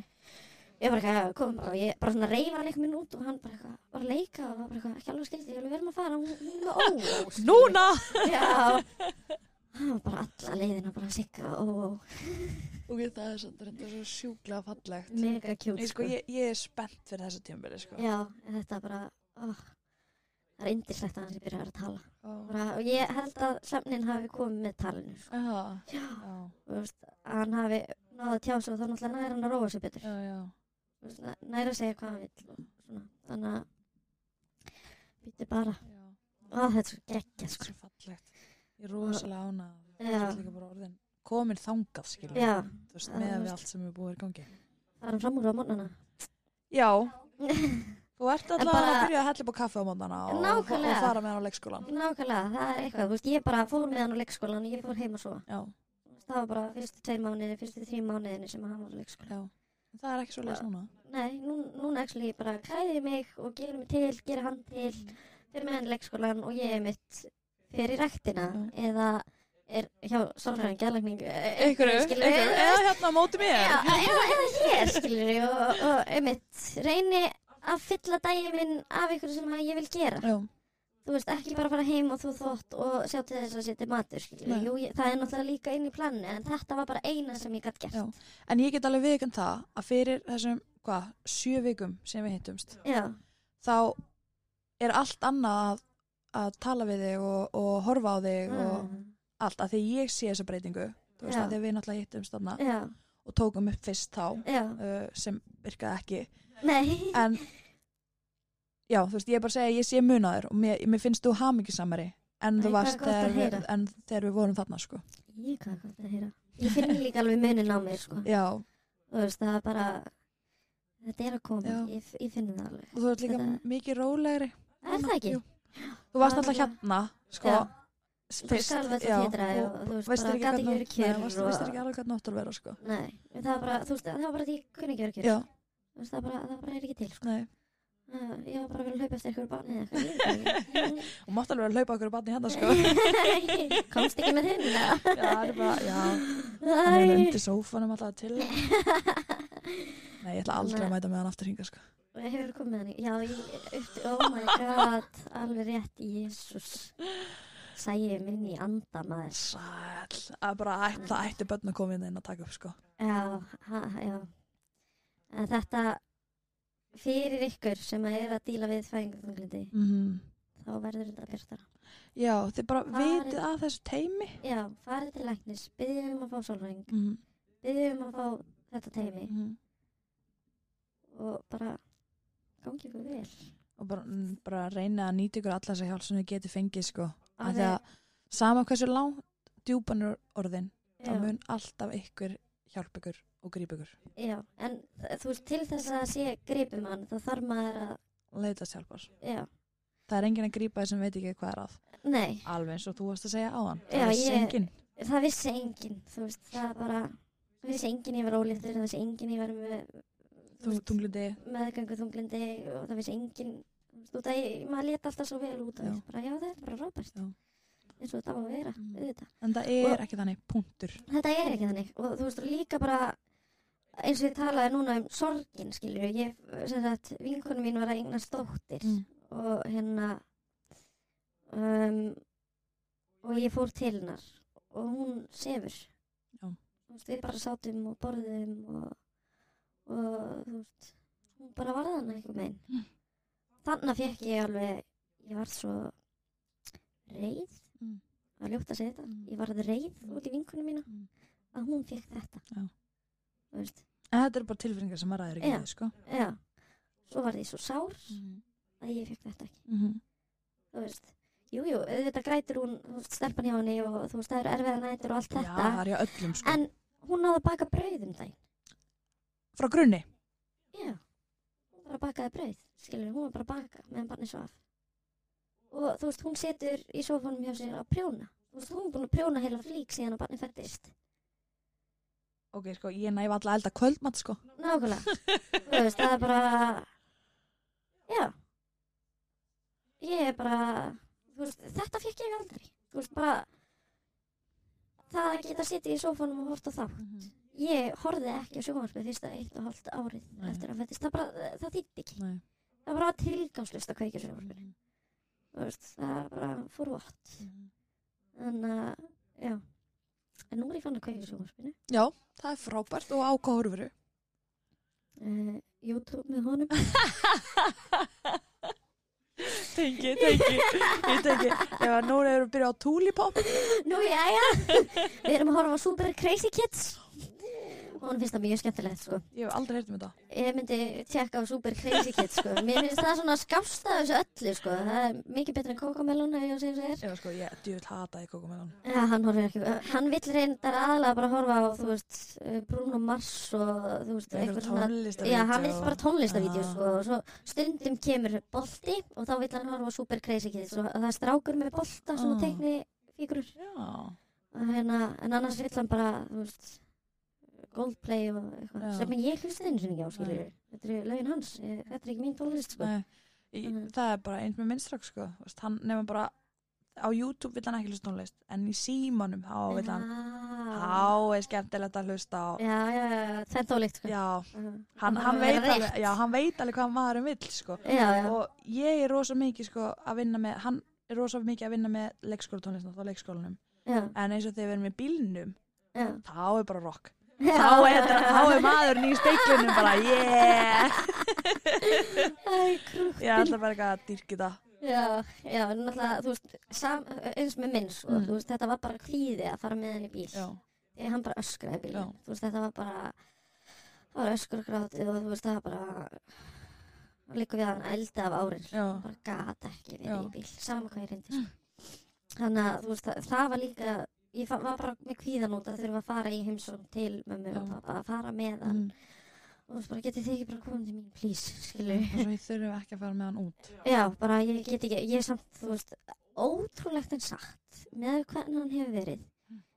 Speaker 3: Ég var bara eitthvað, kom bara og ég bara svona reyfa leikum minn út og hann bara eitthvað, var að leika og var bara eitthvað, ekki alveg skildi, ég alveg verðum að fara, hún hún var ó, skilju.
Speaker 2: núna!
Speaker 3: Já. Hann var bara alla leiðina bara að sigga og
Speaker 2: Ok, það er samt reynda svo sjúklega fallegt.
Speaker 3: mega kjút,
Speaker 2: Nei, sko, ég, ég er spennt fyrir þessu tímabili, sko.
Speaker 3: Já, en þetta er bara, ó, það er yndislegt að hann sem byrjar að tala.
Speaker 2: Ó,
Speaker 3: Bara, og ég held að svefnin hafi komið með talinu, sko.
Speaker 2: Já,
Speaker 3: Já.
Speaker 2: já,
Speaker 3: Þú veist, hann hafi náða tjá sig og þá náttúrulega næra hann að róa sig betur.
Speaker 2: já, já.
Speaker 3: Þú veist, næ- nær að segja hvað hann vill og svona. þannig að býttu bara
Speaker 2: já.
Speaker 3: á þetta er svo geggja
Speaker 2: Svo
Speaker 3: sko.
Speaker 2: fallegt. Ég er rosalega ánað.
Speaker 3: Já.
Speaker 2: Ég er líka bara orðin komin þangað, skilur.
Speaker 3: já,
Speaker 2: Þú veist,
Speaker 3: Já,
Speaker 2: með
Speaker 3: þú
Speaker 2: við
Speaker 3: veist.
Speaker 2: allt sem er búið í gangi.
Speaker 3: það er hann fram úr á mornana
Speaker 2: Já. Þú ert alltaf
Speaker 3: bara-
Speaker 2: að byrja að hella upp á kaffe á móndana og, og,
Speaker 3: Nákvæmlega.
Speaker 2: og fara með hann á leikskólan.
Speaker 3: nákvæmlega, það er eitthvað, þú veist, ég bara fór með hann á leikskólan og ég fór heim að sofa
Speaker 2: Já,
Speaker 3: Þú veist, það var bara fyrstu tveir mánuði, fyrstu þrjú mánuðinni sem hann var á leikskólan
Speaker 2: já. En Það er ekki svo leis núna.
Speaker 3: nei, nú, núna actually bara klæði ég mig og gerir mig til, gerir hann til fyrir með hann í leikskólan og ég er mitt fyrir rektina
Speaker 2: Mm.
Speaker 3: eða er hjá sálfræðin, geðlækning
Speaker 2: Einhverju, einhverju. Eða hérna á móti mér.
Speaker 3: Já, eða, eða hér, skilur ég, og, og einmitt, reyni að fylla daginn minn af ykkur sem að ég vil gera.
Speaker 2: Já,
Speaker 3: Þú veist, ekki bara fara heim og þú þótt og sjá til þess að setja matur, skilur
Speaker 2: Nei.
Speaker 3: Jú, ég, það er náttúrulega líka inn í planinu, en þetta var bara eina sem ég gætt gert.
Speaker 2: Já. en ég get alveg viðkjönd það að fyrir þessum, hvað, sjö vikum sem við hittumst,
Speaker 3: Já,
Speaker 2: þá er allt annað að, að tala við þig og, og horfa á þig og
Speaker 3: mm,
Speaker 2: allt, að því ég sé þessa breytingu þú veist,
Speaker 3: Já.
Speaker 2: að því við náttúrulega hittumst þarna
Speaker 3: já,
Speaker 2: og tókum upp fyrst þá
Speaker 3: já,
Speaker 2: uh, sem virkaði ekki
Speaker 3: nei,
Speaker 2: en já, þú veist, ég er bara að segja að ég sé munaður og mér, mér finnst þú hamingisamari en
Speaker 3: Æ,
Speaker 2: þú
Speaker 3: hvað er
Speaker 2: varst
Speaker 3: gott að
Speaker 2: þegar við,
Speaker 3: heyra.
Speaker 2: en þegar við vorum þarna sko.
Speaker 3: ég hvað gott að heyra. Ég finn líka alveg munin á mér, sko.
Speaker 2: já,
Speaker 3: Þú veist, það er bara, þetta er að koma,
Speaker 2: Já.
Speaker 3: ég, ég finn það alveg.
Speaker 2: og þú ert líka
Speaker 3: Þetta-
Speaker 2: mikið rólegri
Speaker 3: Er það ekki?
Speaker 2: Jú. þú varst
Speaker 3: Það
Speaker 2: alltaf
Speaker 3: var-
Speaker 2: hérna sko,
Speaker 3: Já. Þú
Speaker 2: fyrst
Speaker 3: skalf
Speaker 2: já,
Speaker 3: þetta tétra, já,
Speaker 2: og
Speaker 3: þú veist,
Speaker 2: veist
Speaker 3: bara
Speaker 2: ekki
Speaker 3: gæti
Speaker 2: hvernig-
Speaker 3: ekki verið kjör.
Speaker 2: Nei, varst- veist ekki alveg hvernig áttur að vera sko.
Speaker 3: Nei, en það var bara, þú veist, það var bara því kunni ekki verið kjör.
Speaker 2: já,
Speaker 3: Þú veist, það bara, það bara er ekki til, sko.
Speaker 2: nei,
Speaker 3: Já, ég var bara að vera að hlaupa eftir ykkur barni eða eitthvað.
Speaker 2: og mátt alveg að hlaupa okkur barni hérna sko
Speaker 3: Sko. Komst ekki með þinn, eða?
Speaker 2: já, það er bara, já, hann er
Speaker 3: Æ.
Speaker 2: undir sófanum alltaf til nei, ég ætla aldrei að mæta með hann aftur hinga sko
Speaker 3: Hefur komið með hann? í- Já, ég, upp, oh my god, alveg rétt, Jésús. Sæði minn í andamaður.
Speaker 2: sæl, það er bara ætt, það ætti börn að koma inn inn að taka upp sko
Speaker 3: Já, ha, já. En þetta, fyrir ykkur sem er að díla við fæðingarþunglindi,
Speaker 2: mm.
Speaker 3: Mhm. þá verður þetta bjartara.
Speaker 2: já, þið bara
Speaker 3: Farið-
Speaker 2: vitið að þessu teimi
Speaker 3: Já, farið til læknis, byggjum um að fá sólhæng,
Speaker 2: mm.
Speaker 3: byggjum um að fá þetta teimi
Speaker 2: Mm.
Speaker 3: og bara gangi ykkur vel.
Speaker 2: og bara, mm, bara reyna að nýta ykkur alla þessa hjálp sem þið getið fengið sko af því
Speaker 3: Alveg-
Speaker 2: að sama hversu langt djúpanur orðin þá
Speaker 3: Já.
Speaker 2: mun alltaf ykkur hjálp ykkur og gríp ykkur
Speaker 3: Já, en þ- þú veist, til þess að sé gripum hann, þá þarf maður að,
Speaker 2: leitast hjálpar
Speaker 3: já,
Speaker 2: það er enginn að grípa þið sem veit ekki hvað er að
Speaker 3: nei,
Speaker 2: alveg eins og þú varst að segja áðan
Speaker 3: Já,
Speaker 2: það
Speaker 3: ég-
Speaker 2: er enginn
Speaker 3: það vissi enginn, þú veist, það er bara, það vissi enginn ég var óléttur, það vissi enginn ég var með,
Speaker 2: þú tunglindi
Speaker 3: meðgöngu þunglindi og það vissi enginn, þú veist, út að ég, maður leta alltaf svo vel út af
Speaker 2: Já.
Speaker 3: því, bara já, það er bara Robert,
Speaker 2: Já.
Speaker 3: eins og þetta á að vera,
Speaker 2: Mm.
Speaker 3: auðvitað.
Speaker 2: en það er ekki þannig punktur
Speaker 3: Þetta er ekki þannig og þú veist, og líka bara, eins og ég talaði núna um sorgin, skilur ég, sem sagt, vinkonum mín var að eignast dóttir
Speaker 2: Mm.
Speaker 3: og hérna um, og ég fór til hennar og hún sefur
Speaker 2: Já.
Speaker 3: Þú veist, við bara sátum og borðum og, og þú veist hún bara varða hana einhvern veginn
Speaker 2: Mm.
Speaker 3: þannig að fekk ég alveg ég var svo reið
Speaker 2: Mm.
Speaker 3: að ljóta að segja þetta
Speaker 2: Mm.
Speaker 3: ég varð reið
Speaker 2: Mm.
Speaker 3: út í vinkunum mína
Speaker 2: Mm.
Speaker 3: að hún fekk þetta
Speaker 2: Já.
Speaker 3: Þú veist,
Speaker 2: en þetta eru bara tilfinningar sem maður ræður ekki
Speaker 3: Já.
Speaker 2: við sko
Speaker 3: já. svo varð ég svo sár
Speaker 2: mm.
Speaker 3: að ég fekk þetta ekki
Speaker 2: Mm.
Speaker 3: þú veist, jújú, jú, auðvitað grætur hún, þú veist, stelpan hjá henni og þú veist, það eru erfiða nætur og allt
Speaker 2: já,
Speaker 3: þetta,
Speaker 2: það er hjá öllum sko
Speaker 3: en hún náði að baka brauð um daginn.
Speaker 2: frá grunni
Speaker 3: Já, hún bara bakaði brauð, skilur, hún var bara að baka meðan barnið svaf. Og þú veist, hún setur í sofanum hjá sér að prjóna. Þú veist, hún er búin að prjóna heila flík síðan að barnið fættist.
Speaker 2: ok, sko, ég næf alltaf elda kvöldmatt sko
Speaker 3: Nákvæmlega, þú veist, það er bara, já, ég er bara, þú veist, þetta fekk ég aldrei, þú veist, bara, það að geta sitið í sofanum og horta þá. ég horfði ekki á sjónvarpið fyrsta eitt og hálft árið
Speaker 2: Nei.
Speaker 3: eftir að fættist, það bara, það þýtti ekki
Speaker 2: Nei.
Speaker 3: það var bara tilgangslust að kveikja á sjónvarpinu Þú veist, það bara fór vott þannig að, já en nú er ég fann að kveikja á sjónvarpinu
Speaker 2: já, það er frábært og ákváður
Speaker 3: uh, YouTube með honum
Speaker 2: Tengi, tengi, ég tengi Ef að núna erum við að byrja á Tulipop
Speaker 3: nú, já, já, við erum að horfa á Super Crazy Kids hún finnst það mjög skemmtilegt, sko
Speaker 2: Ég hef aldrei heyrt um þetta
Speaker 3: ég myndi tjekka á Super Crazy Kids, sko mér finnst það svona skásta þessu öllu, sko það er mikið betra en Cocomelon, ef ég á að segja svo er
Speaker 2: Ég var sko, ég djúvill hata í kókumelan
Speaker 3: Já, hann horfir ekki, hann vill reyndar aðalega bara horfa á, þú veist, eh, Bruno Mars og, þú veist,
Speaker 2: Eitthvað tónlistavídeó.
Speaker 3: Já, hann vill bara tónlistavídeó,
Speaker 2: Ah.
Speaker 3: sko, og svo stundum kemur bolti og þá vill hann horfa á Super Crazy Kids og það er strákur með bolta, svona
Speaker 2: Ah.
Speaker 3: ah. tekni fígrur,
Speaker 2: Já,
Speaker 3: og hérna, en annars vill hann bara, þú veist, Goldplay og eitthvað,
Speaker 2: Já.
Speaker 3: sem ég hlusti þinn sem ekki á, skilur, þetta eru lögin hans, eh, þetta er ekki mín tónlist, sko.
Speaker 2: nei ég,
Speaker 3: Mhm.
Speaker 2: Það er bara eins með minnstrak sko Vist, Hann nefnum bara Á YouTube vill hann ekki hlusta á tónlist En í símanum, þá vill hann
Speaker 3: Já,
Speaker 2: Þá er skemmtilegt að hlusta á
Speaker 3: já, já, já, tvennt ólíkt, sko.
Speaker 2: Já,
Speaker 3: Hann,
Speaker 2: hann, hann, veit alveg, já, hann veit alveg hvað maðurinn vill sko
Speaker 3: Já, já,
Speaker 2: og ég er rosa mikið sko að vinna með, hann er rosa mikið að vinna með leikskóla tónlist á leikskólanum
Speaker 3: já,
Speaker 2: en eins og þegar við erum í bílnum
Speaker 3: já.
Speaker 2: þá er bara rock þá er, þetta- þá er maðurinn í speiklunum bara yeah ég ætla bara eitthvað að dyrki það
Speaker 3: Já, já, en náttúrulega, þú veist, sam, eins með minn, sko,
Speaker 2: Mm.
Speaker 3: þú veist, þetta var bara kvíði að fara með hann í bíl.
Speaker 2: já,
Speaker 3: Þegar hann bara öskraði í bíl.
Speaker 2: Já.
Speaker 3: Þú veist, þetta var bara, það var öskur og grátið og þú veist, það var bara, líka við hann eldi af árin.
Speaker 2: já,
Speaker 3: Bara gata ekki verið
Speaker 2: Já.
Speaker 3: í bíl, sama hvað ég reyndi, sko. Þannig að, þú veist, það, það var líka, ég fa- var bara með kvíðan út að þurfa að fara í heimsum til mömmu og
Speaker 2: Já.
Speaker 3: pappa, að fara með hann.
Speaker 2: mm.
Speaker 3: Og þú veist, bara getið þið ekki bara komið til mín, please, skilur.
Speaker 2: og svo ég þurfum ekki að fara með hann út
Speaker 3: Já, bara ég get ekki, ég er samt, þú veist, ótrúlegt en satt með hvernig hann hefur verið.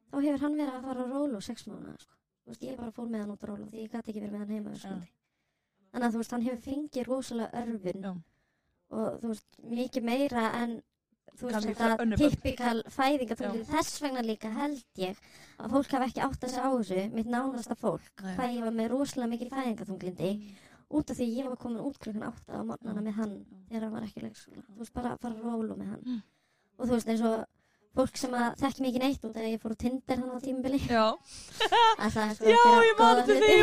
Speaker 3: Þá hefur hann verið að fara á rólu sex mánuða, sko. Þú veist, ég bara fór með hann út á rólu því ég gæti ekki verið með hann heima, sko. þannig að þú veist, hann hefur fengið rosalega örfun
Speaker 4: Já.
Speaker 3: og þú veist, mikið meira en þú veist,
Speaker 2: Kannski fæ-
Speaker 3: þetta
Speaker 2: önnur börn.
Speaker 3: typikal fæðinga þess vegna líka held ég að fólk hafi ekki átt að segja á þessu mitt nánasta fólk,
Speaker 4: Nei.
Speaker 3: hvað ég var með rosalega mikið fæðingatunglindi út af því ég var komin út klukkan átta á morgnana
Speaker 4: Já.
Speaker 3: með hann
Speaker 4: Já.
Speaker 3: þegar hann var ekki í leikskóla, þú veist, bara að fara að rólu með hann
Speaker 4: Mm.
Speaker 3: og þú veist, eins og fólk sem að þekki mikið neitt út af því að ég fór á Tinder hann á tímbili
Speaker 2: Já.
Speaker 3: að það er sko
Speaker 2: Já,
Speaker 3: að gera
Speaker 2: ég man
Speaker 3: góða
Speaker 2: eftir
Speaker 3: hluti.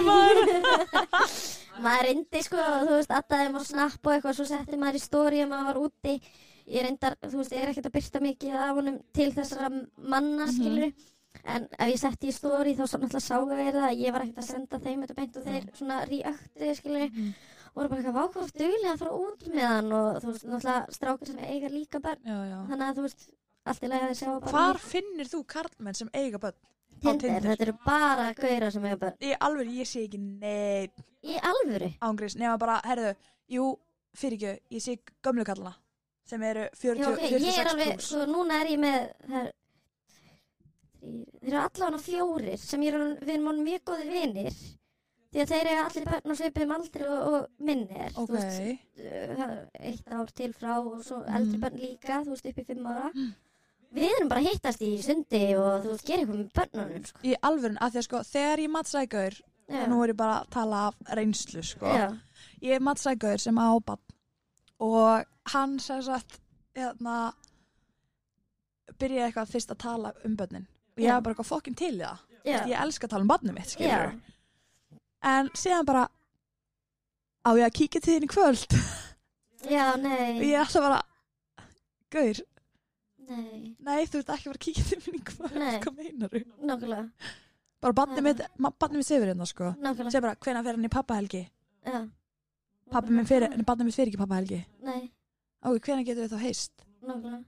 Speaker 2: því,
Speaker 3: maður reyndi sko, þú veist, addaði maður snapp og eitthvað, svo setti maður í stóri að maður var úti ég reyndar, þú veist, ég er ekkert að byrta mikið af honum til þessara manna
Speaker 4: Mhm.
Speaker 3: skilur en ef ég setti í stóri þá svo náttúrulega sáu þeir það að ég var ekkert að senda þeim þetta beint og þeir
Speaker 2: Mm.
Speaker 3: svona ríöktu skilur
Speaker 4: Mhm.
Speaker 3: og voru bara eitthvað vákvort duglega að fara út með hann og þú veist, náttúrulega strákar sem eiga líka börn
Speaker 2: Já, já.
Speaker 3: þannig að þú veist, allt í lagi að þeir sjá bara
Speaker 2: Hvar finnir þú karlmenn sem eiga börn?
Speaker 3: Tinder,
Speaker 2: Tinder?
Speaker 3: þetta eru bara gauðra sem eiga börn
Speaker 2: Ég alveg, ég sé ekki neitt
Speaker 3: í alvöru
Speaker 2: ángriðs. Nefna bara, herðu, jú, fyrir ekki, ég sé gömlu kallana sem eru 40,
Speaker 3: Já, ok, ég er
Speaker 2: 46
Speaker 3: alveg,
Speaker 2: pluss.
Speaker 3: svo núna er ég með það er, þeir eru allavega fjórir sem ég er, orðin- við erum honum mjög góðir vinir því að þeir eru allir börn og svipum aldri og, og minni er
Speaker 2: Ok,
Speaker 3: þú veist, uh, það er eitt ár til frá og svo eldri
Speaker 2: Mm.
Speaker 4: Mhm.
Speaker 3: börn líka, þú veist, upp í fimm ára við erum bara að hittast í sundi og þú veist, gera eitthvað með börnunum sko.
Speaker 2: í alveg, að því að sko, þegar ég mattsækaur,
Speaker 3: Já,
Speaker 2: nú er ég bara að tala af reynslu, sko.
Speaker 3: já,
Speaker 2: Ég er mattsækaur sem á bann og hann sem sagt, hérna, byrjaði eitthvað fyrst að tala um börnin. Og ég
Speaker 3: Já.
Speaker 2: hef bara eitthvað fokkin til í það.
Speaker 3: já,
Speaker 2: Ég elska að tala um barnið mitt,
Speaker 3: já,
Speaker 2: skilur. En síðan bara, á ég að kíkja til þín í kvöld.
Speaker 3: já, nei,
Speaker 2: Og ég ætla bara, gaur,
Speaker 3: nei,
Speaker 2: Nei, þú ert ekki bara að kíkja til mín í kvöld,
Speaker 3: Nei.
Speaker 2: hvað meinar þú?
Speaker 3: nákvæmlega,
Speaker 2: Bara barnið
Speaker 3: Já.
Speaker 2: mitt, ma- barnið mitt sefur hérna, sko.
Speaker 3: nákvæmlega,
Speaker 2: Segð bara, hvenær fer hann í pappahelgi?
Speaker 3: já,
Speaker 2: Pappi minn fer, en barnið mitt fer ekki í pappahelgi.
Speaker 3: nei,
Speaker 2: Ok, hvenær getur við þá heist?
Speaker 3: nákvæmlega,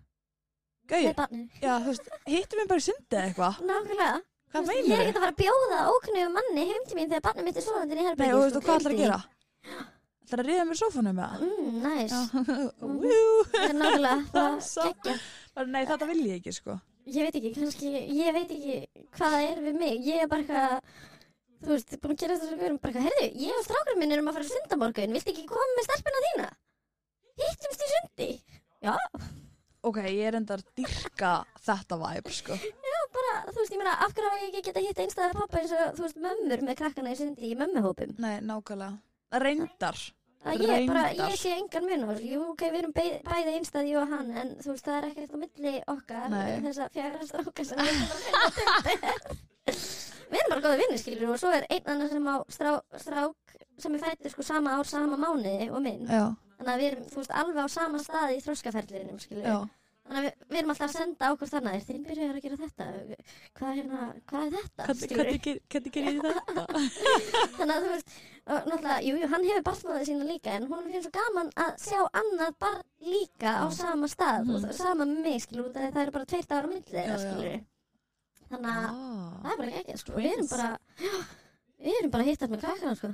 Speaker 2: Gauð,
Speaker 3: með barnið.
Speaker 2: já, þú veist, hittum við bara í sundi eða eitthvað.
Speaker 3: Nákvæmlega.
Speaker 2: Hvað
Speaker 3: Þú veist, Ég
Speaker 2: meinar
Speaker 3: er
Speaker 2: þú?
Speaker 3: ekkert að fara að bjóða ókunnugum manni heim til mín þegar barnið mitt er svoðandi í
Speaker 2: Nei,
Speaker 3: herbergi. sko,
Speaker 2: og þú veist, og hvað ætlar að
Speaker 3: gleymdu
Speaker 2: gera? Ætlar að riða mér í sófanum með
Speaker 3: því. Mm, næs.
Speaker 2: það?
Speaker 3: Mhm.
Speaker 2: Woo!
Speaker 3: Það er nákvæmlega. Það
Speaker 2: Sá.
Speaker 3: geggja.
Speaker 2: Bara, Nei, þetta vil ég ekki, sko.
Speaker 3: Ég veit ekki, kannski, ég veit ekki hvað það er við mig. Ég er bara eitthvað, þú veist, búin að gera þessu við erum bara eitthvað, herðu, ég og strákurinn minn erum að fara að sunda á morgun, viltu ekki koma með stelpuna þína? Hittumst í sundi.
Speaker 2: Ok, ég er endar dyrka þetta væp, sko.
Speaker 3: Bara, þú veist, ég meina, af hverju á ég ekki að geta hitt einstæða pappa eins og, þú veist, mömmur með krakkana í sundi í mömmuhópum?
Speaker 2: Nei, nákvæmlega. Reyndar.
Speaker 3: að ég bara,
Speaker 2: Reyndar.
Speaker 3: ég sé engan munur jú, ok, við erum bæ- bæði einstæð ég og hann, en þú veist, það er ekkert á milli okkar,
Speaker 2: Nei.
Speaker 3: þess að fjara stráka sem við erum að finna til. við erum bara góða vinnir, skilur og svo er einn annar sem á strá, strák sem er fættur sko sama ár, sama mánuði og minn,
Speaker 2: Já,
Speaker 3: þannig að við erum, þú veist, alveg á sama staði í þróskaferlinum, skilur
Speaker 2: já.
Speaker 3: þannig að við, við erum alltaf að senda á hvort þannig þinn byrjar að gera þetta hvað er, hérna, hvað er þetta,
Speaker 2: Hvernig- Hvernig ger- hvernig ger ég þetta?
Speaker 3: þannig að þú veist og náttúrulega, jú, jú, hann hefur barnmóðið sína líka en hún finnst svo gaman að sjá annað barn líka á sama stað
Speaker 2: Mhm.
Speaker 3: og það- sama með mig, skilur, út af því það eru bara tveir dagar á myndið þeirra,
Speaker 2: Já, já.
Speaker 3: skilur þannig að
Speaker 2: Ah.
Speaker 3: það er bara ekki, sko, við erum
Speaker 2: Twins.
Speaker 3: bara já, við erum bara að hittast með krakkana, sko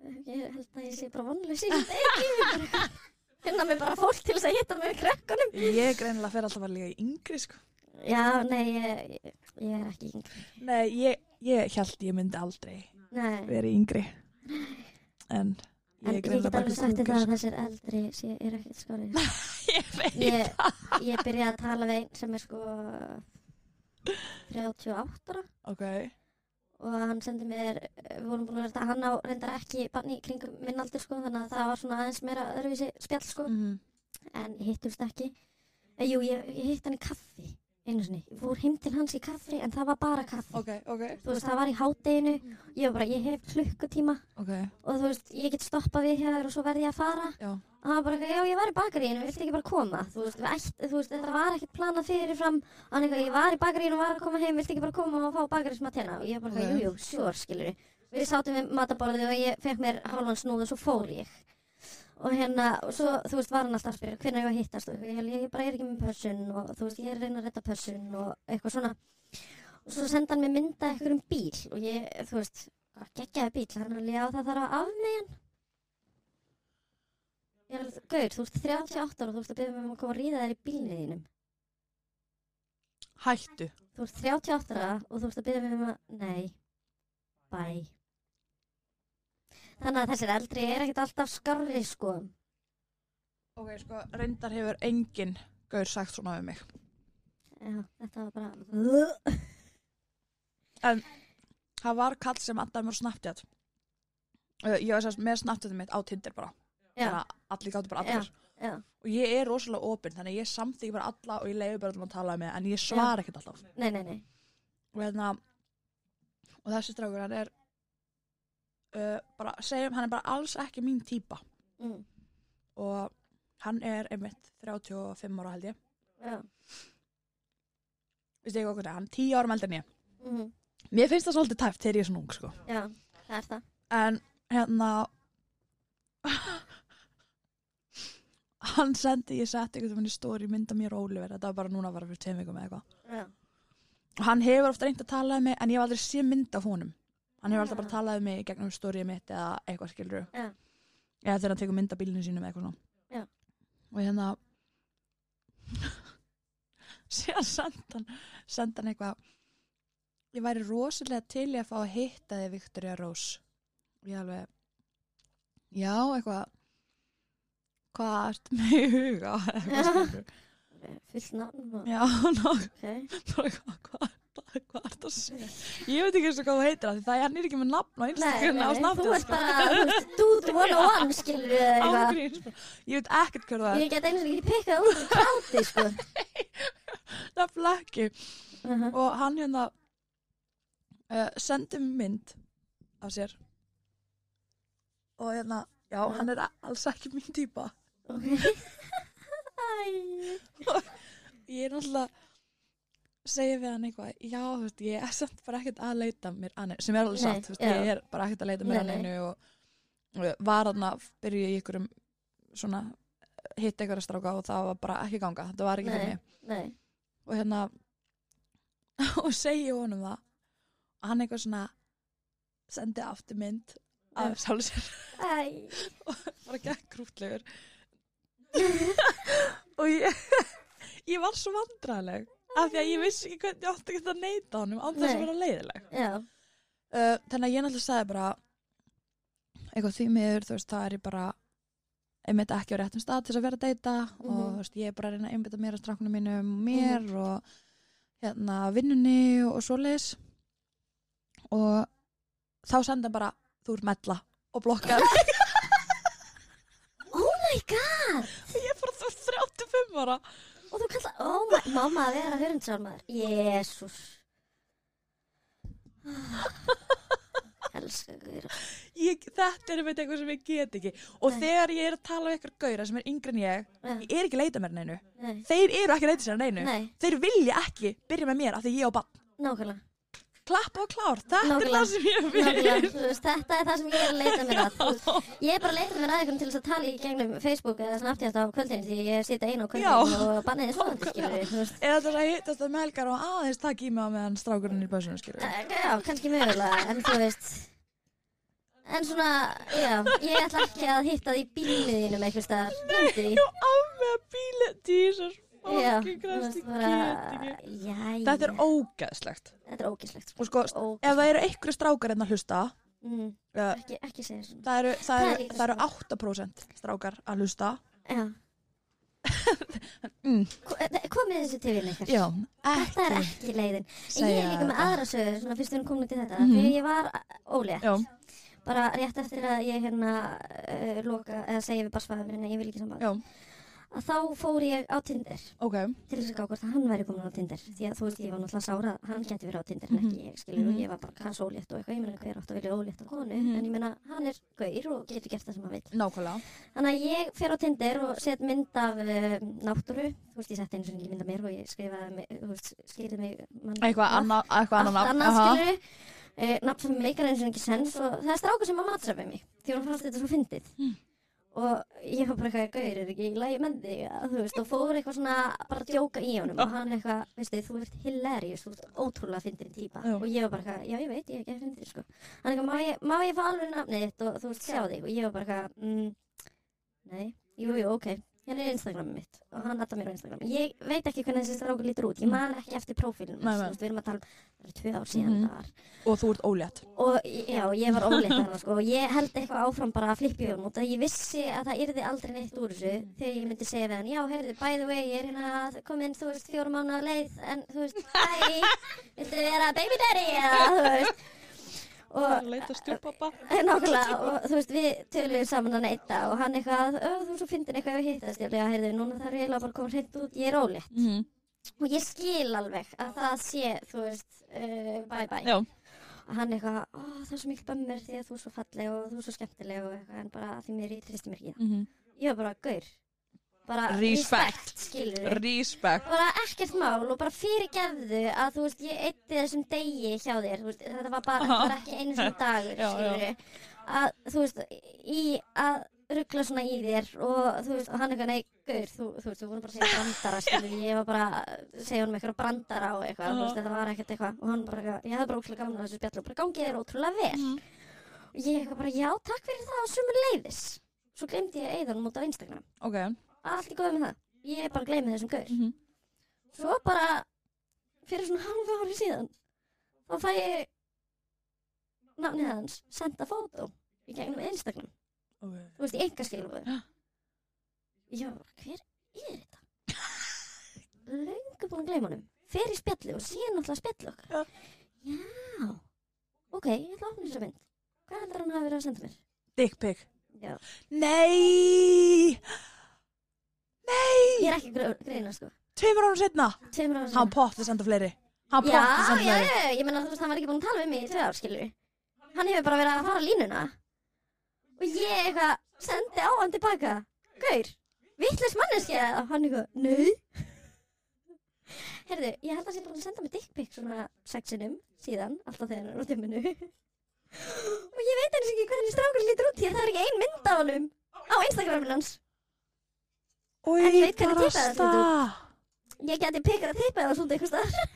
Speaker 3: ég held að ég sé bara vonlaus ég veit ekki, ég er bara finna mig bara fólk til þess að hitta með krakkanum
Speaker 2: Ég greinilega fer alltaf að líka í yngri sko.
Speaker 3: já, nei, ég, ég, ég er ekki yngri
Speaker 2: Nei, ég, ég held ég myndi aldrei
Speaker 3: nei,
Speaker 2: verið yngri. En
Speaker 3: en
Speaker 2: ég er
Speaker 3: ég get
Speaker 2: greinilega bara
Speaker 3: alveg sagt
Speaker 2: yngri. sko.
Speaker 3: þetta að þessir eldri sé, er ekki skórið
Speaker 2: Ég veit.
Speaker 3: ég, ég byrjaði að tala við einn sem er sko 38 ára
Speaker 2: Ok.
Speaker 3: og hann sendi mér, eh, við vorum búin að vera þetta, hann á reyndar ekki bann í kringum minn aldur sko þannig að það var svona aðeins meira öðruvísi spjall sko
Speaker 2: Mm.
Speaker 3: en hittumst ekki. Eh, jú, ég, ég hitt hann í kaffi einu sinni, ég fór heim til hans í kaffi en það var bara kaffi.
Speaker 2: Ok, ok.
Speaker 3: Þú veist, það var í hádeginu, ég var bara, ég hef klukkutíma
Speaker 2: Ok.
Speaker 3: og þú veist, ég get stoppað við hjá þér og svo verði ég að fara
Speaker 2: Já.
Speaker 3: og hann var bara, eitthvað, já, ég var í bakaríinu, viltu ekki bara koma þú veist, við ætt, þú veist, þetta var ekkert planað fyrirfram og hann eitthvað, ég var í bakaríinu og var að koma heim viltu ekki bara koma og fá bakarísmatena og ég bara,
Speaker 2: Ok.
Speaker 3: okay. jú, jú, sjór, skilur við sátum við mataborðið og ég fekk mér hálfan snúð og svo fór ég og hérna, og svo, þú veist, var hann alltaf að spyrja hvernig ég að hittast og ég, ég bara er ekki með pössun og þú veist, ég er að reyna að retta pössun og eitthvað svona og svo senda hann mér mynda eitthvað um bíl og ég, þú veist, geggjaði bíl hann er alveg á það þarf að afmegja hann ég er alveg, gaur, þú ert 38 ára og þú ert að byrja mig um að koma að ríða þér í bílnið þínum
Speaker 2: Hættu.
Speaker 3: þú ert 38 ára og þú ert að byrja mig um að nei, bæ Þannig að þessir eldri er ekkert alltaf skarri sko.
Speaker 4: Ok, sko.
Speaker 2: Reyndar hefur enginn gaur sagt svona við mig.
Speaker 3: Já, þetta var bara...
Speaker 2: Það var kall sem andaði mér á Snapchat. Uh, Ég var sérst með Snapchatum mitt á Tinder bara.
Speaker 3: Já,
Speaker 2: Þannig að allir gáttu bara allir.
Speaker 3: já.
Speaker 2: Og ég er rosalega opinn, þannig að ég samþyggi bara alla og ég leiði bara öllum að tala um mig, en ég svara ekkert alltaf.
Speaker 3: Nei, nei, nei.
Speaker 2: Og hérna, og þessi strákur hann er, uh, bara, segjum, hann er bara alls ekki mín típa.
Speaker 3: Mm.
Speaker 2: Og hann er einmitt 35 ára held ég.
Speaker 3: Já.
Speaker 2: Veistu ekki okkur, hann er 10 ára meldur en ég.
Speaker 3: Mm.
Speaker 2: Mér finnst það svolítið tæft þegar ég er svona ung, sko.
Speaker 3: Já, það er það.
Speaker 2: En hérna Hann sendi, ég setti einhvern veginn í stóri mynda mér og Oliver, þetta var bara núna bara fyrir tveim vikum eða eitthvað.
Speaker 3: Já.
Speaker 2: Og hann hefur ofta reynd að tala um mig en ég hef aldrei sé mynd af honum. Hann hefur alltaf bara talað um mig í gegnum stórið mitt eða eitthvað skilur.
Speaker 3: Já.
Speaker 2: Eða þegar hann tekur mynd af bílinu sínum eða eitthvað svona.
Speaker 3: Já.
Speaker 2: Og hérna síðan sendi hann, sendi hann eitthvað ég væri rosalega til í að fá að hitta þig Viktoria Rós ég alveg já, eitthvað hvað ert með í huga eitthvað skilur
Speaker 3: Fullt nafn og...
Speaker 2: já, ná,
Speaker 3: Ok.
Speaker 2: bara hvað hvað er það, hvað er það að segja ég veit ekki eins og hvað þú heitir það því það hann er ekki með nafn á
Speaker 3: Nei,
Speaker 2: Instagram á sko.
Speaker 3: nei, þú ert
Speaker 2: Snapchat
Speaker 3: bara, þú veist, dude 101 skilur við eða eitthvað.
Speaker 2: ángríns ég veit ekkert hver það er,
Speaker 3: Ég get einu sem ekki pikkað út úr kráti, sko.
Speaker 2: það er flakki
Speaker 3: Uh
Speaker 2: og hann hérna uh, sendi mér mynd af sér og hérna já, hann er alls ekki mín típa
Speaker 3: Ok. Æ.
Speaker 2: ég er náttúrulega segja við hann eitthvað, já, þú veist, ég er samt bara ekkert að leita mér að neinu, sem er alveg
Speaker 3: Nei,
Speaker 2: satt, þú veist,
Speaker 3: já.
Speaker 2: ég er bara ekkert að leita mér
Speaker 3: Nei,
Speaker 2: að
Speaker 3: nei.
Speaker 2: neinu og, og var hann að byrja í ykkurum svona eh, hitt einhverja stráka og það var bara ekki ganga, þetta var ekki
Speaker 3: Nei.
Speaker 2: fyrir mig
Speaker 3: Nei.
Speaker 2: og hérna og segi honum það og hann eitthvað svona sendi afturmynd af
Speaker 3: Já.
Speaker 2: sjálf sér
Speaker 3: Æ.
Speaker 2: bara gekk krútlegur og ég ég var svo vandræðileg af því að ég vissi ekki hvernig ég átti ekki að neyta honum án þess að
Speaker 3: Nei.
Speaker 2: vera leiðileg
Speaker 3: Já.
Speaker 2: uh, þannig að ég náttúrulega sagði bara eitthvað því miður þú veist það er ég bara einmitt ekki á réttum stað til þess að vera að deyta og
Speaker 3: Mhm.
Speaker 2: þú veist ég er bara að reyna að einbytta mér að strákunum mínum og mér og hérna vinnunni og, og svoleiðis og þá senda hann bara þú ert mella og blokkar
Speaker 3: Oh my god.
Speaker 2: ég er bara þú ert 35 ára
Speaker 3: Og þú kallar, oh my, mamma að vera hörundsálmaður. Jésús. Elsku guður.
Speaker 2: ég, þetta er einmitt eitthvað sem ég get ekki og
Speaker 3: Nei.
Speaker 2: þegar ég er að tala við ykkur gauðra sem er yngri en ég
Speaker 3: Nei,
Speaker 2: ég er ekki að leita mér að neinu
Speaker 3: nei,
Speaker 2: þeir eru ekki að leita sér að neinu
Speaker 3: nei,
Speaker 2: þeir vilja ekki byrja með mér af því ég á bann
Speaker 3: nákvæmlega.
Speaker 2: klappa og klár, þetta er
Speaker 3: Nákvæmlega.
Speaker 2: það sem ég vil
Speaker 3: Nákvæmlega, þú veist, þetta er það sem ég er að leita mér að. þú veist. Ég er bara að leita mér að einhvern til þess að tala í gegnum Facebook eða Snapchat á kvöldin því ég sita einu á kvöldin
Speaker 2: Já.
Speaker 3: og banniði svoðandi, skilur við, þú veist.
Speaker 2: eða það er að hittast það með helgar og aðeins takk í mig á meðan strákurinn er í bæsunum skilur
Speaker 3: Eh, Já, kannski mögulega, en þú veist. En svona, já, ég ætla ekki að hitta því bílinu þínum eitthvað staðar. Glemdi því.
Speaker 2: já, á með bíli Jesus
Speaker 3: Já,
Speaker 2: fucking
Speaker 3: þú
Speaker 2: Christ,
Speaker 3: veist
Speaker 2: ég
Speaker 3: bara,
Speaker 2: get ekki.
Speaker 3: jæja.
Speaker 2: þetta er ógeðslegt
Speaker 3: Þetta er ógíslegt.
Speaker 2: og sko,
Speaker 3: Ó,
Speaker 2: ef það eru einhverju strákar en að hlusta
Speaker 3: mm,
Speaker 2: uh,
Speaker 3: ekki, ekki segja svona.
Speaker 2: það eru, það
Speaker 3: Það er
Speaker 2: eru,
Speaker 3: líka
Speaker 2: það eru 8% strákar að hlusta
Speaker 3: Já.
Speaker 2: Mm.
Speaker 3: Ko- eh, Komið þessu til vinn ykkar.
Speaker 2: já,
Speaker 3: Þetta er
Speaker 2: ekki
Speaker 3: ekki leiðin. En Ég
Speaker 2: segja
Speaker 3: er líka með
Speaker 2: þetta.
Speaker 3: aðra sögur, svona fyrst við erum komin út í þetta.
Speaker 2: Mhm.
Speaker 3: Þegar ég var ólega,
Speaker 2: já,
Speaker 3: bara rétt eftir að ég hérna uh, loka, eða segja við barsfæðum minna, ég vil ekki samband.
Speaker 2: já,
Speaker 3: Að þá fór ég á Tinder
Speaker 2: ok
Speaker 3: til þess að gá hvort að hann væri komin á Tinder. Því að þú veist, ég var náttúrulega sára að hann geti verið á Tinder, en
Speaker 2: Mhm.
Speaker 3: ekki ég, skilur, og
Speaker 2: Mhm.
Speaker 3: ég var bara hans ólétt og eitthvað, ég meina hver átt að vilja ólétt á konu,
Speaker 2: Mhm.
Speaker 3: en ég meina hann er gaur og getur gert það sem hann vil.
Speaker 2: nákvæmlega,
Speaker 3: Þannig að ég fer á Tinder og set mynd af uh, náttúru, þú veist ég sett einu sem ekki mynd af mér og ég skrifaði, mig, þú veist, skýrði mig mann.
Speaker 2: eitthvað annað eitthvað
Speaker 3: Allt
Speaker 2: annað
Speaker 3: annað
Speaker 2: nafn,
Speaker 3: skilur, uh, nafn sem meikar einu sem ekki sens og það er strákur sem að matsa við mig, því hún fannst þetta svo fyndið.
Speaker 2: Hmm.
Speaker 3: Og ég var bara eitthvað gaur, er ekki í lagi með þig, að, þú veist, og fór eitthvað svona bara að djóka í
Speaker 2: Ah.
Speaker 3: honum og hann eitthvað, veistu, þú ert hilarious, þú ert ótrúlega fyndin típa
Speaker 2: Já.
Speaker 3: og ég var bara eitthvað, já ég veit, ég er ekki að fyndið, sko. Hann eitthvað, má ég, má ég fá alveg nafnið þitt og þú veist, sjá þig og ég var bara eitthvað, mm, nei, jú, jú, ok, Hérna er Instagramið mitt og hann natta mér á Instagram. Ég veit ekki hvernig þessi strákur lítur út. Ég man ekki eftir prófílunum.
Speaker 2: Nei,
Speaker 3: hans,
Speaker 2: nei.
Speaker 3: þú veist, Við erum að tala um það er tvö ár síðan
Speaker 2: Mhm.
Speaker 3: það var.
Speaker 2: og þú ert ólétt
Speaker 3: Og já, ég var óleitt þarna sko. og Ég held eitthvað áfram bara að flippi hún út að ég vissi að það yrði aldrei neitt úr þessu þegar ég myndi segja við hann, já, heyrðu, by the way, ég er hérna komin, þú veist, fjórum mánu á leið en þú veist, hæ, viltu vera baby daddy eða, þú veist. Og
Speaker 5: leita stjórnpappa
Speaker 3: Nákvæmlega, og þú veist, við töluðum saman að neyta og hann eitthvað, "Ö, þú svo fyndin eitthvað ef við hittast, ég lega, heyrðu, núna þarf ég eiginlega bara að koma hreint út, ég er ólétt.
Speaker 4: Mhm.
Speaker 3: Og ég skil alveg að það sé, þú veist, uh, bye bye.
Speaker 4: Já.
Speaker 3: Og hann eitthvað, ó, það er svo mikil bömmur því að þú er svo falleg og þú er svo skemmtileg og eitthvað, en bara því mér ég tristi mér ekki. það.
Speaker 4: Mhm.
Speaker 3: Ég var bara, gaur, bara
Speaker 5: Respect.
Speaker 3: skilur
Speaker 5: respect
Speaker 3: bara ekkert mál og bara fyrirgefðu að þú veist, ég eitti þessum degi hjá þér, þú veist, þetta var bara, þetta var ekki einu svona
Speaker 5: Já,
Speaker 3: dagur,
Speaker 5: já.
Speaker 3: skilur að, þú veist, í að ruggla svona í þér og þú veist, og hann eitthvað, nei, gaur, þú, þú veist, þú voru bara að segja brandara, skilur, ég var bara að segja honum eitthvað brandara og eitthvað, þú
Speaker 5: Aha.
Speaker 3: veist, þetta var ekkert eitthvað og hann bara, eitthvað, ég hafði bara ótrúlega gaman að þessu spjallu og bara gangið þér ótrúlega vel og ég eitthvað bara, já, takk fyrir það og sumur leiðis svo glemdi ég eða hann út á Instagram
Speaker 2: ok,
Speaker 3: allt í góð með það. Ég bara gleymi þessum gaur.
Speaker 4: Mhm.
Speaker 3: Svo bara, fyrir svona halva ári síðan, þá fæ ég nafnið hans, senda fótó í gegnum Instagram.
Speaker 5: okay.
Speaker 3: Þú veist, í enga skilfóðu. Já, hver er þetta? Löngu búin að gleyma honum. Fer í spjallu og síðan náttúrulega spjallu okkar.
Speaker 5: Já.
Speaker 3: Já, ok, ég ætla að opna þessa mynd. Hvað heldur hann að vera að senda mér?
Speaker 2: dick pic
Speaker 3: Já.
Speaker 2: nei,
Speaker 3: Ég er ekki að greina, sko.
Speaker 2: tveimur árum setna
Speaker 3: Tveimur ára
Speaker 2: hann potti senda fleiri hann
Speaker 3: Já,
Speaker 2: potti senda
Speaker 3: já,
Speaker 2: fleiri
Speaker 3: já, ég meina þú veist, hann var ekki búin að tala við mig í tvö ár, skilur Hann hefur bara verið að fara línuna Og ég eitthvað sendi á hann tilbaka Gaur, vitlaus manneskja Og hann eitthvað, nei Herðu, ég held að sé búin að senda mig dickpic svona sexinum síðan Alltaf þegar hann er út í minu Og ég veit eins og ekki hvernig strákur lítur út Því að það er ekki ein mynd af honum Á Instagramin hans
Speaker 2: og
Speaker 3: En ég veit hvernig
Speaker 2: bara
Speaker 3: tippaði það
Speaker 2: sta
Speaker 3: Ég geti pikkað að tippa eða svona eitthvað staðar.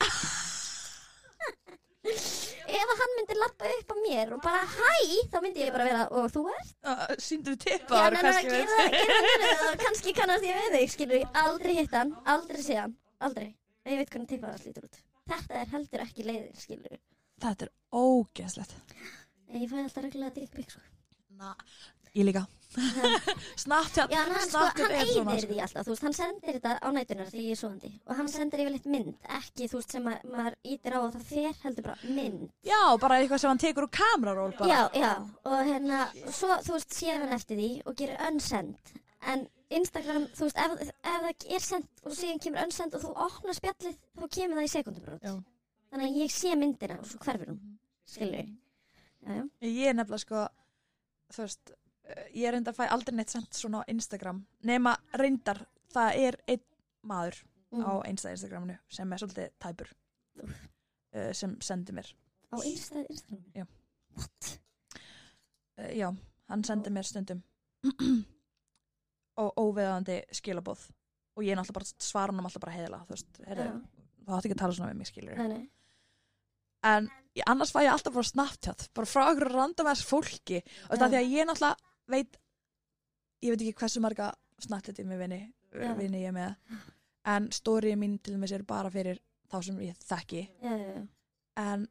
Speaker 3: Ef að hann myndi lappa upp á mér og bara hæ, þá myndi ég bara vera, og þú ert?
Speaker 5: uh, síndu
Speaker 3: Já,
Speaker 5: tippa
Speaker 3: nei, nei, nei, gerðu það, gerðu það, gerðu það, kannski kannast ég við þig, skilur ég. Aldrei hitt hann, aldrei sé hann, aldrei. En Ég veit hvernig tippað það lítur út. Þetta er heldur ekki leiðir, skilur ég.
Speaker 2: þetta er ógeðslegt
Speaker 3: Ég fæ alltaf reglulega dickpikk, sko.
Speaker 2: ég líka snartjátt
Speaker 3: Já, en hann, sko, hann eyðir því alltaf, þú veist, hann sendir þetta á nætunar þegar ég er svoandi. Og hann sendir yfirleitt mynd, ekki, þú veist, sem að, maður ítir á og það fer, heldur bara mynd.
Speaker 2: já, bara eitthvað sem hann tekur úr kameraról bara.
Speaker 3: Já, já, og hérna, svo, þú veist, sér hann eftir því og gerir unsend, en Instagram, þú veist, ef, ef það er send og síðan kemur unsend og þú opnar spjallið, þá kemur það í sekundubrót.
Speaker 2: Já. Mhm.
Speaker 3: Þannig að ég sé myndina og svo hverfur hún, skilur ég. Já, já,
Speaker 2: ég er nefnilega sko þú veist, eh, ég er reyndar að fæ aldrei neitt sent svona á Instagram nema reyndar, það er einn maður
Speaker 3: Mm.
Speaker 2: á einsta Instagraminu sem er svolítið tæpur uh, sem sendi mér
Speaker 3: á Insta, Instagram.
Speaker 2: Já.
Speaker 3: What?
Speaker 2: uh, já, hann sendi mér stundum og óveðandi skilaboð og ég er náttúrulega bara svara hann alltaf bara heiðla þú veist, heyrðu, þú átt ekki að tala svona við mig skilur
Speaker 3: Já, nei, nei.
Speaker 2: en ég, annars fæ ég alltaf bara snapchat bara frá okkur random ass fólki og þetta
Speaker 3: Já.
Speaker 2: því að ég náttúrulega veit ég veit ekki hversu marga snapchat ég með vini,
Speaker 3: Já.
Speaker 2: vini ég er með en stórið mín til dæmis er bara fyrir þá sem ég þekki
Speaker 3: Já, já, já.
Speaker 2: en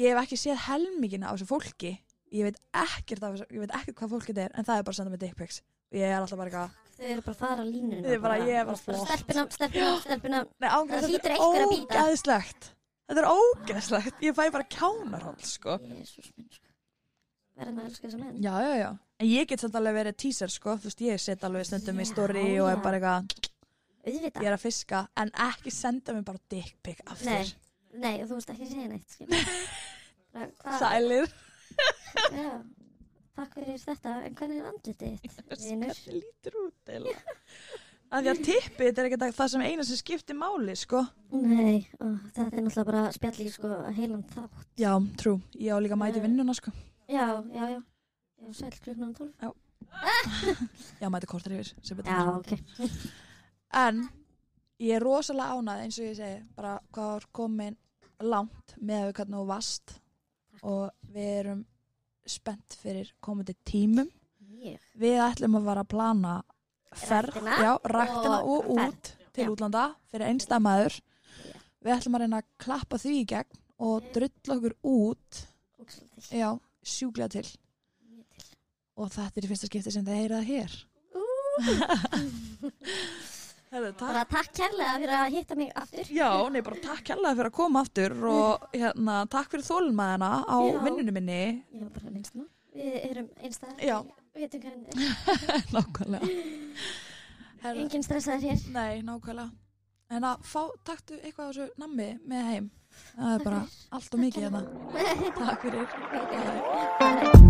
Speaker 2: ég hef ekki séð helmingina á þessu fólki ég veit ekkert af þessu, ég veit ekkert hvað fólkið er en það er bara að senda mig dick pics ég er alltaf bara eitthvað,
Speaker 3: Þau eru bara að fara á línuna.
Speaker 2: Þau eru bara, ég er bara flott.
Speaker 3: Stelpina, stelpina, stelpina.
Speaker 2: nei ángríns,
Speaker 3: Það
Speaker 2: þetta
Speaker 3: hlýtur
Speaker 2: er
Speaker 3: einhver að bíta.
Speaker 2: ógeðslegt þetta er ógeðslegt, ég fæ bara kjánarhald sko
Speaker 3: Jésús minn, sko. Verðan að elska þessa menn.
Speaker 2: Já, já, já. En ég get samt alveg verið teaser, sko, þú veist, ég set alveg stundum í
Speaker 3: Já,
Speaker 2: story og er
Speaker 3: já.
Speaker 2: bara eitthvað,
Speaker 3: Auðvitað.
Speaker 2: ég er að fiska, en ekki senda mér bara dick pic aftur.
Speaker 3: Nei, nei, og þú veist ekki að segja neitt, skilur. Bara, hvað-
Speaker 2: Sælir.
Speaker 3: Já, takk fyrir þetta, en hvernig er andlitið þitt, vinur?
Speaker 2: Hvernig lítur út, eiginlega? Af því að tippið, þetta er ekki það sem eina sem skiptir máli, sko.
Speaker 3: Nei, ó, þetta er náttúrulega bara spjall í sko heilan þátt.
Speaker 2: Já, trú. Ég á líka að mæta í
Speaker 3: Nei.
Speaker 2: vinnuna, sko.
Speaker 3: Já, já, já. Já, sæl klukkan 12.
Speaker 2: Já, mæti kortar yfir, sem betur.
Speaker 3: Já, ok.
Speaker 2: En ég er rosalega ánað eins og ég segi bara hvað var komin langt með að við hvernig þú vast og við erum spennt fyrir komandi tímum.
Speaker 3: Ég.
Speaker 2: Við ætlum að fara að plana ferð,
Speaker 3: Ræktina
Speaker 2: já, ræktina
Speaker 3: og
Speaker 2: og,
Speaker 3: ferð.
Speaker 2: út til
Speaker 3: Já.
Speaker 2: útlanda fyrir einstæðmaður.
Speaker 3: Já.
Speaker 2: Við ætlum að reyna að klappa því í gegn og drulla okkur út,
Speaker 3: og svolítið
Speaker 2: já, sjúklega til.
Speaker 3: mjög til.
Speaker 2: Og þetta er í fyrsta skipti sem þið heyrað hér.
Speaker 5: Herðu, takk.
Speaker 3: Bara takk kærlega fyrir að hitta mig aftur.
Speaker 2: Já, nei, bara takk hérlega fyrir að koma aftur og hérna, takk fyrir þólmaðina á
Speaker 3: Já.
Speaker 2: vinnunum minni.
Speaker 3: Ég var bara minnst nú. Við erum einstæðar.
Speaker 2: Já.
Speaker 3: Við veitum hvernig.
Speaker 2: Nákvæmlega. Herðu,
Speaker 3: Engin stressaður hér.
Speaker 2: nei, nákvæmlega. En að fá, taktu eitthvað af þessu nammi með heim. Það er
Speaker 3: Takk
Speaker 2: bara
Speaker 3: fyrir.
Speaker 2: allt og mikið hérna. Takk fyrir. Bye.
Speaker 3: Bye.